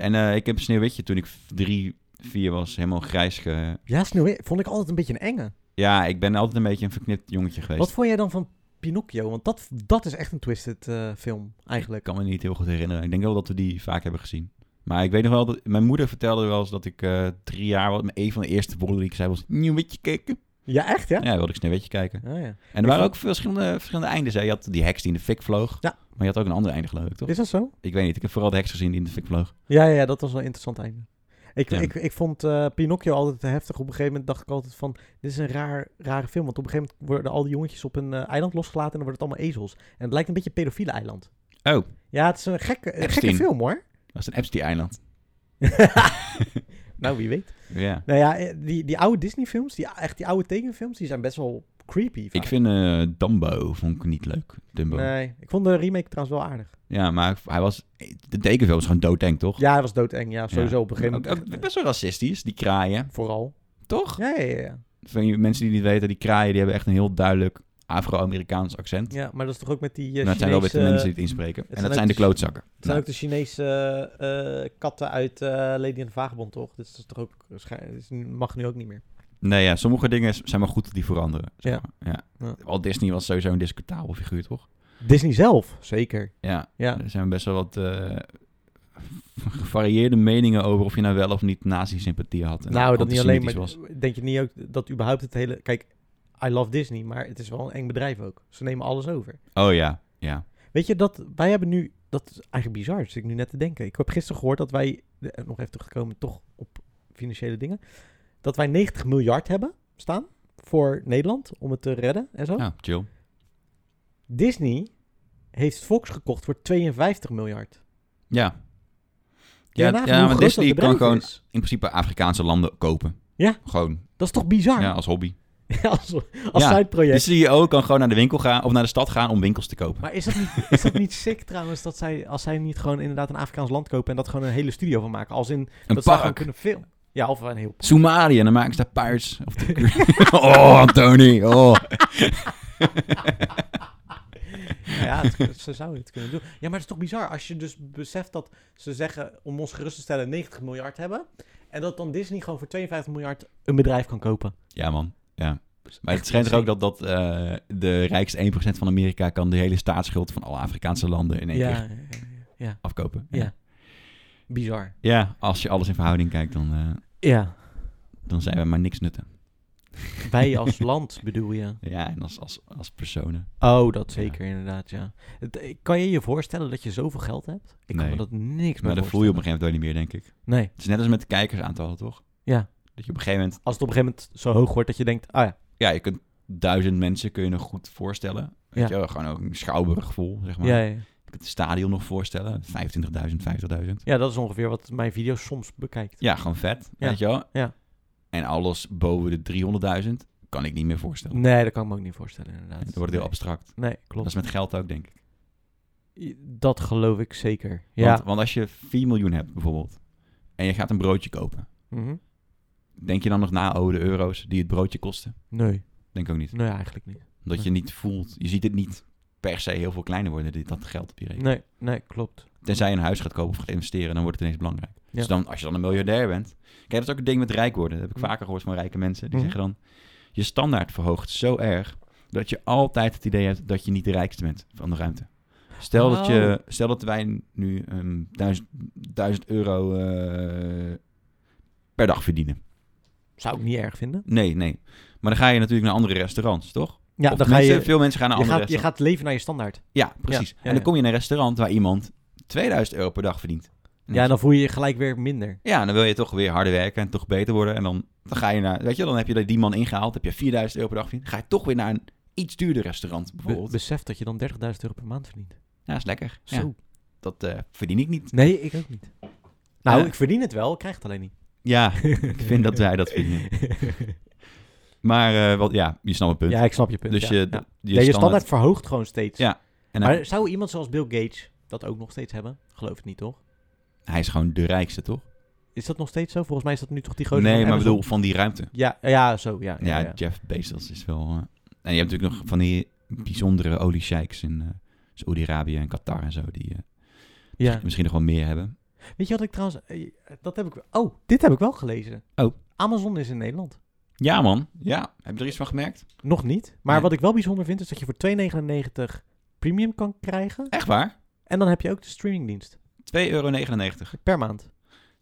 Speaker 2: En eh, ik heb Sneeuwwitje toen ik v- drie, vier was, helemaal grijs ge...
Speaker 1: ja Sneeuwwitje vond ik altijd een beetje een enge.
Speaker 2: Ja, ik ben altijd een beetje een verknipt jongetje geweest.
Speaker 1: Wat vond jij dan van Pinocchio? Want dat, dat is echt een twisted eh, film,
Speaker 2: Ik
Speaker 1: eigenlijk.
Speaker 2: kan me niet heel goed herinneren. Ik denk wel dat we die vaak hebben gezien. Maar ik weet nog wel, dat, mijn moeder vertelde wel eens dat ik eh, drie jaar was. Een van de eerste woorden die ik zei was, Sneeuwwitje kijken.
Speaker 1: Ja, echt, ja?
Speaker 2: Ja, wilde ik Sneeuwwitje kijken.
Speaker 1: Oh, ja.
Speaker 2: En er waren ook verschillende, verschillende eindes. Hè. Je had die heks die in de fik vloog.
Speaker 1: Ja.
Speaker 2: Maar je had ook een ander einde geloof ik, toch?
Speaker 1: Is dat zo?
Speaker 2: Ik weet niet, ik heb vooral de heks gezien die in de fik vloog.
Speaker 1: Ja, ja, ja, dat was wel een interessant einde. Ik,
Speaker 2: Ja.
Speaker 1: ik, ik vond eh, Pinocchio altijd te heftig. Op een gegeven moment dacht ik altijd van, dit is een raar, rare film. Want op een gegeven moment worden al die jongetjes op een eh, eiland losgelaten en dan worden het allemaal ezels. En het lijkt een beetje een pedofiele eiland.
Speaker 2: Oh.
Speaker 1: Ja, het is een gekke, een gekke
Speaker 2: Epstein.
Speaker 1: film hoor.
Speaker 2: Dat is een Epstein-eiland.
Speaker 1: nou, wie weet.
Speaker 2: Ja.
Speaker 1: Nou ja, eh, die, die oude Disney-films, die, echt die oude tekenfilms, die zijn best wel creepy. vaak.
Speaker 2: Ik vind eh Dumbo vond ik niet leuk. Dumbo.
Speaker 1: Nee, ik vond de remake trouwens wel aardig.
Speaker 2: Ja, maar hij was... De tekenfilm was gewoon doodeng, toch?
Speaker 1: Ja, hij was doodeng. Ja, sowieso
Speaker 2: Ja.
Speaker 1: op een gegeven
Speaker 2: Ook-
Speaker 1: moment.
Speaker 2: ook best wel racistisch, die kraaien.
Speaker 1: Vooral.
Speaker 2: Toch?
Speaker 1: Ja, ja, ja.
Speaker 2: Voor je mensen die het niet weten, die kraaien die hebben echt een heel duidelijk Afro-Amerikaans accent.
Speaker 1: Ja, maar dat is toch ook met die eh,
Speaker 2: en dat zijn wel
Speaker 1: Chinese...
Speaker 2: witte mensen die Nou, het inspreken. en
Speaker 1: zijn
Speaker 2: dat
Speaker 1: ook
Speaker 2: zijn de
Speaker 1: dus-
Speaker 2: klootzakken.
Speaker 1: het zijn
Speaker 2: Nou,
Speaker 1: ook de Chinese eh, eh, katten uit eh, Lady and the Vagebond, toch? Dus dat is toch ook... waarschijn- dus mag nu ook niet meer.
Speaker 2: Nee, ja, sommige dingen zijn maar goed dat die veranderen. zeg
Speaker 1: Ja.
Speaker 2: maar. Ja.
Speaker 1: Ja.
Speaker 2: Walt Disney was sowieso een discutabel figuur, toch?
Speaker 1: Disney zelf? Zeker.
Speaker 2: Ja.
Speaker 1: Ja.
Speaker 2: Er zijn best wel wat eh, gevarieerde meningen over of je nou wel of niet nazi-sympathie had. en
Speaker 1: nou, dat niet alleen, maar
Speaker 2: antisemitisch was.
Speaker 1: denk je niet ook dat überhaupt het hele... Kijk, I love Disney, maar het is wel een eng bedrijf ook. Ze nemen alles over.
Speaker 2: Oh ja, ja.
Speaker 1: Weet je, dat wij hebben nu... Dat is eigenlijk bizar, zit ik nu net te denken. Ik heb gisteren gehoord dat wij, eh, nog even teruggekomen toch op financiële dingen, dat wij 90 miljard hebben staan voor Nederland om het te redden en zo.
Speaker 2: Nou, chill.
Speaker 1: Disney heeft Fox gekocht voor 52 miljard.
Speaker 2: Ja.
Speaker 1: Kun je
Speaker 2: Ja,
Speaker 1: nagaan
Speaker 2: ja
Speaker 1: hoe
Speaker 2: maar
Speaker 1: groot dat
Speaker 2: Disney kan
Speaker 1: bedrijf
Speaker 2: gewoon
Speaker 1: is?
Speaker 2: in principe Afrikaanse landen kopen.
Speaker 1: Ja. Ah.
Speaker 2: Gewoon,
Speaker 1: Dat is toch bizar?
Speaker 2: ja, als hobby.
Speaker 1: als als
Speaker 2: Ja,
Speaker 1: sideproject.
Speaker 2: De CEO kan gewoon naar de winkel gaan of naar de stad gaan om winkels te kopen.
Speaker 1: Maar is dat, niet, is dat niet sick trouwens, dat zij, als zij niet gewoon inderdaad een Afrikaans land kopen en dat gewoon een hele studio van maken? Als in
Speaker 2: Een
Speaker 1: dat zij gewoon
Speaker 2: park.
Speaker 1: kunnen filmen. Ja, of een heel park.
Speaker 2: Somalië, en dan maken ze daar paars. Of de- oh, Anthony. Oh.
Speaker 1: Ja, het- ze zouden het kunnen doen. Ja, maar het is toch bizar als je dus beseft dat ze zeggen, om ons gerust te stellen, 90 miljard hebben. En dat dan Disney gewoon voor 52 miljard een bedrijf kan kopen.
Speaker 2: Ja, man. Ja. Maar het
Speaker 1: Echt
Speaker 2: schijnt er ook dat, dat eh, de rijkste 1% van Amerika kan de hele staatsschuld van alle Afrikaanse landen in één
Speaker 1: ja,
Speaker 2: keer
Speaker 1: ja, ja, ja.
Speaker 2: afkopen.
Speaker 1: Ja. bizar.
Speaker 2: ja, als je alles in verhouding kijkt, dan, eh,
Speaker 1: Ja,
Speaker 2: dan zijn we maar niks nutten.
Speaker 1: wij als land bedoel je.
Speaker 2: Ja, en als, als, als personen.
Speaker 1: Oh, dat zeker inderdaad, ja. Het- eh, Kan je je voorstellen dat je zoveel geld hebt? Ik kan
Speaker 2: Nee.
Speaker 1: me dat niks meer
Speaker 2: Maar dat voel je op een gegeven moment ook niet meer, denk ik.
Speaker 1: voorstellen. Nee.
Speaker 2: Het is net als met de kijkersaantallen, toch?
Speaker 1: Ja.
Speaker 2: Dat je op een gegeven moment...
Speaker 1: Als het op een gegeven moment zo hoog wordt dat je denkt, ah ja,
Speaker 2: Ja, je kunt duizend mensen kun je nog goed voorstellen. Weet
Speaker 1: Ja.
Speaker 2: je wel, gewoon ook een schouwburg vol, zeg maar.
Speaker 1: ja, ja, ja.
Speaker 2: Je kunt het stadion nog voorstellen. 25.000, 50.000.
Speaker 1: Ja, dat is ongeveer wat mijn video soms bekijkt.
Speaker 2: Ja, gewoon vet,
Speaker 1: Ja.
Speaker 2: weet je wel.
Speaker 1: Ja.
Speaker 2: En alles boven de 300.000 kan ik niet meer voorstellen.
Speaker 1: Nee, dat kan ik me ook niet voorstellen inderdaad.
Speaker 2: Dat wordt heel abstract.
Speaker 1: Nee,
Speaker 2: Dat
Speaker 1: klopt.
Speaker 2: is met geld ook, denk ik.
Speaker 1: I- Dat geloof ik zeker. Ja.
Speaker 2: Want, want als je 4 miljoen hebt, bijvoorbeeld, en je gaat een broodje kopen,
Speaker 1: Mhm.
Speaker 2: denk je dan nog na over de euro's die het broodje kosten?
Speaker 1: Nee,
Speaker 2: Denk ook niet.
Speaker 1: nee, eigenlijk niet.
Speaker 2: Dat je niet voelt, je ziet het niet per se heel veel kleiner worden, dit, dat geld op je rekening.
Speaker 1: Nee, nee, klopt.
Speaker 2: Tenzij je een huis gaat kopen of gaat investeren, dan wordt het ineens belangrijk.
Speaker 1: Ja.
Speaker 2: Dus dan, als je dan een miljardair bent. Kijk, dat is ook een ding met rijk worden. Dat heb ik
Speaker 1: Mhm.
Speaker 2: vaker gehoord van rijke mensen. Die
Speaker 1: Mhm.
Speaker 2: zeggen dan, je standaard verhoogt zo erg... dat je altijd het idee hebt dat je niet de rijkste bent van de ruimte. Stel, dat, je,
Speaker 1: Oh.
Speaker 2: stel dat wij nu ehm 1000 1000 euro eh, per dag verdienen.
Speaker 1: Zou ik niet erg vinden.
Speaker 2: Nee, nee. Maar dan ga je natuurlijk naar andere restaurants, toch?
Speaker 1: Ja,
Speaker 2: Of
Speaker 1: dan ga
Speaker 2: mensen-
Speaker 1: je...
Speaker 2: Veel mensen gaan naar
Speaker 1: Je
Speaker 2: andere
Speaker 1: gaat, je gaat
Speaker 2: restaurants.
Speaker 1: leven naar je standaard.
Speaker 2: Ja, precies.
Speaker 1: ja,
Speaker 2: en dan
Speaker 1: ja.
Speaker 2: kom je in een restaurant waar iemand 2000 euro per dag verdient.
Speaker 1: Ja, en dan voel je je gelijk weer minder.
Speaker 2: Ja, dan wil je toch weer harder werken en toch beter worden. En dan, dan ga je naar, weet je, dan heb je die man ingehaald, heb je 4000 euro per dag verdiend. Ga je toch weer naar een iets duurder restaurant
Speaker 1: Be
Speaker 2: bijvoorbeeld.
Speaker 1: besef dat je dan 30.000 euro per maand verdient.
Speaker 2: ja, is lekker.
Speaker 1: Zo.
Speaker 2: Ja, dat eh, verdien ik niet.
Speaker 1: Nee, ik ook niet. Nou,
Speaker 2: Ja.
Speaker 1: ik verdien het wel, ik krijg het alleen niet.
Speaker 2: Ja, ik vind dat wij dat verdienen. Maar eh, wat, ja, je snapt het punt.
Speaker 1: ja, ik snap je punt.
Speaker 2: dus
Speaker 1: ja,
Speaker 2: je,
Speaker 1: ja.
Speaker 2: je,
Speaker 1: Nee, je
Speaker 2: standaard...
Speaker 1: standaard verhoogt gewoon steeds.
Speaker 2: Ja, en hij,
Speaker 1: Maar zou iemand zoals Bill Gates dat ook nog steeds hebben? Geloof het niet, toch?
Speaker 2: hij is gewoon de rijkste, toch?
Speaker 1: Is dat nog steeds zo? Volgens mij is dat nu toch die
Speaker 2: Nee,
Speaker 1: grote.
Speaker 2: maar ik bedoel, van die ruimte.
Speaker 1: Ja, eh, ja, zo. Ja, ja,
Speaker 2: Ja,
Speaker 1: ja.
Speaker 2: Jeff Bezos is wel... eh, en je hebt natuurlijk nog van die bijzondere oliesheiks in eh Saoedi-Arabië en Qatar en zo, die eh,
Speaker 1: Ja.
Speaker 2: misschien nog wel meer hebben.
Speaker 1: Weet je wat ik trouwens... eh, Dat heb ik... Oh, dit heb ik wel gelezen.
Speaker 2: Oh.
Speaker 1: Amazon is in Nederland.
Speaker 2: Ja, man. Ja, heb je er iets van gemerkt?
Speaker 1: Nog niet. Maar
Speaker 2: Nee.
Speaker 1: wat ik wel bijzonder vind, is dat je voor 2,99 premium kan krijgen.
Speaker 2: Echt waar?
Speaker 1: En dan heb je ook de streamingdienst.
Speaker 2: 2,99 euro.
Speaker 1: Per maand.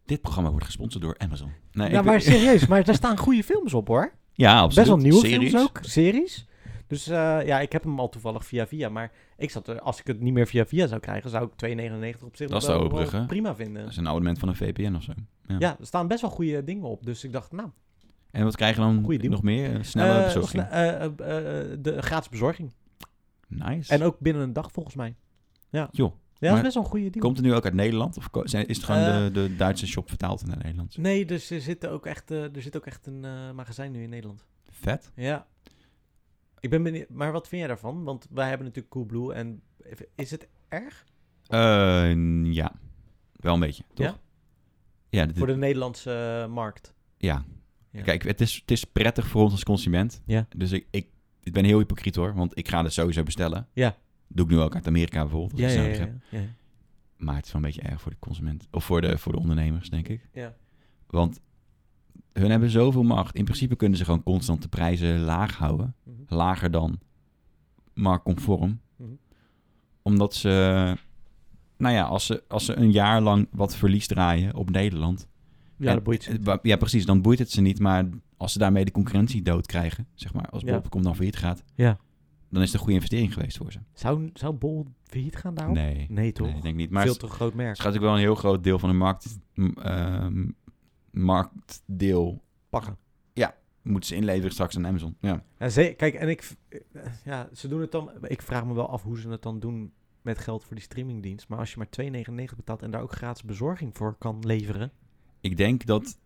Speaker 2: Dit programma wordt gesponsord door Amazon. Nee,
Speaker 1: ja,
Speaker 2: ik-
Speaker 1: maar serieus. maar daar staan goede films op, hoor.
Speaker 2: ja, absoluut.
Speaker 1: Best wel nieuwe
Speaker 2: Series.
Speaker 1: films ook. Series. Dus eh, ja, ik heb hem al toevallig via via. Maar ik zat er, als ik het niet meer via via zou krijgen, zou ik 2,99 op zich nog
Speaker 2: Dat is te
Speaker 1: wel- wel
Speaker 2: overbruggen.
Speaker 1: prima
Speaker 2: Dat
Speaker 1: vinden.
Speaker 2: is een abonnement van een VPN of zo. Ja.
Speaker 1: Ja, er staan best wel goede dingen op. Dus ik dacht, nou...
Speaker 2: En wat krijgen we dan
Speaker 1: Goeie deal.
Speaker 2: nog meer? Eh, Snelle
Speaker 1: eh,
Speaker 2: bezorging.
Speaker 1: sne- eh, eh, eh, de gratis bezorging.
Speaker 2: nice.
Speaker 1: En ook binnen een dag volgens mij.
Speaker 2: Joh,
Speaker 1: dat is
Speaker 2: Maar
Speaker 1: best wel een goede deal.
Speaker 2: Komt het nu ook uit Nederland? Of ko- zijn, is het gewoon
Speaker 1: Eh.
Speaker 2: de, de Duitse shop vertaald naar Nederlands?
Speaker 1: Nee, dus er zit ook echt, eh, er zit ook echt een eh, magazijn nu in Nederland.
Speaker 2: Vet.
Speaker 1: Ja. Ik ben benieuwd, maar wat vind jij daarvan? Want wij hebben natuurlijk Coolblue en is het erg
Speaker 2: Eh, ja, wel een beetje, toch?
Speaker 1: Ja?
Speaker 2: Ja, dit-
Speaker 1: voor de Nederlandse eh, markt?
Speaker 2: ja.
Speaker 1: Ja.
Speaker 2: kijk, het is, het is prettig voor ons als consument.
Speaker 1: Ja.
Speaker 2: Dus ik, ik, ik ben heel hypocriet hoor, want ik ga het sowieso bestellen.
Speaker 1: Ja.
Speaker 2: Doe ik nu ook uit Amerika bijvoorbeeld, als ik het nodig heb.
Speaker 1: ja, ja.
Speaker 2: Maar het is wel een beetje erg voor de consument, of voor de, voor de ondernemers, denk ik.
Speaker 1: Ja.
Speaker 2: Want hun hebben zoveel macht. In principe kunnen ze gewoon constant de prijzen laag houden.
Speaker 1: Mhm.
Speaker 2: Lager dan marktconform.
Speaker 1: Mhm.
Speaker 2: Omdat ze, nou ja, als ze, als ze een jaar lang wat verlies draaien op Nederland.
Speaker 1: Ja, dat boeit ze.
Speaker 2: eh, wa- Ja, precies. Dan boeit het ze niet. Maar als ze daarmee de concurrentie dood krijgen, zeg maar, als
Speaker 1: Ja.
Speaker 2: Bol.com dan failliet gaat,
Speaker 1: Ja.
Speaker 2: dan is het een goede investering geweest voor ze.
Speaker 1: Zou, zou Bol failliet gaan daarop?
Speaker 2: Nee,
Speaker 1: Nee, Nou, toch?
Speaker 2: nee, ik denk niet. Maar
Speaker 1: Veel
Speaker 2: ze,
Speaker 1: te groot merk.
Speaker 2: ze gaat ook wel een heel groot deel van de markt, m- ehm, marktdeel
Speaker 1: Pakken.
Speaker 2: moeten ze inleveren straks aan Amazon. Ja.
Speaker 1: Ja, ze, kijk, en ik... eh, Ja, ze doen het dan... Ik vraag me wel af hoe ze het dan doen met geld voor die streamingdienst. Maar als je maar 2,99 betaalt en daar ook gratis bezorging voor kan leveren...
Speaker 2: Ik denk dat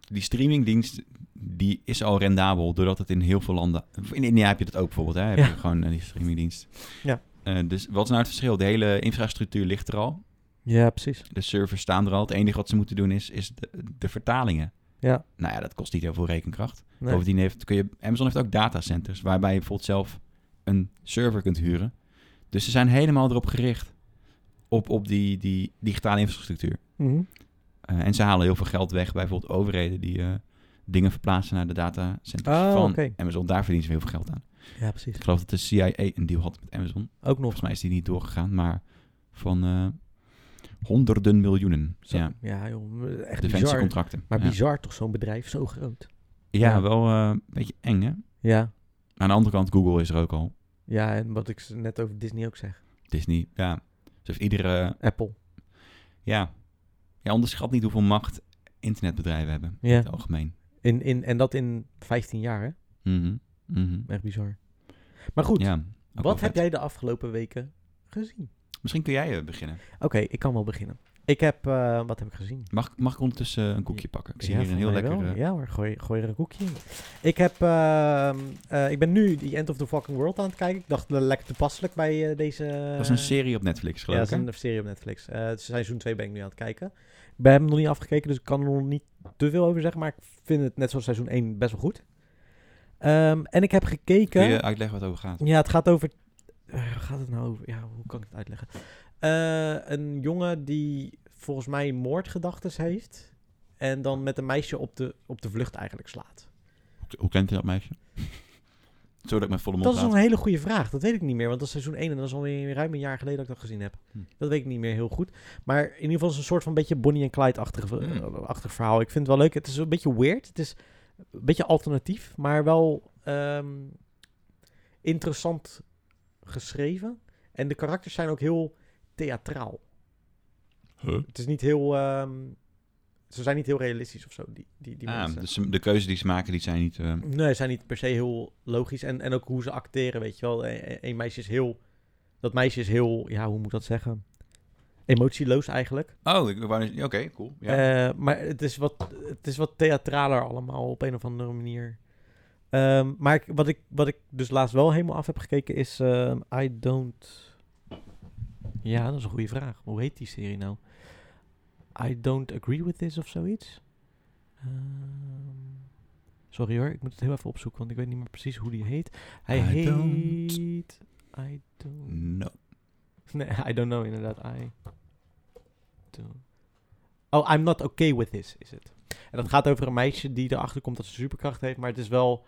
Speaker 2: die streamingdienst, die is al rendabel, doordat het in heel veel landen... In India heb je dat ook bijvoorbeeld, hè? Heb
Speaker 1: Ja.
Speaker 2: je gewoon eh, die streamingdienst.
Speaker 1: Ja.
Speaker 2: Eh, dus wat is nou het verschil? De hele infrastructuur ligt er al.
Speaker 1: Ja, precies.
Speaker 2: De servers staan er al. Het enige wat ze moeten doen is, is de, de vertalingen.
Speaker 1: Ja.
Speaker 2: Nou ja, dat kost niet heel veel rekenkracht.
Speaker 1: Nee.
Speaker 2: Bovendien heeft, kun je, Amazon heeft ook datacenters, waarbij je bijvoorbeeld zelf een server kunt huren. Dus ze zijn helemaal erop gericht op, op die, die digitale infrastructuur.
Speaker 1: Mhm.
Speaker 2: Eh, en ze halen heel veel geld weg bij bijvoorbeeld overheden die eh, dingen verplaatsen naar de datacenters
Speaker 1: Oh,
Speaker 2: van
Speaker 1: oké.
Speaker 2: Amazon. Daar verdienen ze heel veel geld aan.
Speaker 1: Ja, precies.
Speaker 2: Ik geloof dat de CIA een deal had met Amazon.
Speaker 1: Ook nog.
Speaker 2: Volgens mij is die niet doorgegaan, maar van eh, honderden miljoenen.
Speaker 1: Zo,
Speaker 2: Ja,
Speaker 1: ja. joh. Echt bizar.
Speaker 2: defensiecontracten.
Speaker 1: Maar
Speaker 2: ja.
Speaker 1: bizar toch, zo'n bedrijf zo groot.
Speaker 2: Ja,
Speaker 1: Ja.
Speaker 2: wel eh, een beetje eng hè.
Speaker 1: Ja.
Speaker 2: Aan de andere kant, Google is er ook al.
Speaker 1: Ja, en wat ik s- net over Disney ook zeg.
Speaker 2: Disney, ja. Dus heeft iedere,
Speaker 1: Apple.
Speaker 2: ja. Ja, onderschat niet hoeveel macht internetbedrijven hebben.
Speaker 1: Ja.
Speaker 2: In het algemeen.
Speaker 1: In, in, en dat in 15 jaar, hè?
Speaker 2: Mhm, mhm.
Speaker 1: Echt bizar. Maar goed,
Speaker 2: Ja, ook wel
Speaker 1: wat heb
Speaker 2: vet.
Speaker 1: jij de afgelopen weken gezien?
Speaker 2: Misschien kun jij eh, beginnen.
Speaker 1: Oké, ik kan wel beginnen. Ik heb, eh, wat heb ik gezien?
Speaker 2: Mag, mag ik ondertussen eh, een koekje pakken? Ik zie
Speaker 1: Ja,
Speaker 2: hier een
Speaker 1: voor
Speaker 2: heel
Speaker 1: mij
Speaker 2: lekker...
Speaker 1: wel.
Speaker 2: eh,
Speaker 1: Ja hoor, gooi, gooi er een koekje in. Ik, heb, ehm, eh, ik ben nu The End of the Fucking World aan het kijken. Ik dacht, eh, lekker toepasselijk bij eh, deze...
Speaker 2: Dat is een serie op Netflix,
Speaker 1: Ja,
Speaker 2: geloof
Speaker 1: dat
Speaker 2: ik.
Speaker 1: is
Speaker 2: hè?
Speaker 1: een serie op Netflix. Eh, het seizoen 2 ben ik nu aan het kijken. Ik ben hem nog niet afgekeken, dus ik kan er nog niet te veel over zeggen. Maar ik vind het net zoals seizoen 1 best wel goed. Ehm, en ik heb gekeken...
Speaker 2: Kun je uitleggen wat het over gaat?
Speaker 1: Ja, het gaat over. eh, waar gaat het nou over? Ja, hoe kan ik het uitleggen? Eh, een jongen die volgens mij moordgedachtes heeft. En dan met een meisje op de, op de vlucht eigenlijk slaat.
Speaker 2: Hoe- Hoe kent je dat meisje? Zodat ik met volle
Speaker 1: Dat
Speaker 2: mond
Speaker 1: is
Speaker 2: laat.
Speaker 1: een hele goede vraag. Dat weet ik niet meer. Want dat is seizoen 1 en dat is alweer ruim een jaar geleden dat ik dat gezien heb.
Speaker 2: Hm.
Speaker 1: Dat weet ik niet meer heel goed. Maar in ieder geval is het een soort van beetje Bonnie en Clyde-achtig eh,
Speaker 2: Hmm.
Speaker 1: achtig verhaal. Ik vind het wel leuk. Het is een beetje weird. Het is een beetje alternatief. Maar wel ehm, interessant geschreven. En de karakters zijn ook heel theatraal.
Speaker 2: Huh?
Speaker 1: Het is niet heel... ehm, ze zijn niet heel realistisch of zo, die, die, die
Speaker 2: Ah,
Speaker 1: mensen.
Speaker 2: dus ze- de keuzes die ze maken, die zijn niet... eh,
Speaker 1: Nee, ze zijn niet per se heel logisch. En, en ook hoe ze acteren, weet je wel. E- e- Eén meisje is heel... Dat meisje is heel... Ja, hoe moet ik dat zeggen? Emotieloos eigenlijk.
Speaker 2: Oh, ik wou net- oké, cool. Ja.
Speaker 1: Eh, maar het is, wat, het is wat theatraler allemaal op een of andere manier. Ehm, maar ik- wat, ik, wat ik dus laatst wel helemaal af heb gekeken is... ehm, I don't... Ja, dat is een goede vraag. Hoe heet die serie nou? I don't agree with this of zoiets? Ehm, sorry hoor, ik moet het heel even opzoeken, want ik weet niet meer precies hoe die heet. Hij
Speaker 2: I
Speaker 1: heet...
Speaker 2: don't-
Speaker 1: I don't...
Speaker 2: No.
Speaker 1: Nee, I don't know inderdaad. I don't- Oh, I'm not okay with this, is het. En dat gaat over een meisje die erachter komt dat ze superkracht heeft, maar het is wel...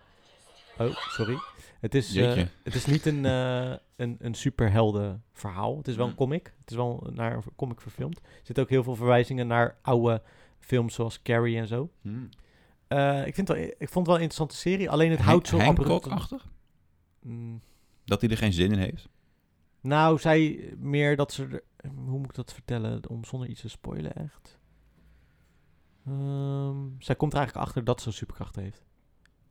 Speaker 1: Oh, sorry. Het is, eh,
Speaker 2: Jeetje.
Speaker 1: het is niet een, eh een, een superhelden verhaal. Het is wel een comic. Het is wel naar een comic verfilmd. Er zitten ook heel veel verwijzingen naar oude films zoals Carrie en zo.
Speaker 2: Hmm.
Speaker 1: Eh, ik, vind het wel, ik vond het wel een interessante serie, alleen Hm. het
Speaker 2: Hen-
Speaker 1: houdt zo abrupt...
Speaker 2: Hancock-achtig?
Speaker 1: Mm.
Speaker 2: Dat hij er geen zin in heeft.
Speaker 1: Nou, zij meer dat ze. Er, hoe moet ik dat vertellen? Om zonder iets te spoilen, echt. Ehm, zij komt er eigenlijk achter dat ze superkrachten heeft.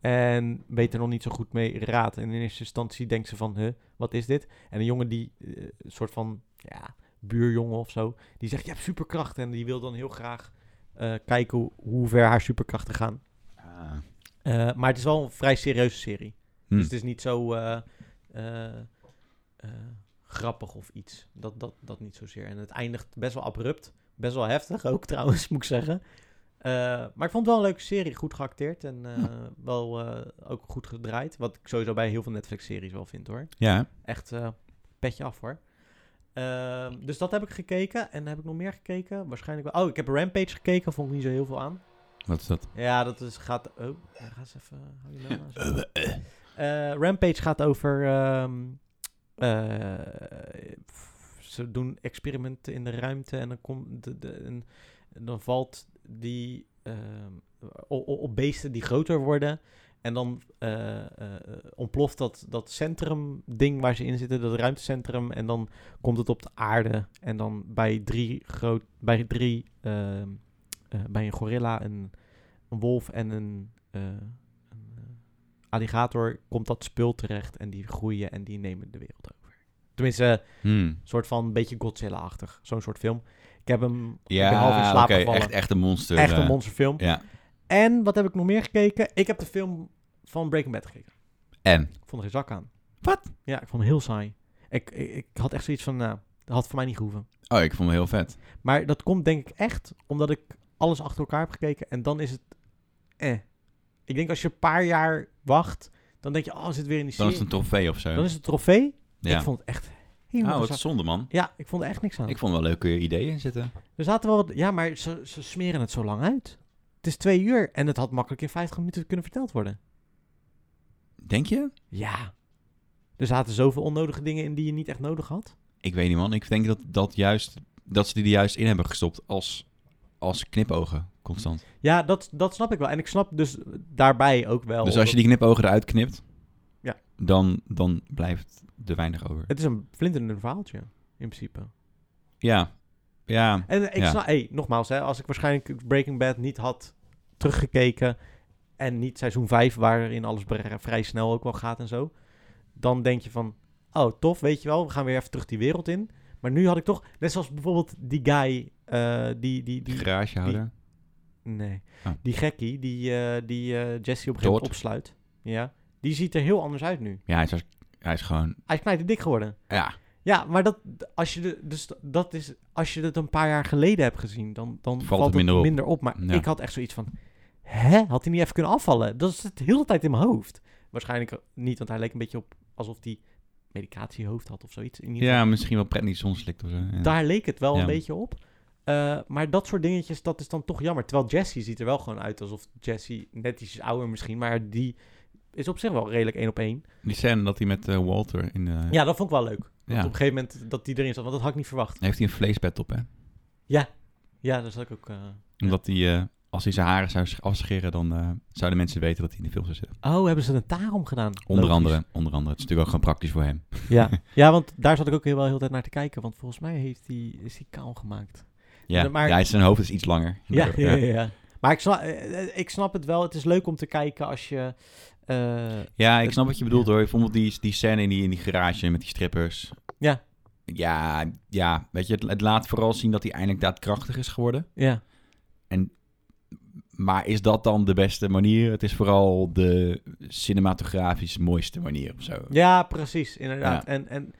Speaker 1: En weet er nog niet zo goed mee raad. En in eerste instantie denkt ze van, huh, wat is dit? En een jongen die eh, een soort van ja, buurjongen of zo. Die zegt, je hebt superkrachten. En die wil dan heel graag eh, kijken hoe, hoe ver haar superkrachten gaan.
Speaker 2: Ah.
Speaker 1: Eh, maar het is wel een vrij serieuze serie.
Speaker 2: Hm.
Speaker 1: Dus het is niet zo eh, eh, eh, grappig of iets. Dat, dat, dat niet zozeer. En het eindigt best wel abrupt. Best wel heftig ook trouwens, moet ik zeggen. Eh, maar ik vond het wel een leuke serie. Goed geacteerd en eh, wel eh, ook goed gedraaid. Wat ik sowieso bij heel veel Netflix-series wel vind hoor.
Speaker 2: Ja,
Speaker 1: Echt eh, petje af hoor. Ehm, dus dat heb ik gekeken. En heb ik nog meer gekeken? Waarschijnlijk wel. Oh, ik heb Rampage gekeken. Vond ik niet zo heel veel aan.
Speaker 2: wat is dat?
Speaker 1: Ja, dat is, gaat... Oh, ja, ga eens even... Hou je nou maar eens. Eh, Rampage gaat over... ehm, eh, f- ze doen experimenten in de ruimte en dan, komt de, de, en dan valt die ehm, o- o- op beesten die groter worden. En dan eh, eh, ontploft dat, dat centrum-ding waar ze in zitten, dat ruimtecentrum. En dan komt het op de aarde. En dan bij drie, groot, bij, drie ehm, eh, bij een gorilla, een een wolf en een, eh, een, eh, alligator komt dat spul terecht en die groeien en die nemen de wereld over. Tenminste, een
Speaker 2: Hm.
Speaker 1: soort van een beetje Godzilla-achtig. Zo'n soort film. Ik heb hem ik ben half in
Speaker 2: Ja, oké,
Speaker 1: slaap gevallen.
Speaker 2: echt,
Speaker 1: Echt,
Speaker 2: echt een monster.
Speaker 1: een
Speaker 2: eh,
Speaker 1: monsterfilm.
Speaker 2: Ja,
Speaker 1: En wat heb ik nog meer gekeken? Ik heb de film van Breaking Bad gekeken.
Speaker 2: en?
Speaker 1: Ik vond er geen zak aan.
Speaker 2: Wat?
Speaker 1: Ja, ik vond hem heel saai. Ik, ik, ik had echt zoiets van, nou, dat had voor mij niet gehoeven.
Speaker 2: Oh, ik vond hem heel vet.
Speaker 1: Maar dat komt denk ik echt omdat ik alles achter elkaar heb gekeken en dan is het eh. Ik denk als je een paar jaar wacht, dan denk je, oh, zit weer in die
Speaker 2: Dan
Speaker 1: serie.
Speaker 2: is het een trofee of zo.
Speaker 1: Dan is het een trofee.
Speaker 2: ja.
Speaker 1: Ik vond het echt helemaal
Speaker 2: oh, wat
Speaker 1: gezakt.
Speaker 2: zonde, man.
Speaker 1: Ja, ik vond er echt niks aan.
Speaker 2: Ik vond wel leuke ideeën in zitten.
Speaker 1: Er zaten wel wat... Ja, maar ze, ze smeren het zo lang uit. Het is twee uur en het had makkelijk in 50 minuten kunnen verteld worden.
Speaker 2: Denk je?
Speaker 1: Ja. Er zaten zoveel onnodige dingen in die je niet echt nodig had.
Speaker 2: Ik weet niet, man. Ik denk dat, dat, juist, dat ze die er juist in hebben gestopt als, als knipogen, constant.
Speaker 1: Ja, dat, dat snap ik wel. En ik snap dus daarbij ook wel...
Speaker 2: dus als je die knipogen eruit knipt,
Speaker 1: Ja.
Speaker 2: dan, dan blijft er weinig over.
Speaker 1: Het is een flinterdun verhaaltje, in principe.
Speaker 2: Ja, ja.
Speaker 1: En ik
Speaker 2: Ja.
Speaker 1: snap, hey, nogmaals, hè, als ik waarschijnlijk Breaking Bad niet had teruggekeken en niet seizoen 5, waarin alles bre- vrij snel ook wel gaat en zo, dan denk je van, oh tof, weet je wel, we gaan weer even terug die wereld in. Maar nu had ik toch, net zoals bijvoorbeeld die guy, eh, die, die,
Speaker 2: Die
Speaker 1: die,
Speaker 2: garagehouder.
Speaker 1: nee,
Speaker 2: Oh.
Speaker 1: die gekkie, die, eh, die eh, Jesse op een gegeven moment
Speaker 2: Todd.
Speaker 1: opsluit, ja, die ziet er heel anders uit nu.
Speaker 2: Ja, hij is, hij is gewoon...
Speaker 1: Hij is knijterdik geworden.
Speaker 2: Ja,
Speaker 1: Ja, maar dat, als je, de, dus dat is, als je het een paar jaar geleden hebt gezien, dan, dan valt, het minder, op. Maar
Speaker 2: Ja.
Speaker 1: ik had echt zoiets van, hè, had hij niet even kunnen afvallen? Dat is het de hele tijd in mijn hoofd. Waarschijnlijk niet, want hij leek een beetje op alsof hij medicatiehoofd had of zoiets. In ieder geval,
Speaker 2: ja misschien wel prednison slikt of zo. Ja.
Speaker 1: Daar leek het wel
Speaker 2: Ja.
Speaker 1: een beetje op. Eh, maar dat soort dingetjes, dat is dan toch jammer. Terwijl Jesse ziet er wel gewoon uit alsof Jesse net iets ouder misschien, maar die is op zich wel redelijk één op één.
Speaker 2: Die scène dat hij met eh, Walter in de...
Speaker 1: Ja, dat vond ik wel leuk. Dat
Speaker 2: Ja.
Speaker 1: Op een gegeven moment dat die erin zat, want dat had ik niet verwacht.
Speaker 2: Heeft hij een vleesbed op, hè?
Speaker 1: Ja, dat zat ik ook... eh,
Speaker 2: Omdat hij, eh, als hij zijn haren zou sch- afscheren, dan eh, zouden mensen weten dat hij in de film zou zitten.
Speaker 1: Oh, hebben ze een tarom gedaan?
Speaker 2: Onder
Speaker 1: Logisch.
Speaker 2: andere, onder andere. Het is natuurlijk ook gewoon praktisch voor hem.
Speaker 1: Ja. ja, want daar zat ik ook heel wel heel de tijd naar te kijken. Want volgens mij heeft die, is hij kaal gemaakt.
Speaker 2: Ja,
Speaker 1: Maar-
Speaker 2: ja zijn hoofd is iets langer.
Speaker 1: Ja, ja, ja. Maar ik snap, eh, eh, ik snap het wel. Het is leuk om te kijken als je... eh,
Speaker 2: Ja, ik snap wat je bedoelt hoor. Bijvoorbeeld die, die scène in die, in die garage met die strippers.
Speaker 1: Ja.
Speaker 2: Ja, ja. weet je, het, het laat vooral zien dat hij eindelijk daadkrachtig is geworden.
Speaker 1: ja.
Speaker 2: Maar is dat dan de beste manier? Het is vooral de cinematografisch mooiste manier of zo.
Speaker 1: ja, precies. Inderdaad.
Speaker 2: Ja.
Speaker 1: En, en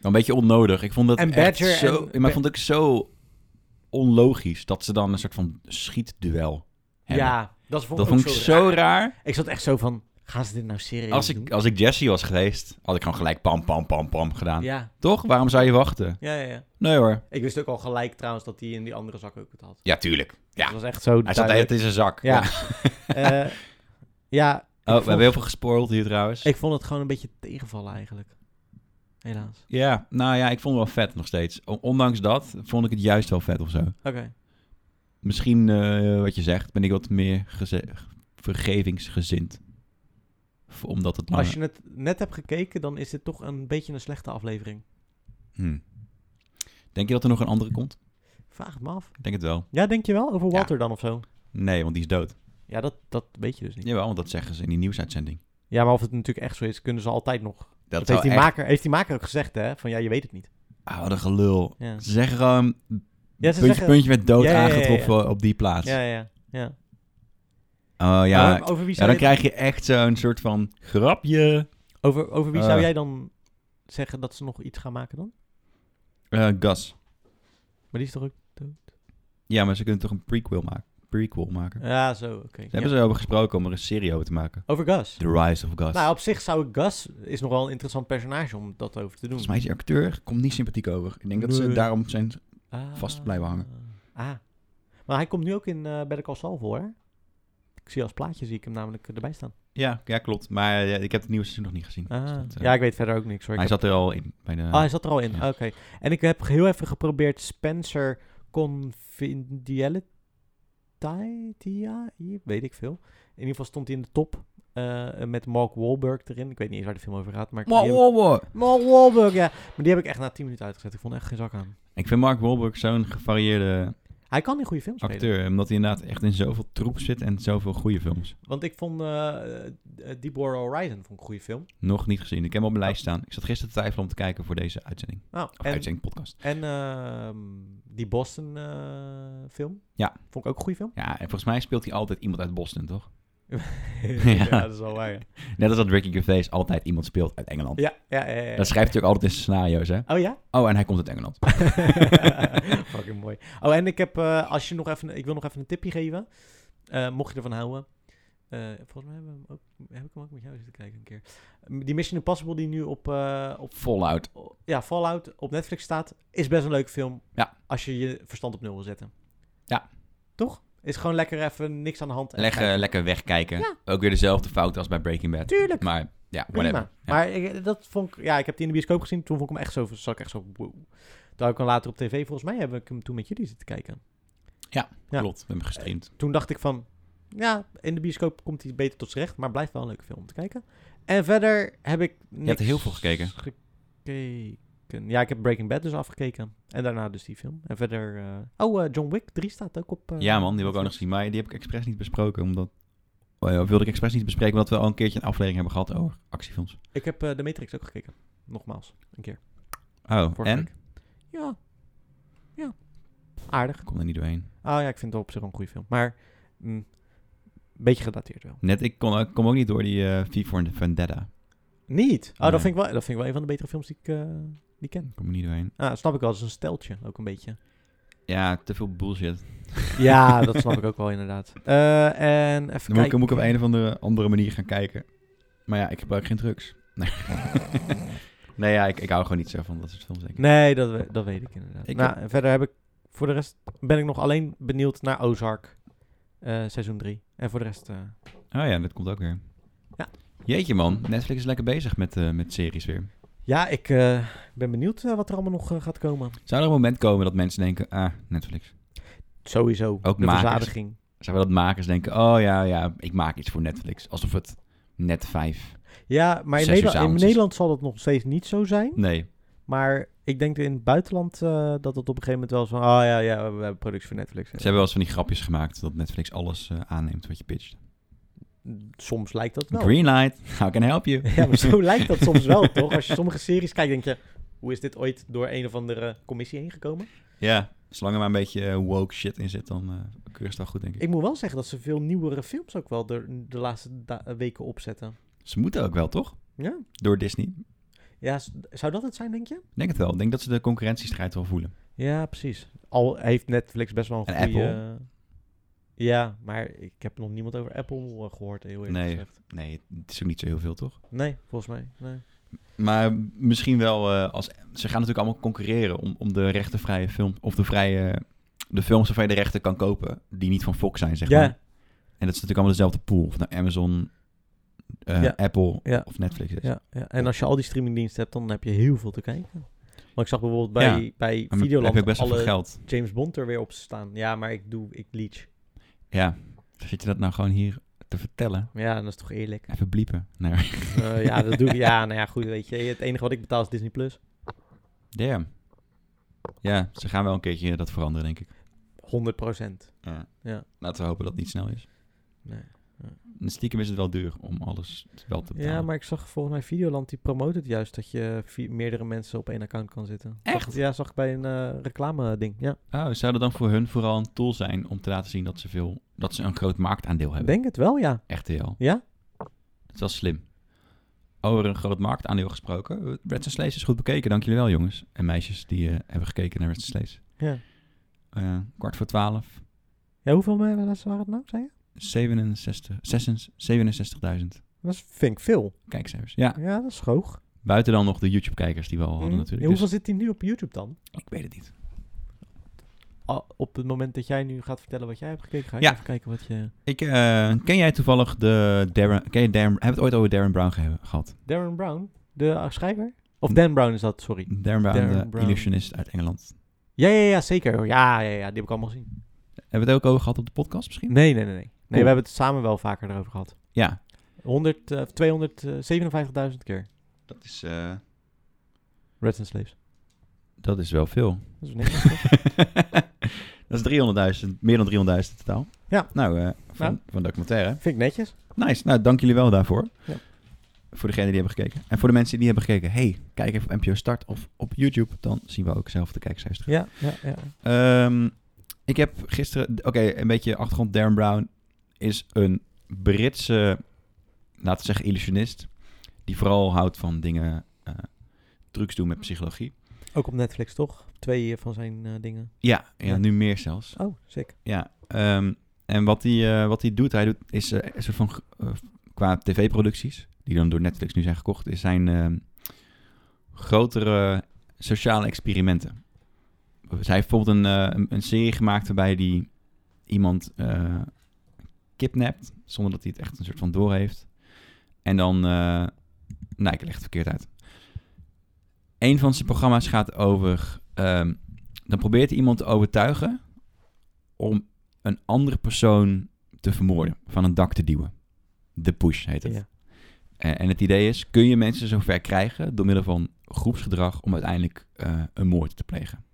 Speaker 2: Een beetje onnodig. Ik vond dat
Speaker 1: En
Speaker 2: echt
Speaker 1: Badger
Speaker 2: zo...
Speaker 1: en-
Speaker 2: Maar ik vond het ook zo onlogisch dat ze dan een soort van schietduel hebben.
Speaker 1: ja, dat vond,
Speaker 2: Dat
Speaker 1: ik ook
Speaker 2: vond ik zo raar.
Speaker 1: Ik zat echt zo van, gaan ze dit nou serieus
Speaker 2: Als
Speaker 1: doen?
Speaker 2: ik, als ik Jesse was geweest, had ik gewoon gelijk pam, pam, pam, pam gedaan.
Speaker 1: Ja.
Speaker 2: Toch? Waarom zou je wachten?
Speaker 1: Ja, ja, ja.
Speaker 2: Nee hoor.
Speaker 1: Ik wist ook al gelijk trouwens dat hij in die andere zak ook het had.
Speaker 2: Ja, tuurlijk. Ja.
Speaker 1: Dat was echt zo
Speaker 2: Hij zat de hele
Speaker 1: duidelijk.
Speaker 2: tijd in zijn zak.
Speaker 1: Ja. Oh, Eh, ja, ik
Speaker 2: Oh,
Speaker 1: vond-
Speaker 2: we hebben heel veel gespoild hier trouwens.
Speaker 1: ik vond het gewoon een beetje tegenvallen eigenlijk. Helaas.
Speaker 2: Ja, nou ja, ik vond het wel vet nog steeds. O- Ondanks dat vond ik het juist wel vet of zo.
Speaker 1: Oké.
Speaker 2: Misschien, eh, wat je zegt, ben ik wat meer geze- vergevingsgezind. V- Omdat het langer...
Speaker 1: Als je het net hebt gekeken, dan is dit toch een beetje een slechte aflevering.
Speaker 2: Hm. Denk je dat er nog een andere komt?
Speaker 1: Vraag het me af.
Speaker 2: Ik denk het wel.
Speaker 1: Ja, denk je wel? Over
Speaker 2: Ja.
Speaker 1: Walter dan of zo?
Speaker 2: Nee, want die is dood.
Speaker 1: Ja, dat, dat weet je dus niet.
Speaker 2: Jawel, want dat zeggen ze in die nieuwsuitzending.
Speaker 1: Ja, maar of het natuurlijk echt zo is, kunnen ze altijd nog. Dat,
Speaker 2: Dat,
Speaker 1: heeft,
Speaker 2: zou
Speaker 1: die
Speaker 2: echt...
Speaker 1: maker, heeft die maker ook gezegd, hè? Van ja, je weet het niet.
Speaker 2: Ah, wat een gelul.
Speaker 1: Ja.
Speaker 2: Ze zeggen gewoon,
Speaker 1: Ja, ze
Speaker 2: puntje,
Speaker 1: zeggen-
Speaker 2: puntje werd dood
Speaker 1: Ja, ja, ja, ja, ja.
Speaker 2: aangetroffen op die plaats.
Speaker 1: Ja, ja, ja.
Speaker 2: Oh ja,
Speaker 1: Maar over wie
Speaker 2: ja
Speaker 1: zou,
Speaker 2: dan
Speaker 1: je,
Speaker 2: krijg je echt zo'n soort van grapje.
Speaker 1: over, over wie zou
Speaker 2: Eh.
Speaker 1: jij dan zeggen dat ze nog iets gaan maken dan?
Speaker 2: Eh, Gas.
Speaker 1: Maar die is toch ook...
Speaker 2: Ja, maar ze kunnen toch een prequel maken? Prequel maken.
Speaker 1: Ja, zo, oké.
Speaker 2: Ze hebben
Speaker 1: Ja.
Speaker 2: ze over gesproken om er een serie over te maken.
Speaker 1: Over Gus.
Speaker 2: The Rise of Gus.
Speaker 1: Nou, op zich zou ik Gus... is nog wel een interessant personage om dat over te doen.
Speaker 2: Volgens mij is die acteur komt niet sympathiek over. Ik denk dat ze
Speaker 1: Nee.
Speaker 2: daarom zijn...
Speaker 1: Ah.
Speaker 2: vast blijven hangen.
Speaker 1: Ah. Maar hij komt nu ook in eh Better Call Saul voor, hè? Ik zie als plaatje, zie ik hem namelijk erbij staan.
Speaker 2: Ja, ja klopt. Maar eh, ik heb het nieuwe seizoen nog niet gezien. Dus dat, eh,
Speaker 1: Ah. ja, ik weet verder ook niks hoor. Ik
Speaker 2: hij
Speaker 1: heb-
Speaker 2: zat er al in. Bij de...
Speaker 1: Ah, hij zat er al in.
Speaker 2: ja.
Speaker 1: Oké. En ik heb heel even geprobeerd Spencer Confidiality, weet ik veel. In ieder geval stond hij in de top eh, met Mark Wahlberg erin. Ik weet niet eens waar de film over gaat, maar... die heb ik- Mark Wahlberg, ja. Maar die heb ik echt na 10 minuten uitgezet. Ik vond echt geen zak aan.
Speaker 2: Ik vind Mark Wahlberg zo'n gevarieerde
Speaker 1: Hij kan in goede films spelen.
Speaker 2: acteur. Omdat hij inderdaad echt in zoveel troep zit en zoveel goede films.
Speaker 1: Want ik vond eh eh, Deepwater Horizon vond ik een goede film.
Speaker 2: Nog niet gezien. Ik heb hem op mijn lijst staan. Ik zat gisteren te twijfelen om te kijken voor deze uitzending.
Speaker 1: Nou,
Speaker 2: Of
Speaker 1: en,
Speaker 2: uitzending podcast.
Speaker 1: en ehm, die Boston eh, film.
Speaker 2: Ja.
Speaker 1: Vond ik ook een goede film.
Speaker 2: Ja, en volgens mij speelt hij altijd iemand uit Boston, toch?
Speaker 1: ja. dat is wel waar. Ja,
Speaker 2: Net als dat Ricky Gervais altijd iemand speelt uit Engeland.
Speaker 1: ja, ja. ja, ja.
Speaker 2: Dat schrijft hij ook altijd in zijn scenario's, hè?
Speaker 1: Oh ja?
Speaker 2: Oh, en hij komt uit Engeland.
Speaker 1: Fucking mooi. Oh, en ik heb, eh, als je nog even, ik wil nog even een tipje geven. Eh, mocht je ervan houden. Eh, volgens mij hebben we hem ook, heb ik hem ook met jou zitten kijken een keer. Die Mission Impossible die nu op, eh, op
Speaker 2: Fallout.
Speaker 1: ja, Fallout op Netflix staat, is best een leuke film.
Speaker 2: Ja.
Speaker 1: Als je je verstand op nul wil zetten.
Speaker 2: Ja.
Speaker 1: Toch? Is gewoon lekker even niks aan de hand. en
Speaker 2: Leggen,
Speaker 1: kijken.
Speaker 2: lekker wegkijken.
Speaker 1: Ja.
Speaker 2: Ook weer dezelfde fout als bij Breaking Bad.
Speaker 1: Tuurlijk.
Speaker 2: Maar ja,
Speaker 1: Prima.
Speaker 2: whatever. Ja.
Speaker 1: Maar ik, dat vond ik, ja, ik heb die in de bioscoop gezien. Toen vond ik hem echt zo, zat ik echt zo, wow. Daar heb ik hem later op tv, volgens mij heb ik hem toen met jullie zitten kijken. ja.
Speaker 2: Klopt, we hebben gestreamd.
Speaker 1: Toen dacht ik van, ja, in de bioscoop komt hij beter tot z'n recht, maar blijft wel een leuke film om te kijken. En verder heb ik niks
Speaker 2: hebt heel veel gekeken.
Speaker 1: gekeken. Ja, ik heb Breaking Bad dus afgekeken. En daarna dus die film. En verder... eh, oh, eh, John Wick 3 staat ook op... eh,
Speaker 2: Ja man, die wil ik ook nog zien. Maar die heb ik expres niet besproken, omdat... Oh ja, wilde ik expres niet bespreken, omdat we al een keertje een aflevering hebben gehad over actiefilms.
Speaker 1: Ik heb eh, The Matrix ook gekeken. Nogmaals, een keer.
Speaker 2: Oh,
Speaker 1: Vorige
Speaker 2: en?
Speaker 1: week. Ja. Ja. Aardig.
Speaker 2: Ik kom er niet doorheen.
Speaker 1: Ah ja, ik vind het op zich wel een goede film. Maar... mm, beetje gedateerd wel.
Speaker 2: Net, ik kon, ik kom ook niet door die eh V for Vendetta.
Speaker 1: Niet? Oh, dat,
Speaker 2: Nee.
Speaker 1: vind ik wel, dat vind ik wel een van de betere films die ik, eh, die ik ken.
Speaker 2: Ik kom er niet doorheen.
Speaker 1: Ah, dat snap ik wel. Dat is een steltje ook een beetje.
Speaker 2: Ja, te veel bullshit.
Speaker 1: Ja, dat snap ik ook wel inderdaad. Eh, en even
Speaker 2: Dan moet ik,
Speaker 1: kijken.
Speaker 2: moet ik op een of andere, andere manier gaan kijken. Maar ja, ik gebruik geen drugs. Nee, nee ja, ik, ik hou gewoon niet zo van dat soort films, denk ik.
Speaker 1: Nee, dat, we- dat weet ik inderdaad.
Speaker 2: Ik
Speaker 1: nou, en Verder heb ik... Voor de rest ben ik nog alleen benieuwd naar Ozark. eh, seizoen 3. En voor de rest... eh,
Speaker 2: Oh ja, dat komt ook weer.
Speaker 1: Ja.
Speaker 2: Jeetje man, Netflix is lekker bezig met, eh, met series weer.
Speaker 1: ja, ik eh, ben benieuwd eh, wat er allemaal nog eh, gaat komen.
Speaker 2: Zou er een moment komen dat mensen denken, ah, Netflix.
Speaker 1: Sowieso.
Speaker 2: Ook
Speaker 1: de
Speaker 2: makers.
Speaker 1: verzadiging.
Speaker 2: Zou we dat makers denken, oh ja, ja, ik maak iets voor Netflix. Alsof het net vijf.
Speaker 1: Ja, maar in,
Speaker 2: Zes uur
Speaker 1: Nederland, in
Speaker 2: s'avonds is-
Speaker 1: Nederland zal dat nog steeds niet zo zijn.
Speaker 2: Nee,
Speaker 1: Maar ik denk in het buitenland eh, dat het op een gegeven moment wel is van... Oh ja, ja, we hebben productie voor Netflix.
Speaker 2: ze hebben wel eens van die grapjes gemaakt dat Netflix alles eh, aanneemt wat je pitcht.
Speaker 1: Soms lijkt dat wel.
Speaker 2: Greenlight, how can I help you?
Speaker 1: Ja, maar zo lijkt dat soms wel, toch? Als je sommige series kijkt, denk je... Hoe is dit ooit door een of andere commissie heen gekomen?
Speaker 2: Ja, zolang er maar een beetje eh, woke shit in zit, dan eh keur je het wel goed, denk ik.
Speaker 1: Ik moet wel zeggen dat ze veel nieuwere films ook wel de, de laatste da- weken opzetten.
Speaker 2: Ze moeten ook wel, toch?
Speaker 1: Ja.
Speaker 2: Door Disney.
Speaker 1: Ja, s- zou dat het zijn, denk je?
Speaker 2: Ik denk het wel. Ik denk dat ze de concurrentiestrijd wel voelen.
Speaker 1: Ja, precies. Al heeft Netflix best wel een
Speaker 2: En
Speaker 1: goede... eh,
Speaker 2: Apple?
Speaker 1: Ja, maar ik heb nog niemand over Apple eh, gehoord, heel eerlijk
Speaker 2: Nee.
Speaker 1: gezegd.
Speaker 2: Nee, het is ook niet zo heel veel, toch?
Speaker 1: Nee, volgens mij. Nee.
Speaker 2: Maar misschien wel eh, als. Ze gaan natuurlijk allemaal concurreren om, om de rechtenvrije film. Of de vrije. De films waarvan je de rechten kan kopen. Die niet van Fox zijn, zeg
Speaker 1: Ja.
Speaker 2: maar. En dat is natuurlijk allemaal dezelfde pool. Of naar Amazon, eh,
Speaker 1: Ja.
Speaker 2: Apple
Speaker 1: Ja.
Speaker 2: of Netflix is.
Speaker 1: Ja, ja, en als je al die streamingdiensten hebt, dan heb je heel veel te kijken. Maar ik zag bijvoorbeeld bij, bij
Speaker 2: Maar dan heb
Speaker 1: Videoland
Speaker 2: ik best wel veel
Speaker 1: alle
Speaker 2: geld.
Speaker 1: James Bond er weer op staan. Ja, maar ik doe, ik leech.
Speaker 2: Ja. Zit je dat nou gewoon hier te vertellen?
Speaker 1: Ja, dat is toch eerlijk.
Speaker 2: Even bliepen. Nee.
Speaker 1: Eh, ja, dat doe ik. Ja, nou ja, goed, weet je. Het enige wat ik betaal is Disney+. Plus.
Speaker 2: Damn. Ja, ze gaan wel een keertje dat veranderen, denk ik.
Speaker 1: 100 procent.
Speaker 2: Ja.
Speaker 1: Ja.
Speaker 2: Laten we hopen dat het niet snel is.
Speaker 1: Nee.
Speaker 2: stiekem is het wel duur om alles wel te betalen.
Speaker 1: Ja, maar ik zag volgens mij Videoland, die promoot het juist dat je vi- meerdere mensen op één account kan zitten. Zag
Speaker 2: Echt?
Speaker 1: het- ja, zag ik bij een eh, reclame ding. Ja,
Speaker 2: Oh, zou dat dan voor hun vooral een tool zijn om te laten zien dat ze, veel, dat ze een groot marktaandeel hebben?
Speaker 1: denk het wel, ja.
Speaker 2: RTL.
Speaker 1: Ja?
Speaker 2: Dat is wel slim. Over een groot marktaandeel gesproken. eh, Reds Slays is goed bekeken. Dank jullie wel, jongens en meisjes die eh, hebben gekeken naar Reds Slays.
Speaker 1: Ja.
Speaker 2: Eh, kwart voor twaalf.
Speaker 1: Ja, hoeveel mensen waren het nou, zei je?
Speaker 2: 67 zesens- 67.000
Speaker 1: Dat is- vind ik veel.
Speaker 2: kijkcijfers. Ja,
Speaker 1: Ja, dat is hoog.
Speaker 2: buiten dan nog de YouTube-kijkers die we al hadden
Speaker 1: Mm. Ja,
Speaker 2: natuurlijk.
Speaker 1: hoeveel
Speaker 2: Dus
Speaker 1: zit die nu op YouTube dan?
Speaker 2: ik weet het niet.
Speaker 1: Ah, op het moment dat jij nu gaat vertellen wat jij hebt gekeken, ga ik
Speaker 2: Ja.
Speaker 1: even kijken wat je...
Speaker 2: Ik, eh, ken jij toevallig de Darren... Ken je Darren... Hebben we het ooit over Darren Brown gehe- gehad?
Speaker 1: Darren Brown, de eh, schrijver? Of
Speaker 2: Hm.
Speaker 1: Dan Brown is dat, sorry.
Speaker 2: Darren Brown,
Speaker 1: Darren
Speaker 2: de
Speaker 1: Brown.
Speaker 2: illusionist uit Engeland.
Speaker 1: Ja, ja, ja, zeker. Ja, ja, ja, die heb ik allemaal gezien.
Speaker 2: Hebben we het ook over gehad op de podcast misschien?
Speaker 1: Nee, nee, nee. Nee, nee we
Speaker 2: Cool.
Speaker 1: hebben het samen wel vaker erover gehad.
Speaker 2: Ja,
Speaker 1: 100, eh, 257.000 keer.
Speaker 2: dat is, eh,
Speaker 1: Reds and Slaves.
Speaker 2: dat is wel veel.
Speaker 1: Dat is niks. toch?
Speaker 2: dat is 300.000, meer dan 300.000 in totaal.
Speaker 1: Ja.
Speaker 2: Nou, eh, van,
Speaker 1: Nou.
Speaker 2: van documentaire.
Speaker 1: Vind ik netjes.
Speaker 2: Nice. Nou, dank jullie wel daarvoor.
Speaker 1: Ja.
Speaker 2: Voor degenen die hebben gekeken. En voor de mensen die niet hebben gekeken. Hey, kijk even op NPO Start of op YouTube. Dan zien we ook zelf de kijkcijfers terug.
Speaker 1: Ja, ja, ja.
Speaker 2: Ehm, ik heb gisteren... Oké, een beetje achtergrond. Darren Brown is een Britse, laten we zeggen, illusionist. Die vooral houdt van dingen, eh, trucs doen met psychologie.
Speaker 1: Ook op Netflix, toch? Twee eh, van zijn eh, dingen.
Speaker 2: Ja, ja,
Speaker 1: Ja.
Speaker 2: nu meer zelfs.
Speaker 1: Oh, sick.
Speaker 2: Ja, ehm, en wat hij, eh, wat hij doet, hij doet, is eh, een soort van, eh, qua tv-producties, die dan door Netflix nu zijn gekocht, is zijn ehm, grotere sociale experimenten. Dus hij heeft bijvoorbeeld een, eh, een, een serie gemaakt waarbij hij iemand eh kidnapt, zonder dat hij het echt een soort van door heeft. En dan, eh nee, ik leg het verkeerd uit. Een van zijn programma's gaat over, ehm, dan probeert hij iemand te overtuigen om een andere persoon te vermoorden, van een dak te duwen. De push heet het.
Speaker 1: Ja.
Speaker 2: Eh, En, en het idee is, kun je mensen zover krijgen door middel van groepsgedrag om uiteindelijk eh, een moord te plegen.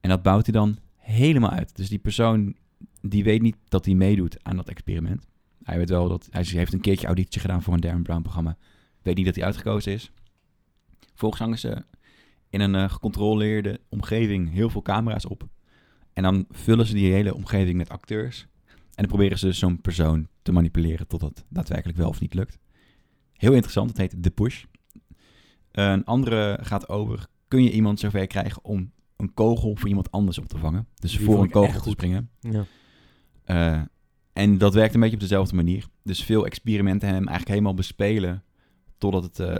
Speaker 2: En dat bouwt hij dan helemaal uit. Dus die persoon, die weet niet dat hij meedoet aan dat experiment. Hij weet wel dat, hij heeft een keertje auditie gedaan voor een Darren Brown programma. Weet niet dat hij uitgekozen is. Volgens hangen ze in een eh, gecontroleerde omgeving heel veel camera's op. En dan vullen ze die hele omgeving met acteurs. En dan proberen ze dus zo'n persoon te manipuleren tot dat daadwerkelijk wel of niet lukt. Heel interessant, het heet The Push. Een andere gaat over, kun je iemand zover krijgen om een kogel voor iemand anders op te vangen? Dus
Speaker 1: Die
Speaker 2: voor
Speaker 1: vond
Speaker 2: een
Speaker 1: ik echt
Speaker 2: kogel te
Speaker 1: goed.
Speaker 2: springen.
Speaker 1: Ja.
Speaker 2: Eh, en dat werkt een beetje op dezelfde manier. Dus veel experimenten hem eigenlijk helemaal bespelen. Totdat het eh,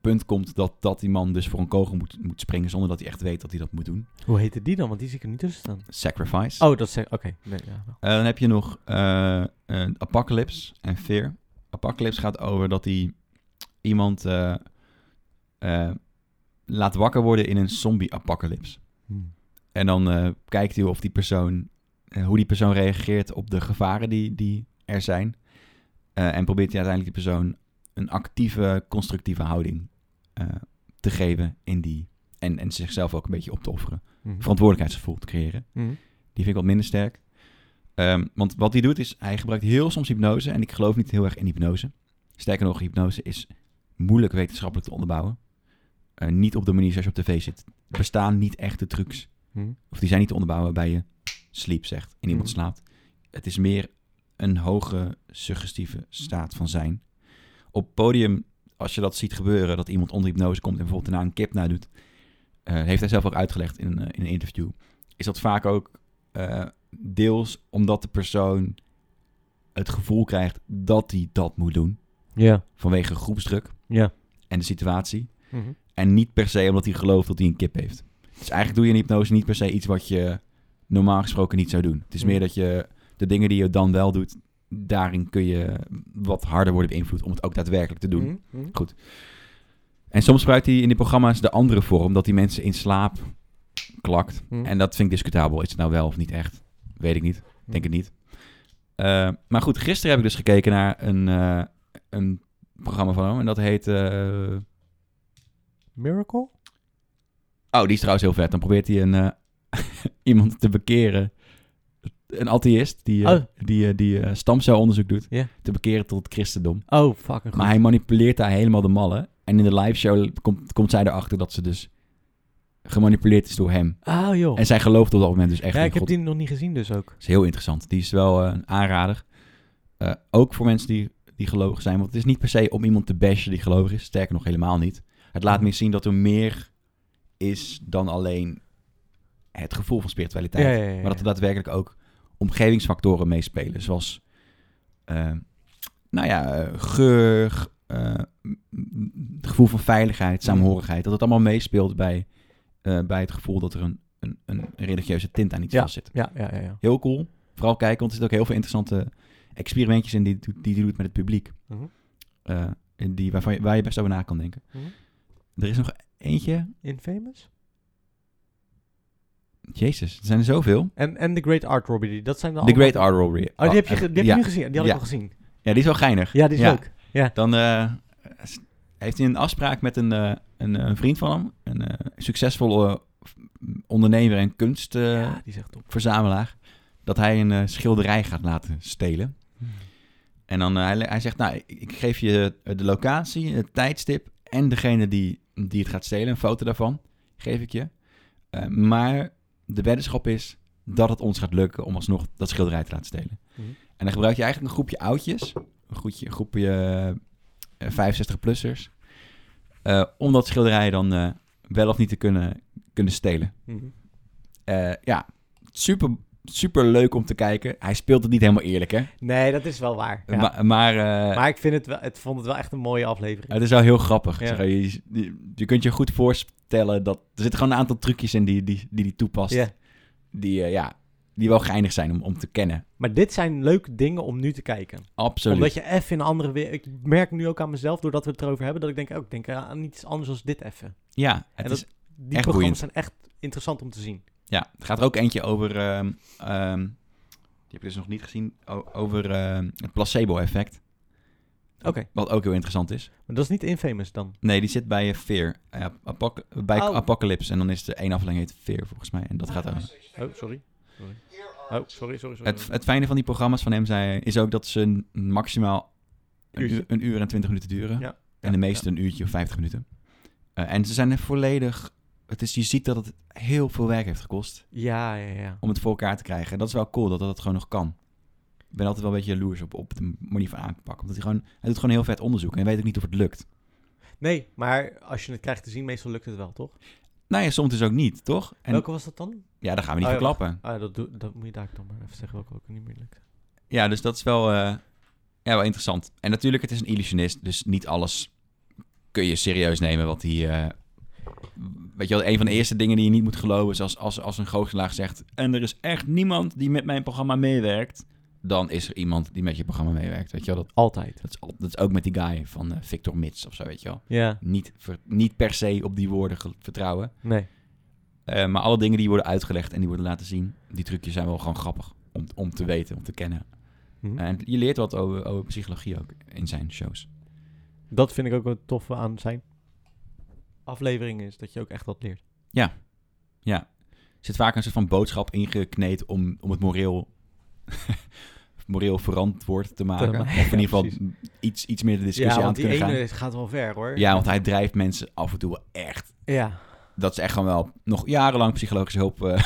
Speaker 2: punt komt dat, dat die man dus voor een kogel moet, moet springen. zonder dat hij echt weet dat hij dat moet doen.
Speaker 1: Hoe heette die dan? Want die zie ik er niet tussen staan.
Speaker 2: Sacrifice.
Speaker 1: Oh, dat is... Oké. Nee, ja, wel.
Speaker 2: Eh, dan heb je nog eh, eh, Apocalypse en Fear. Apocalypse gaat over dat hij iemand eh, eh, laat wakker worden in een zombie-apocalypse.
Speaker 1: Hmm.
Speaker 2: En dan eh, kijkt hij of die persoon, eh, hoe die persoon reageert op de gevaren die, die er zijn. Eh, en probeert hij uiteindelijk die persoon een actieve, constructieve houding eh, te geven in die. En, en zichzelf ook een beetje op te offeren.
Speaker 1: Mhm.
Speaker 2: Verantwoordelijkheidsgevoel te creëren.
Speaker 1: Mhm.
Speaker 2: Die vind ik wat minder sterk. Ehm, want wat hij doet is, hij gebruikt heel soms hypnose. En ik geloof niet heel erg in hypnose. Sterker nog, hypnose is moeilijk wetenschappelijk te onderbouwen. Eh, niet op de manier zoals je op tv zit. Er bestaan niet echte trucs.
Speaker 1: Mhm.
Speaker 2: Of die zijn niet te onderbouwen waarbij je sleep zegt en iemand
Speaker 1: Mhm.
Speaker 2: slaapt. Het is meer een hoge suggestieve staat van zijn. Op podium, als je dat ziet gebeuren, dat iemand onder hypnose komt en bijvoorbeeld daarna een kip nadoet, eh, heeft hij zelf ook uitgelegd in, een, eh, in een interview, is dat vaak ook eh, deels omdat de persoon het gevoel krijgt dat hij dat moet doen,
Speaker 1: Ja.
Speaker 2: vanwege groepsdruk
Speaker 1: Ja.
Speaker 2: en de situatie.
Speaker 1: Mhm.
Speaker 2: En niet per se omdat hij gelooft dat hij een kip heeft. Dus eigenlijk doe je in hypnose niet per se iets wat je normaal gesproken niet zou doen. Het is
Speaker 1: Hmm.
Speaker 2: meer dat je de dingen die je dan wel doet, daarin kun je wat harder worden beïnvloed om het ook daadwerkelijk te doen.
Speaker 1: Mhm. Mhm.
Speaker 2: En soms gebruikt hij in die programma's de andere vorm, dat hij mensen in slaap klakt.
Speaker 1: Mhm.
Speaker 2: En dat vind ik discutabel. Is het nou wel of niet echt? Weet ik niet.
Speaker 1: Hm.
Speaker 2: Denk het niet. Eh, maar goed, gisteren heb ik dus gekeken naar een, eh, een programma van hem. En dat heet eh,
Speaker 1: Miracle?
Speaker 2: Oh, die is trouwens heel vet. Dan probeert hij een, eh, iemand te bekeren Een atheïst die, eh,
Speaker 1: Oh.
Speaker 2: die, eh, die eh, stamcelonderzoek doet.
Speaker 1: Ja.
Speaker 2: Te bekeren tot het christendom.
Speaker 1: Oh, fucking goed.
Speaker 2: Maar hij manipuleert daar helemaal de mallen. En in de liveshow komt, komt zij erachter dat ze dus gemanipuleerd is door hem.
Speaker 1: Oh, joh.
Speaker 2: En zij gelooft op dat moment dus echt
Speaker 1: Ja,
Speaker 2: in
Speaker 1: ik heb
Speaker 2: God.
Speaker 1: die nog niet gezien dus ook.
Speaker 2: is heel interessant. Die is wel eh, een aanrader. Eh, ook voor mensen die, die gelovig zijn. Want het is niet per se om iemand te bashen die gelovig is. Sterker nog, helemaal niet. Het laat meer zien dat er meer is dan alleen het gevoel van spiritualiteit.
Speaker 1: Ja, ja, ja, ja.
Speaker 2: Maar dat er daadwerkelijk ook omgevingsfactoren meespelen. Zoals, eh, nou ja, eh, geur, eh, m- m- het gevoel van
Speaker 1: Mm.
Speaker 2: veiligheid, saamhorigheid. Dat het allemaal meespeelt bij, eh, bij het gevoel dat er een, een, een religieuze tint aan iets vast zit.
Speaker 1: Ja, ja, ja. ja.
Speaker 2: Heel cool. Vooral kijken, want er zitten ook heel veel interessante experimentjes in die doet- die hij doet met het publiek.
Speaker 1: Mhm.
Speaker 2: Eh, en die, waarvan je, waar je best over na kan denken.
Speaker 1: Mhm.
Speaker 2: Er is nog eentje.
Speaker 1: Infamous?
Speaker 2: Jezus, er zijn er zoveel.
Speaker 1: En, en The Great Art Robbery, dat zijn dan
Speaker 2: The
Speaker 1: allemaal-
Speaker 2: Great Art Robbery.
Speaker 1: Oh, die heb je, ge- die heb je
Speaker 2: ja.
Speaker 1: nu gezien. Die had ik
Speaker 2: Ja.
Speaker 1: al gezien.
Speaker 2: Ja, die is wel geinig.
Speaker 1: Ja, die is leuk. Ja.
Speaker 2: Dan eh, s- heeft hij een afspraak met een, eh, een, eh, een vriend van hem. Een eh, succesvolle eh, ondernemer en eh, kunstverzamelaar.
Speaker 1: ja, die zegt top.
Speaker 2: verzamelaar dat hij een eh, schilderij gaat laten stelen. En dan eh, hij, hij zegt, nou, ik, ik geef je eh, de locatie, het tijdstip en degene die, die het gaat stelen, een foto daarvan, geef ik je. Eh, maar de weddenschap is dat het ons gaat lukken om alsnog dat schilderij te laten stelen.
Speaker 1: Mhm.
Speaker 2: En dan gebruik je eigenlijk een groepje oudjes, een groepje, een groepje eh, 65-plussers, eh, om dat schilderij dan eh, wel of niet te kunnen, kunnen stelen.
Speaker 1: Mhm.
Speaker 2: Eh, ja, super, super leuk om te kijken. Hij speelt het niet helemaal eerlijk, hè?
Speaker 1: Nee, dat is wel waar. Ja.
Speaker 2: Ma- maar eh,
Speaker 1: maar ik vind het wel, het vond het wel echt een mooie aflevering.
Speaker 2: het is wel heel grappig.
Speaker 1: Ja.
Speaker 2: Zeg maar, je, je, je kunt je goed voorstellen dat er zitten gewoon een aantal trucjes in die die, die, die toepast.
Speaker 1: Ja.
Speaker 2: Die, eh, ja, die wel geinig zijn om, om te kennen.
Speaker 1: Maar dit zijn leuke dingen om nu te kijken.
Speaker 2: Absoluut.
Speaker 1: Omdat je even in een andere weer. Ik merk nu ook aan mezelf, doordat we het erover hebben, dat ik denk, ook denk aan iets anders als dit even.
Speaker 2: Ja, het,
Speaker 1: dat-
Speaker 2: is,
Speaker 1: Die
Speaker 2: Echt
Speaker 1: programma's
Speaker 2: boeiend.
Speaker 1: zijn echt interessant om te zien.
Speaker 2: ja, het gaat er ook eentje over... ehm, ehm, die heb ik dus nog niet gezien. o- over ehm, het placebo-effect.
Speaker 1: Oké,
Speaker 2: Wat ook heel interessant is.
Speaker 1: maar dat is niet infamous dan.
Speaker 2: Nee, die zit bij eh, Fear. Eh, apoc- bij
Speaker 1: Oh.
Speaker 2: Apocalypse. En dan is de één aflevering heet Fear, volgens mij. En dat gaat over.
Speaker 1: Oh, sorry. sorry. Oh, sorry, sorry, sorry.
Speaker 2: Het, het fijne van die programma's van hem zijn, is ook dat ze een- maximaal een
Speaker 1: Uurtje.
Speaker 2: uur, een uur en twintig minuten duren.
Speaker 1: Ja.
Speaker 2: En de meeste een uurtje of vijftig minuten. Eh, en ze zijn er volledig... Het is, je ziet dat het heel veel werk heeft gekost
Speaker 1: Ja, ja, ja.
Speaker 2: om het voor elkaar te krijgen. En dat is wel cool, dat dat gewoon nog kan. Ik ben altijd wel een beetje jaloers op, op de manier van aanpak. Omdat hij gewoon... Hij doet gewoon heel vet onderzoek en hij weet ook niet of het lukt.
Speaker 1: Nee, maar als je het krijgt te zien, meestal lukt het wel, toch?
Speaker 2: Nou ja, soms dus ook niet, toch? En
Speaker 1: Welke was dat dan?
Speaker 2: ja, daar gaan we niet
Speaker 1: Oh ja,
Speaker 2: verklappen.
Speaker 1: Ah, dat, doe- dat moet je daar dan maar even zeggen welke ook niet meer lukt.
Speaker 2: Ja, dus dat is wel, eh, ja, wel interessant. En natuurlijk, het is een illusionist, dus niet alles kun je serieus nemen. Want die, eh, weet je wel, een van de eerste dingen die je niet moet geloven is als, als, als een goochelaar zegt... en er is echt niemand die met mijn programma meewerkt, dan is er iemand die met je programma meewerkt. Weet je wel, dat,
Speaker 1: Altijd.
Speaker 2: dat, is, al- dat is ook met die guy van eh, Victor Mits of zo, weet je wel.
Speaker 1: Ja,
Speaker 2: Niet, ver- niet per se op die woorden ge- vertrouwen.
Speaker 1: nee.
Speaker 2: Eh, maar alle dingen die worden uitgelegd en die worden laten zien, die trucjes zijn wel gewoon grappig om, om te weten, om te kennen.
Speaker 1: Mhm.
Speaker 2: En je leert wat over, over psychologie ook in zijn shows.
Speaker 1: Dat vind ik ook wel tof aan zijn aflevering is dat je ook echt wat leert.
Speaker 2: Er zit vaak een soort van boodschap ingekneed om, om het moreel, moreel verantwoord te maken.
Speaker 1: maken,
Speaker 2: Of in
Speaker 1: ja,
Speaker 2: ieder geval
Speaker 1: precies.
Speaker 2: iets, iets meer de discussie
Speaker 1: ja,
Speaker 2: aan
Speaker 1: want
Speaker 2: te
Speaker 1: die
Speaker 2: kunnen
Speaker 1: ene
Speaker 2: gaan.
Speaker 1: gaat wel ver hoor.
Speaker 2: Ja, want hij drijft mensen af en toe wel echt.
Speaker 1: ja.
Speaker 2: Dat ze echt gewoon wel nog jarenlang psychologische hulp... eh,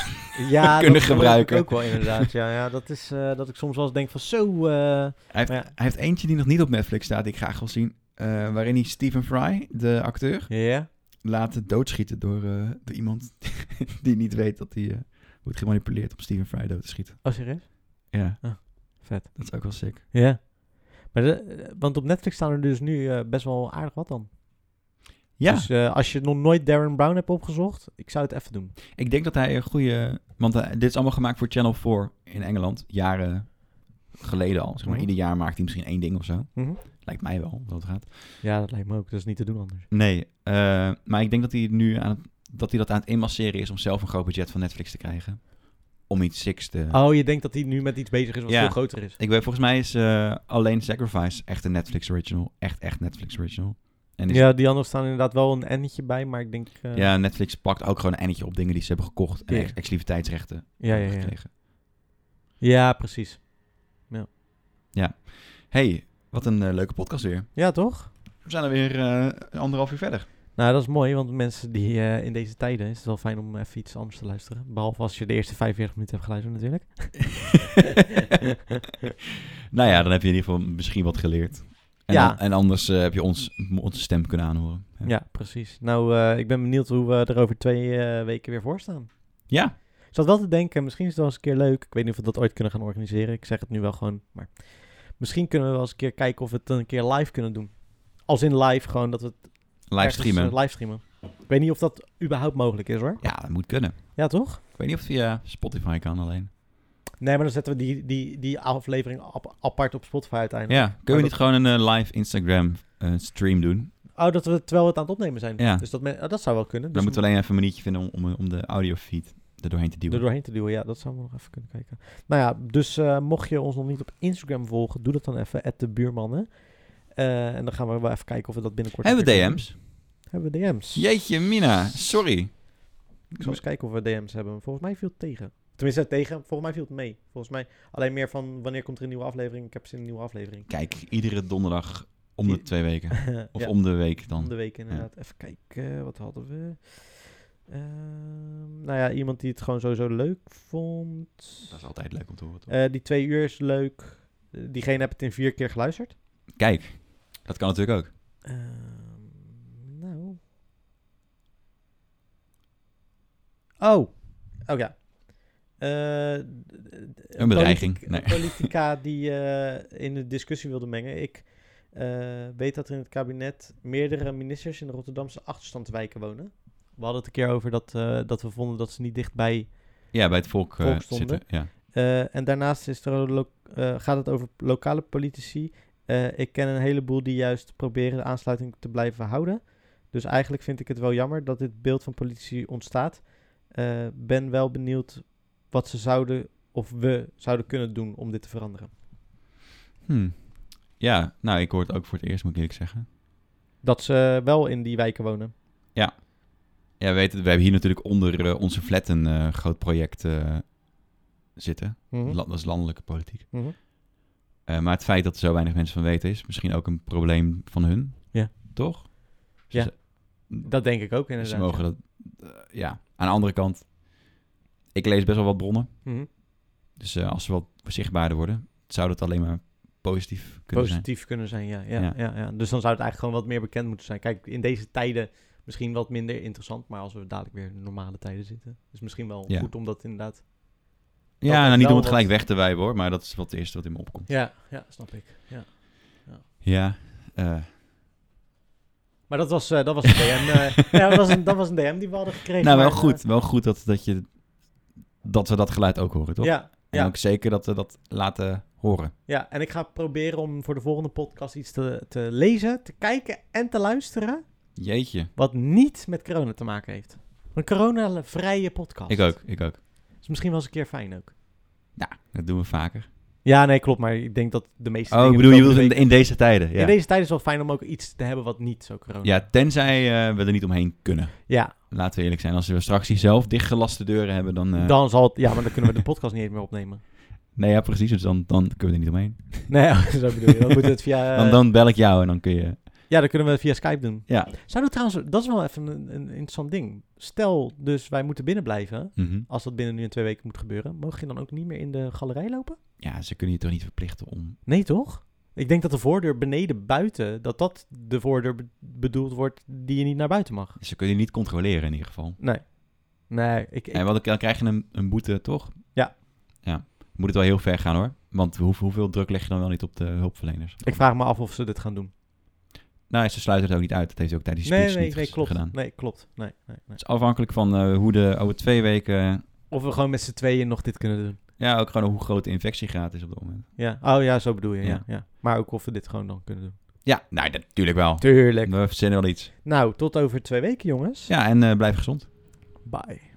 Speaker 1: ja
Speaker 2: Kunnen
Speaker 1: dat geloof
Speaker 2: gebruiken.
Speaker 1: Ik ook wel inderdaad. Ja, ja dat is eh, dat ik soms wel eens denk van zo. eh,
Speaker 2: Hij heeft,
Speaker 1: Maar ja.
Speaker 2: hij heeft eentje die nog niet op Netflix staat, die ik graag wil zien. eh, waarin hij Stephen Fry, de acteur,
Speaker 1: ja.
Speaker 2: laten doodschieten door, eh, door iemand die niet weet dat hij eh, wordt gemanipuleerd om Steven Fry dood te schieten.
Speaker 1: Oh serieus?
Speaker 2: Ja,
Speaker 1: Ah, Vet.
Speaker 2: dat is ook wel sick.
Speaker 1: Ja. Maar de- eh, want op Netflix staan er dus nu eh, best wel aardig wat dan.
Speaker 2: Ja,
Speaker 1: Dus eh, als je nog nooit Darren Brown hebt opgezocht, ik zou het even doen.
Speaker 2: ik denk dat hij een goede... Want eh, dit is allemaal gemaakt voor Channel 4 in Engeland, jaren geleden al. Zeg maar,
Speaker 1: Mhm.
Speaker 2: Ieder jaar maakt hij misschien één ding of zo.
Speaker 1: Mhm.
Speaker 2: Lijkt mij wel, hoe dat gaat.
Speaker 1: Ja, dat lijkt me ook. Dat is niet te doen anders.
Speaker 2: Nee, eh, maar ik denk dat hij nu aan het, dat hij dat aan het inmasseren is om zelf een groot budget van Netflix te krijgen. Om iets sicks te...
Speaker 1: Oh, je denkt dat hij nu met iets bezig is wat
Speaker 2: Ja.
Speaker 1: veel groter is.
Speaker 2: Ik weet, volgens mij is eh, alleen Sacrifice echt een Netflix original. Echt, echt Netflix original. En is
Speaker 1: Ja, die anderen staan inderdaad wel een ennetje bij, maar ik denk... eh,
Speaker 2: Ja, Netflix pakt ook gewoon een eindje op dingen die ze hebben gekocht en
Speaker 1: Ja.
Speaker 2: ex- exclusiviteitsrechten
Speaker 1: ja, ja,
Speaker 2: hebben
Speaker 1: ja.
Speaker 2: gekregen.
Speaker 1: Ja, precies.
Speaker 2: Hey, wat een eh, leuke podcast weer.
Speaker 1: Ja, toch?
Speaker 2: We zijn er weer eh, anderhalf uur verder.
Speaker 1: Nou, dat is mooi, want mensen die eh, in deze tijden is het wel fijn om even iets anders te luisteren. Behalve als je de eerste 45 minuten hebt geluisterd natuurlijk.
Speaker 2: nou ja, dan heb je in ieder geval misschien wat geleerd. En,
Speaker 1: Ja.
Speaker 2: dan- en anders eh, heb je ons, onze stem kunnen aanhoren. Ja.
Speaker 1: Ja, precies. Nou, eh, ik ben benieuwd hoe we er over twee eh, weken weer voor staan.
Speaker 2: Ja,
Speaker 1: Ik zat wel te denken, misschien is het wel eens een keer leuk. Ik weet niet of we dat ooit kunnen gaan organiseren. Ik zeg het nu wel gewoon, maar misschien kunnen we wel eens een keer kijken of we het een keer live kunnen doen. Als in live, gewoon dat we het
Speaker 2: live
Speaker 1: ergens,
Speaker 2: streamen.
Speaker 1: eh, livestreamen. Ik weet niet of dat überhaupt mogelijk is hoor.
Speaker 2: Ja, dat moet kunnen.
Speaker 1: Ja, toch?
Speaker 2: Ik weet niet of het via Spotify kan alleen.
Speaker 1: Nee, maar dan zetten we die, die, die aflevering ap- apart op Spotify uiteindelijk.
Speaker 2: Ja, kunnen we niet gewoon een eh, live Instagram eh, stream doen?
Speaker 1: Oh, dat we terwijl we het aan het opnemen zijn.
Speaker 2: Ja.
Speaker 1: Dus dat, men- oh, dat zou wel kunnen.
Speaker 2: Dan
Speaker 1: Dus
Speaker 2: moeten we alleen even een maniertje vinden om, om, om de audiofeed er doorheen te
Speaker 1: er
Speaker 2: duwen.
Speaker 1: doorheen te duwen. Ja, dat zouden we nog even kunnen kijken. Nou ja, dus eh, mocht je ons nog niet op Instagram volgen, doe dat dan even, at de buurmannen. Eh, en dan gaan we wel even kijken of we dat binnenkort...
Speaker 2: Hebben we
Speaker 1: weer kunnen
Speaker 2: DM's?
Speaker 1: doen. Hebben we DM's.
Speaker 2: Jeetje, Mina, sorry.
Speaker 1: Ik zal eens kijken of we DM's hebben. Volgens mij viel het tegen. Tenminste, tegen. Volgens mij viel het mee. Volgens mij alleen meer van wanneer komt er een nieuwe aflevering. Ik heb zin in een nieuwe aflevering.
Speaker 2: Kijk, iedere donderdag om de
Speaker 1: Die-
Speaker 2: twee weken. Of
Speaker 1: Ja,
Speaker 2: om de week
Speaker 1: om
Speaker 2: dan.
Speaker 1: de week inderdaad. Even kijken, wat hadden we? Ehm, nou ja, iemand die het gewoon sowieso leuk vond.
Speaker 2: Dat is altijd leuk om te horen. toch?
Speaker 1: Eh, die twee uur is leuk. Eh, diegene heb het in vier keer geluisterd.
Speaker 2: Kijk, dat kan natuurlijk ook.
Speaker 1: Ehm, nou. Oh. Oh ja. Eh, d- d- d-
Speaker 2: Een bedreiging.
Speaker 1: politica-
Speaker 2: Nee.
Speaker 1: een politica die eh, in de discussie wilde mengen. Ik eh, weet dat er in het kabinet meerdere ministers in de Rotterdamse achterstandswijken wonen. We hadden het een keer over dat, eh, dat we vonden dat ze niet dichtbij.
Speaker 2: Ja, bij het volk, eh,
Speaker 1: Volk stonden.
Speaker 2: zitten. Ja.
Speaker 1: Eh, en daarnaast is er een lo- eh, gaat het over lokale politici. Eh, ik ken een heleboel die juist proberen de aansluiting te blijven houden. Dus eigenlijk vind ik het wel jammer dat dit beeld van politici ontstaat. Eh, ben wel benieuwd wat ze zouden of we zouden kunnen doen om dit te veranderen.
Speaker 2: Hm. ja, nou, ik hoor het ook voor het eerst, moet ik eerlijk zeggen.
Speaker 1: Dat ze wel in die wijken wonen.
Speaker 2: Ja, we, weten, we hebben hier natuurlijk onder eh, onze flat een eh, groot project eh, zitten.
Speaker 1: Mhm.
Speaker 2: La- Dat is landelijke politiek.
Speaker 1: Mhm.
Speaker 2: Eh, maar het feit dat er zo weinig mensen van weten is misschien ook een probleem van hun.
Speaker 1: Ja.
Speaker 2: Toch?
Speaker 1: Ja,
Speaker 2: ze,
Speaker 1: Dat denk ik ook inderdaad.
Speaker 2: ze mogen dat... eh, ja, aan de andere kant, ik lees best wel wat bronnen.
Speaker 1: ja. Mhm.
Speaker 2: Dus eh, als ze wat zichtbaarder worden, zou dat alleen maar positief kunnen zijn.
Speaker 1: Positief kunnen zijn, ja. Ja, ja.
Speaker 2: Ja.
Speaker 1: Ja, Dus dan zou het eigenlijk gewoon wat meer bekend moeten zijn. Kijk, in deze tijden misschien wat minder interessant, maar als we dadelijk weer in normale tijden zitten, is misschien wel
Speaker 2: Ja.
Speaker 1: goed om dat inderdaad
Speaker 2: Ja,
Speaker 1: Dat
Speaker 2: nou,
Speaker 1: het
Speaker 2: niet om
Speaker 1: wel
Speaker 2: het gelijk
Speaker 1: wat-
Speaker 2: weg te wijven hoor, maar dat is wat het eerste wat in me opkomt.
Speaker 1: Ja, ja, snap ik. Ja.
Speaker 2: Ja, eh,
Speaker 1: Maar dat was, eh, dat was een DM. eh, ja, dat, was een, dat was een DM die we hadden gekregen.
Speaker 2: nou wel
Speaker 1: maar,
Speaker 2: goed,
Speaker 1: eh,
Speaker 2: wel goed dat, dat, je, dat we dat geluid ook horen, toch?
Speaker 1: ja,
Speaker 2: en
Speaker 1: ja.
Speaker 2: ook zeker dat we dat laten horen.
Speaker 1: ja, en ik ga proberen om voor de volgende podcast iets te, te lezen, te kijken en te luisteren.
Speaker 2: Jeetje,
Speaker 1: Wat niet met corona te maken heeft. Een corona-vrije podcast.
Speaker 2: ik ook, ik ook.
Speaker 1: Is misschien wel eens een keer fijn ook.
Speaker 2: Nou, dat doen we vaker.
Speaker 1: Ja, nee, klopt. Maar ik denk dat de meeste
Speaker 2: Oh,
Speaker 1: dingen
Speaker 2: ik bedoel, je
Speaker 1: komende
Speaker 2: wilt in,
Speaker 1: week-
Speaker 2: in deze tijden, ja.
Speaker 1: dus In deze tijd is het wel fijn om ook iets te hebben wat niet zo corona
Speaker 2: Ja, tenzij eh, we er niet omheen kunnen.
Speaker 1: Ja,
Speaker 2: Laten we eerlijk zijn, als we straks hier zelf dichtgelaste deuren hebben, dan... eh,
Speaker 1: dan zal het... Ja, maar dan kunnen we de podcast niet eens meer opnemen.
Speaker 2: Nee, ja, precies, dus dan, dan kunnen we er niet omheen.
Speaker 1: Nee, oh, zo bedoel je. Dan moeten we het via... eh,
Speaker 2: dan, dan bel ik jou en dan kun je...
Speaker 1: Ja, dan kunnen we het via Skype doen.
Speaker 2: Ja.
Speaker 1: Zouden we trouwens, dat is wel even een, een interessant ding. Stel dus, wij moeten binnen blijven.
Speaker 2: Mhm.
Speaker 1: Als dat binnen nu in twee weken moet gebeuren, mogen je dan ook niet meer in de galerij lopen?
Speaker 2: Ja, ze kunnen je toch niet verplichten om...
Speaker 1: Nee, toch? Ik denk dat de voordeur beneden buiten, dat dat de voordeur be- bedoeld wordt die je niet naar buiten mag.
Speaker 2: Ze kunnen je niet controleren in ieder geval.
Speaker 1: Nee. Nee, ik, ik-
Speaker 2: En wat, dan krijg je een, een boete, toch?
Speaker 1: Ja.
Speaker 2: Ja. Moet het wel heel ver gaan, hoor. Want hoe, hoeveel druk leg je dan wel niet op de hulpverleners?
Speaker 1: ik vraag me af of ze dit gaan doen.
Speaker 2: Nou, ze sluiten het ook niet uit. Dat heeft ze ook tijdens die
Speaker 1: Nee,
Speaker 2: speech
Speaker 1: nee,
Speaker 2: niet
Speaker 1: nee,
Speaker 2: ges-
Speaker 1: klopt.
Speaker 2: gedaan.
Speaker 1: Nee, klopt. Nee, nee, nee.
Speaker 2: Het is afhankelijk van eh, hoe de over twee weken...
Speaker 1: Of we gewoon met z'n tweeën nog dit kunnen doen.
Speaker 2: Ja, ook gewoon hoe groot de infectiegraad is op dat moment.
Speaker 1: Ja. Oh ja, zo bedoel je. Ja.
Speaker 2: Ja.
Speaker 1: Ja. Maar ook of we dit gewoon dan kunnen doen.
Speaker 2: Ja, nou, dat- natuurlijk wel.
Speaker 1: Tuurlijk.
Speaker 2: We verzinnen wel iets.
Speaker 1: Nou, tot over twee weken, jongens.
Speaker 2: Ja, en eh, blijf gezond.
Speaker 1: Bye.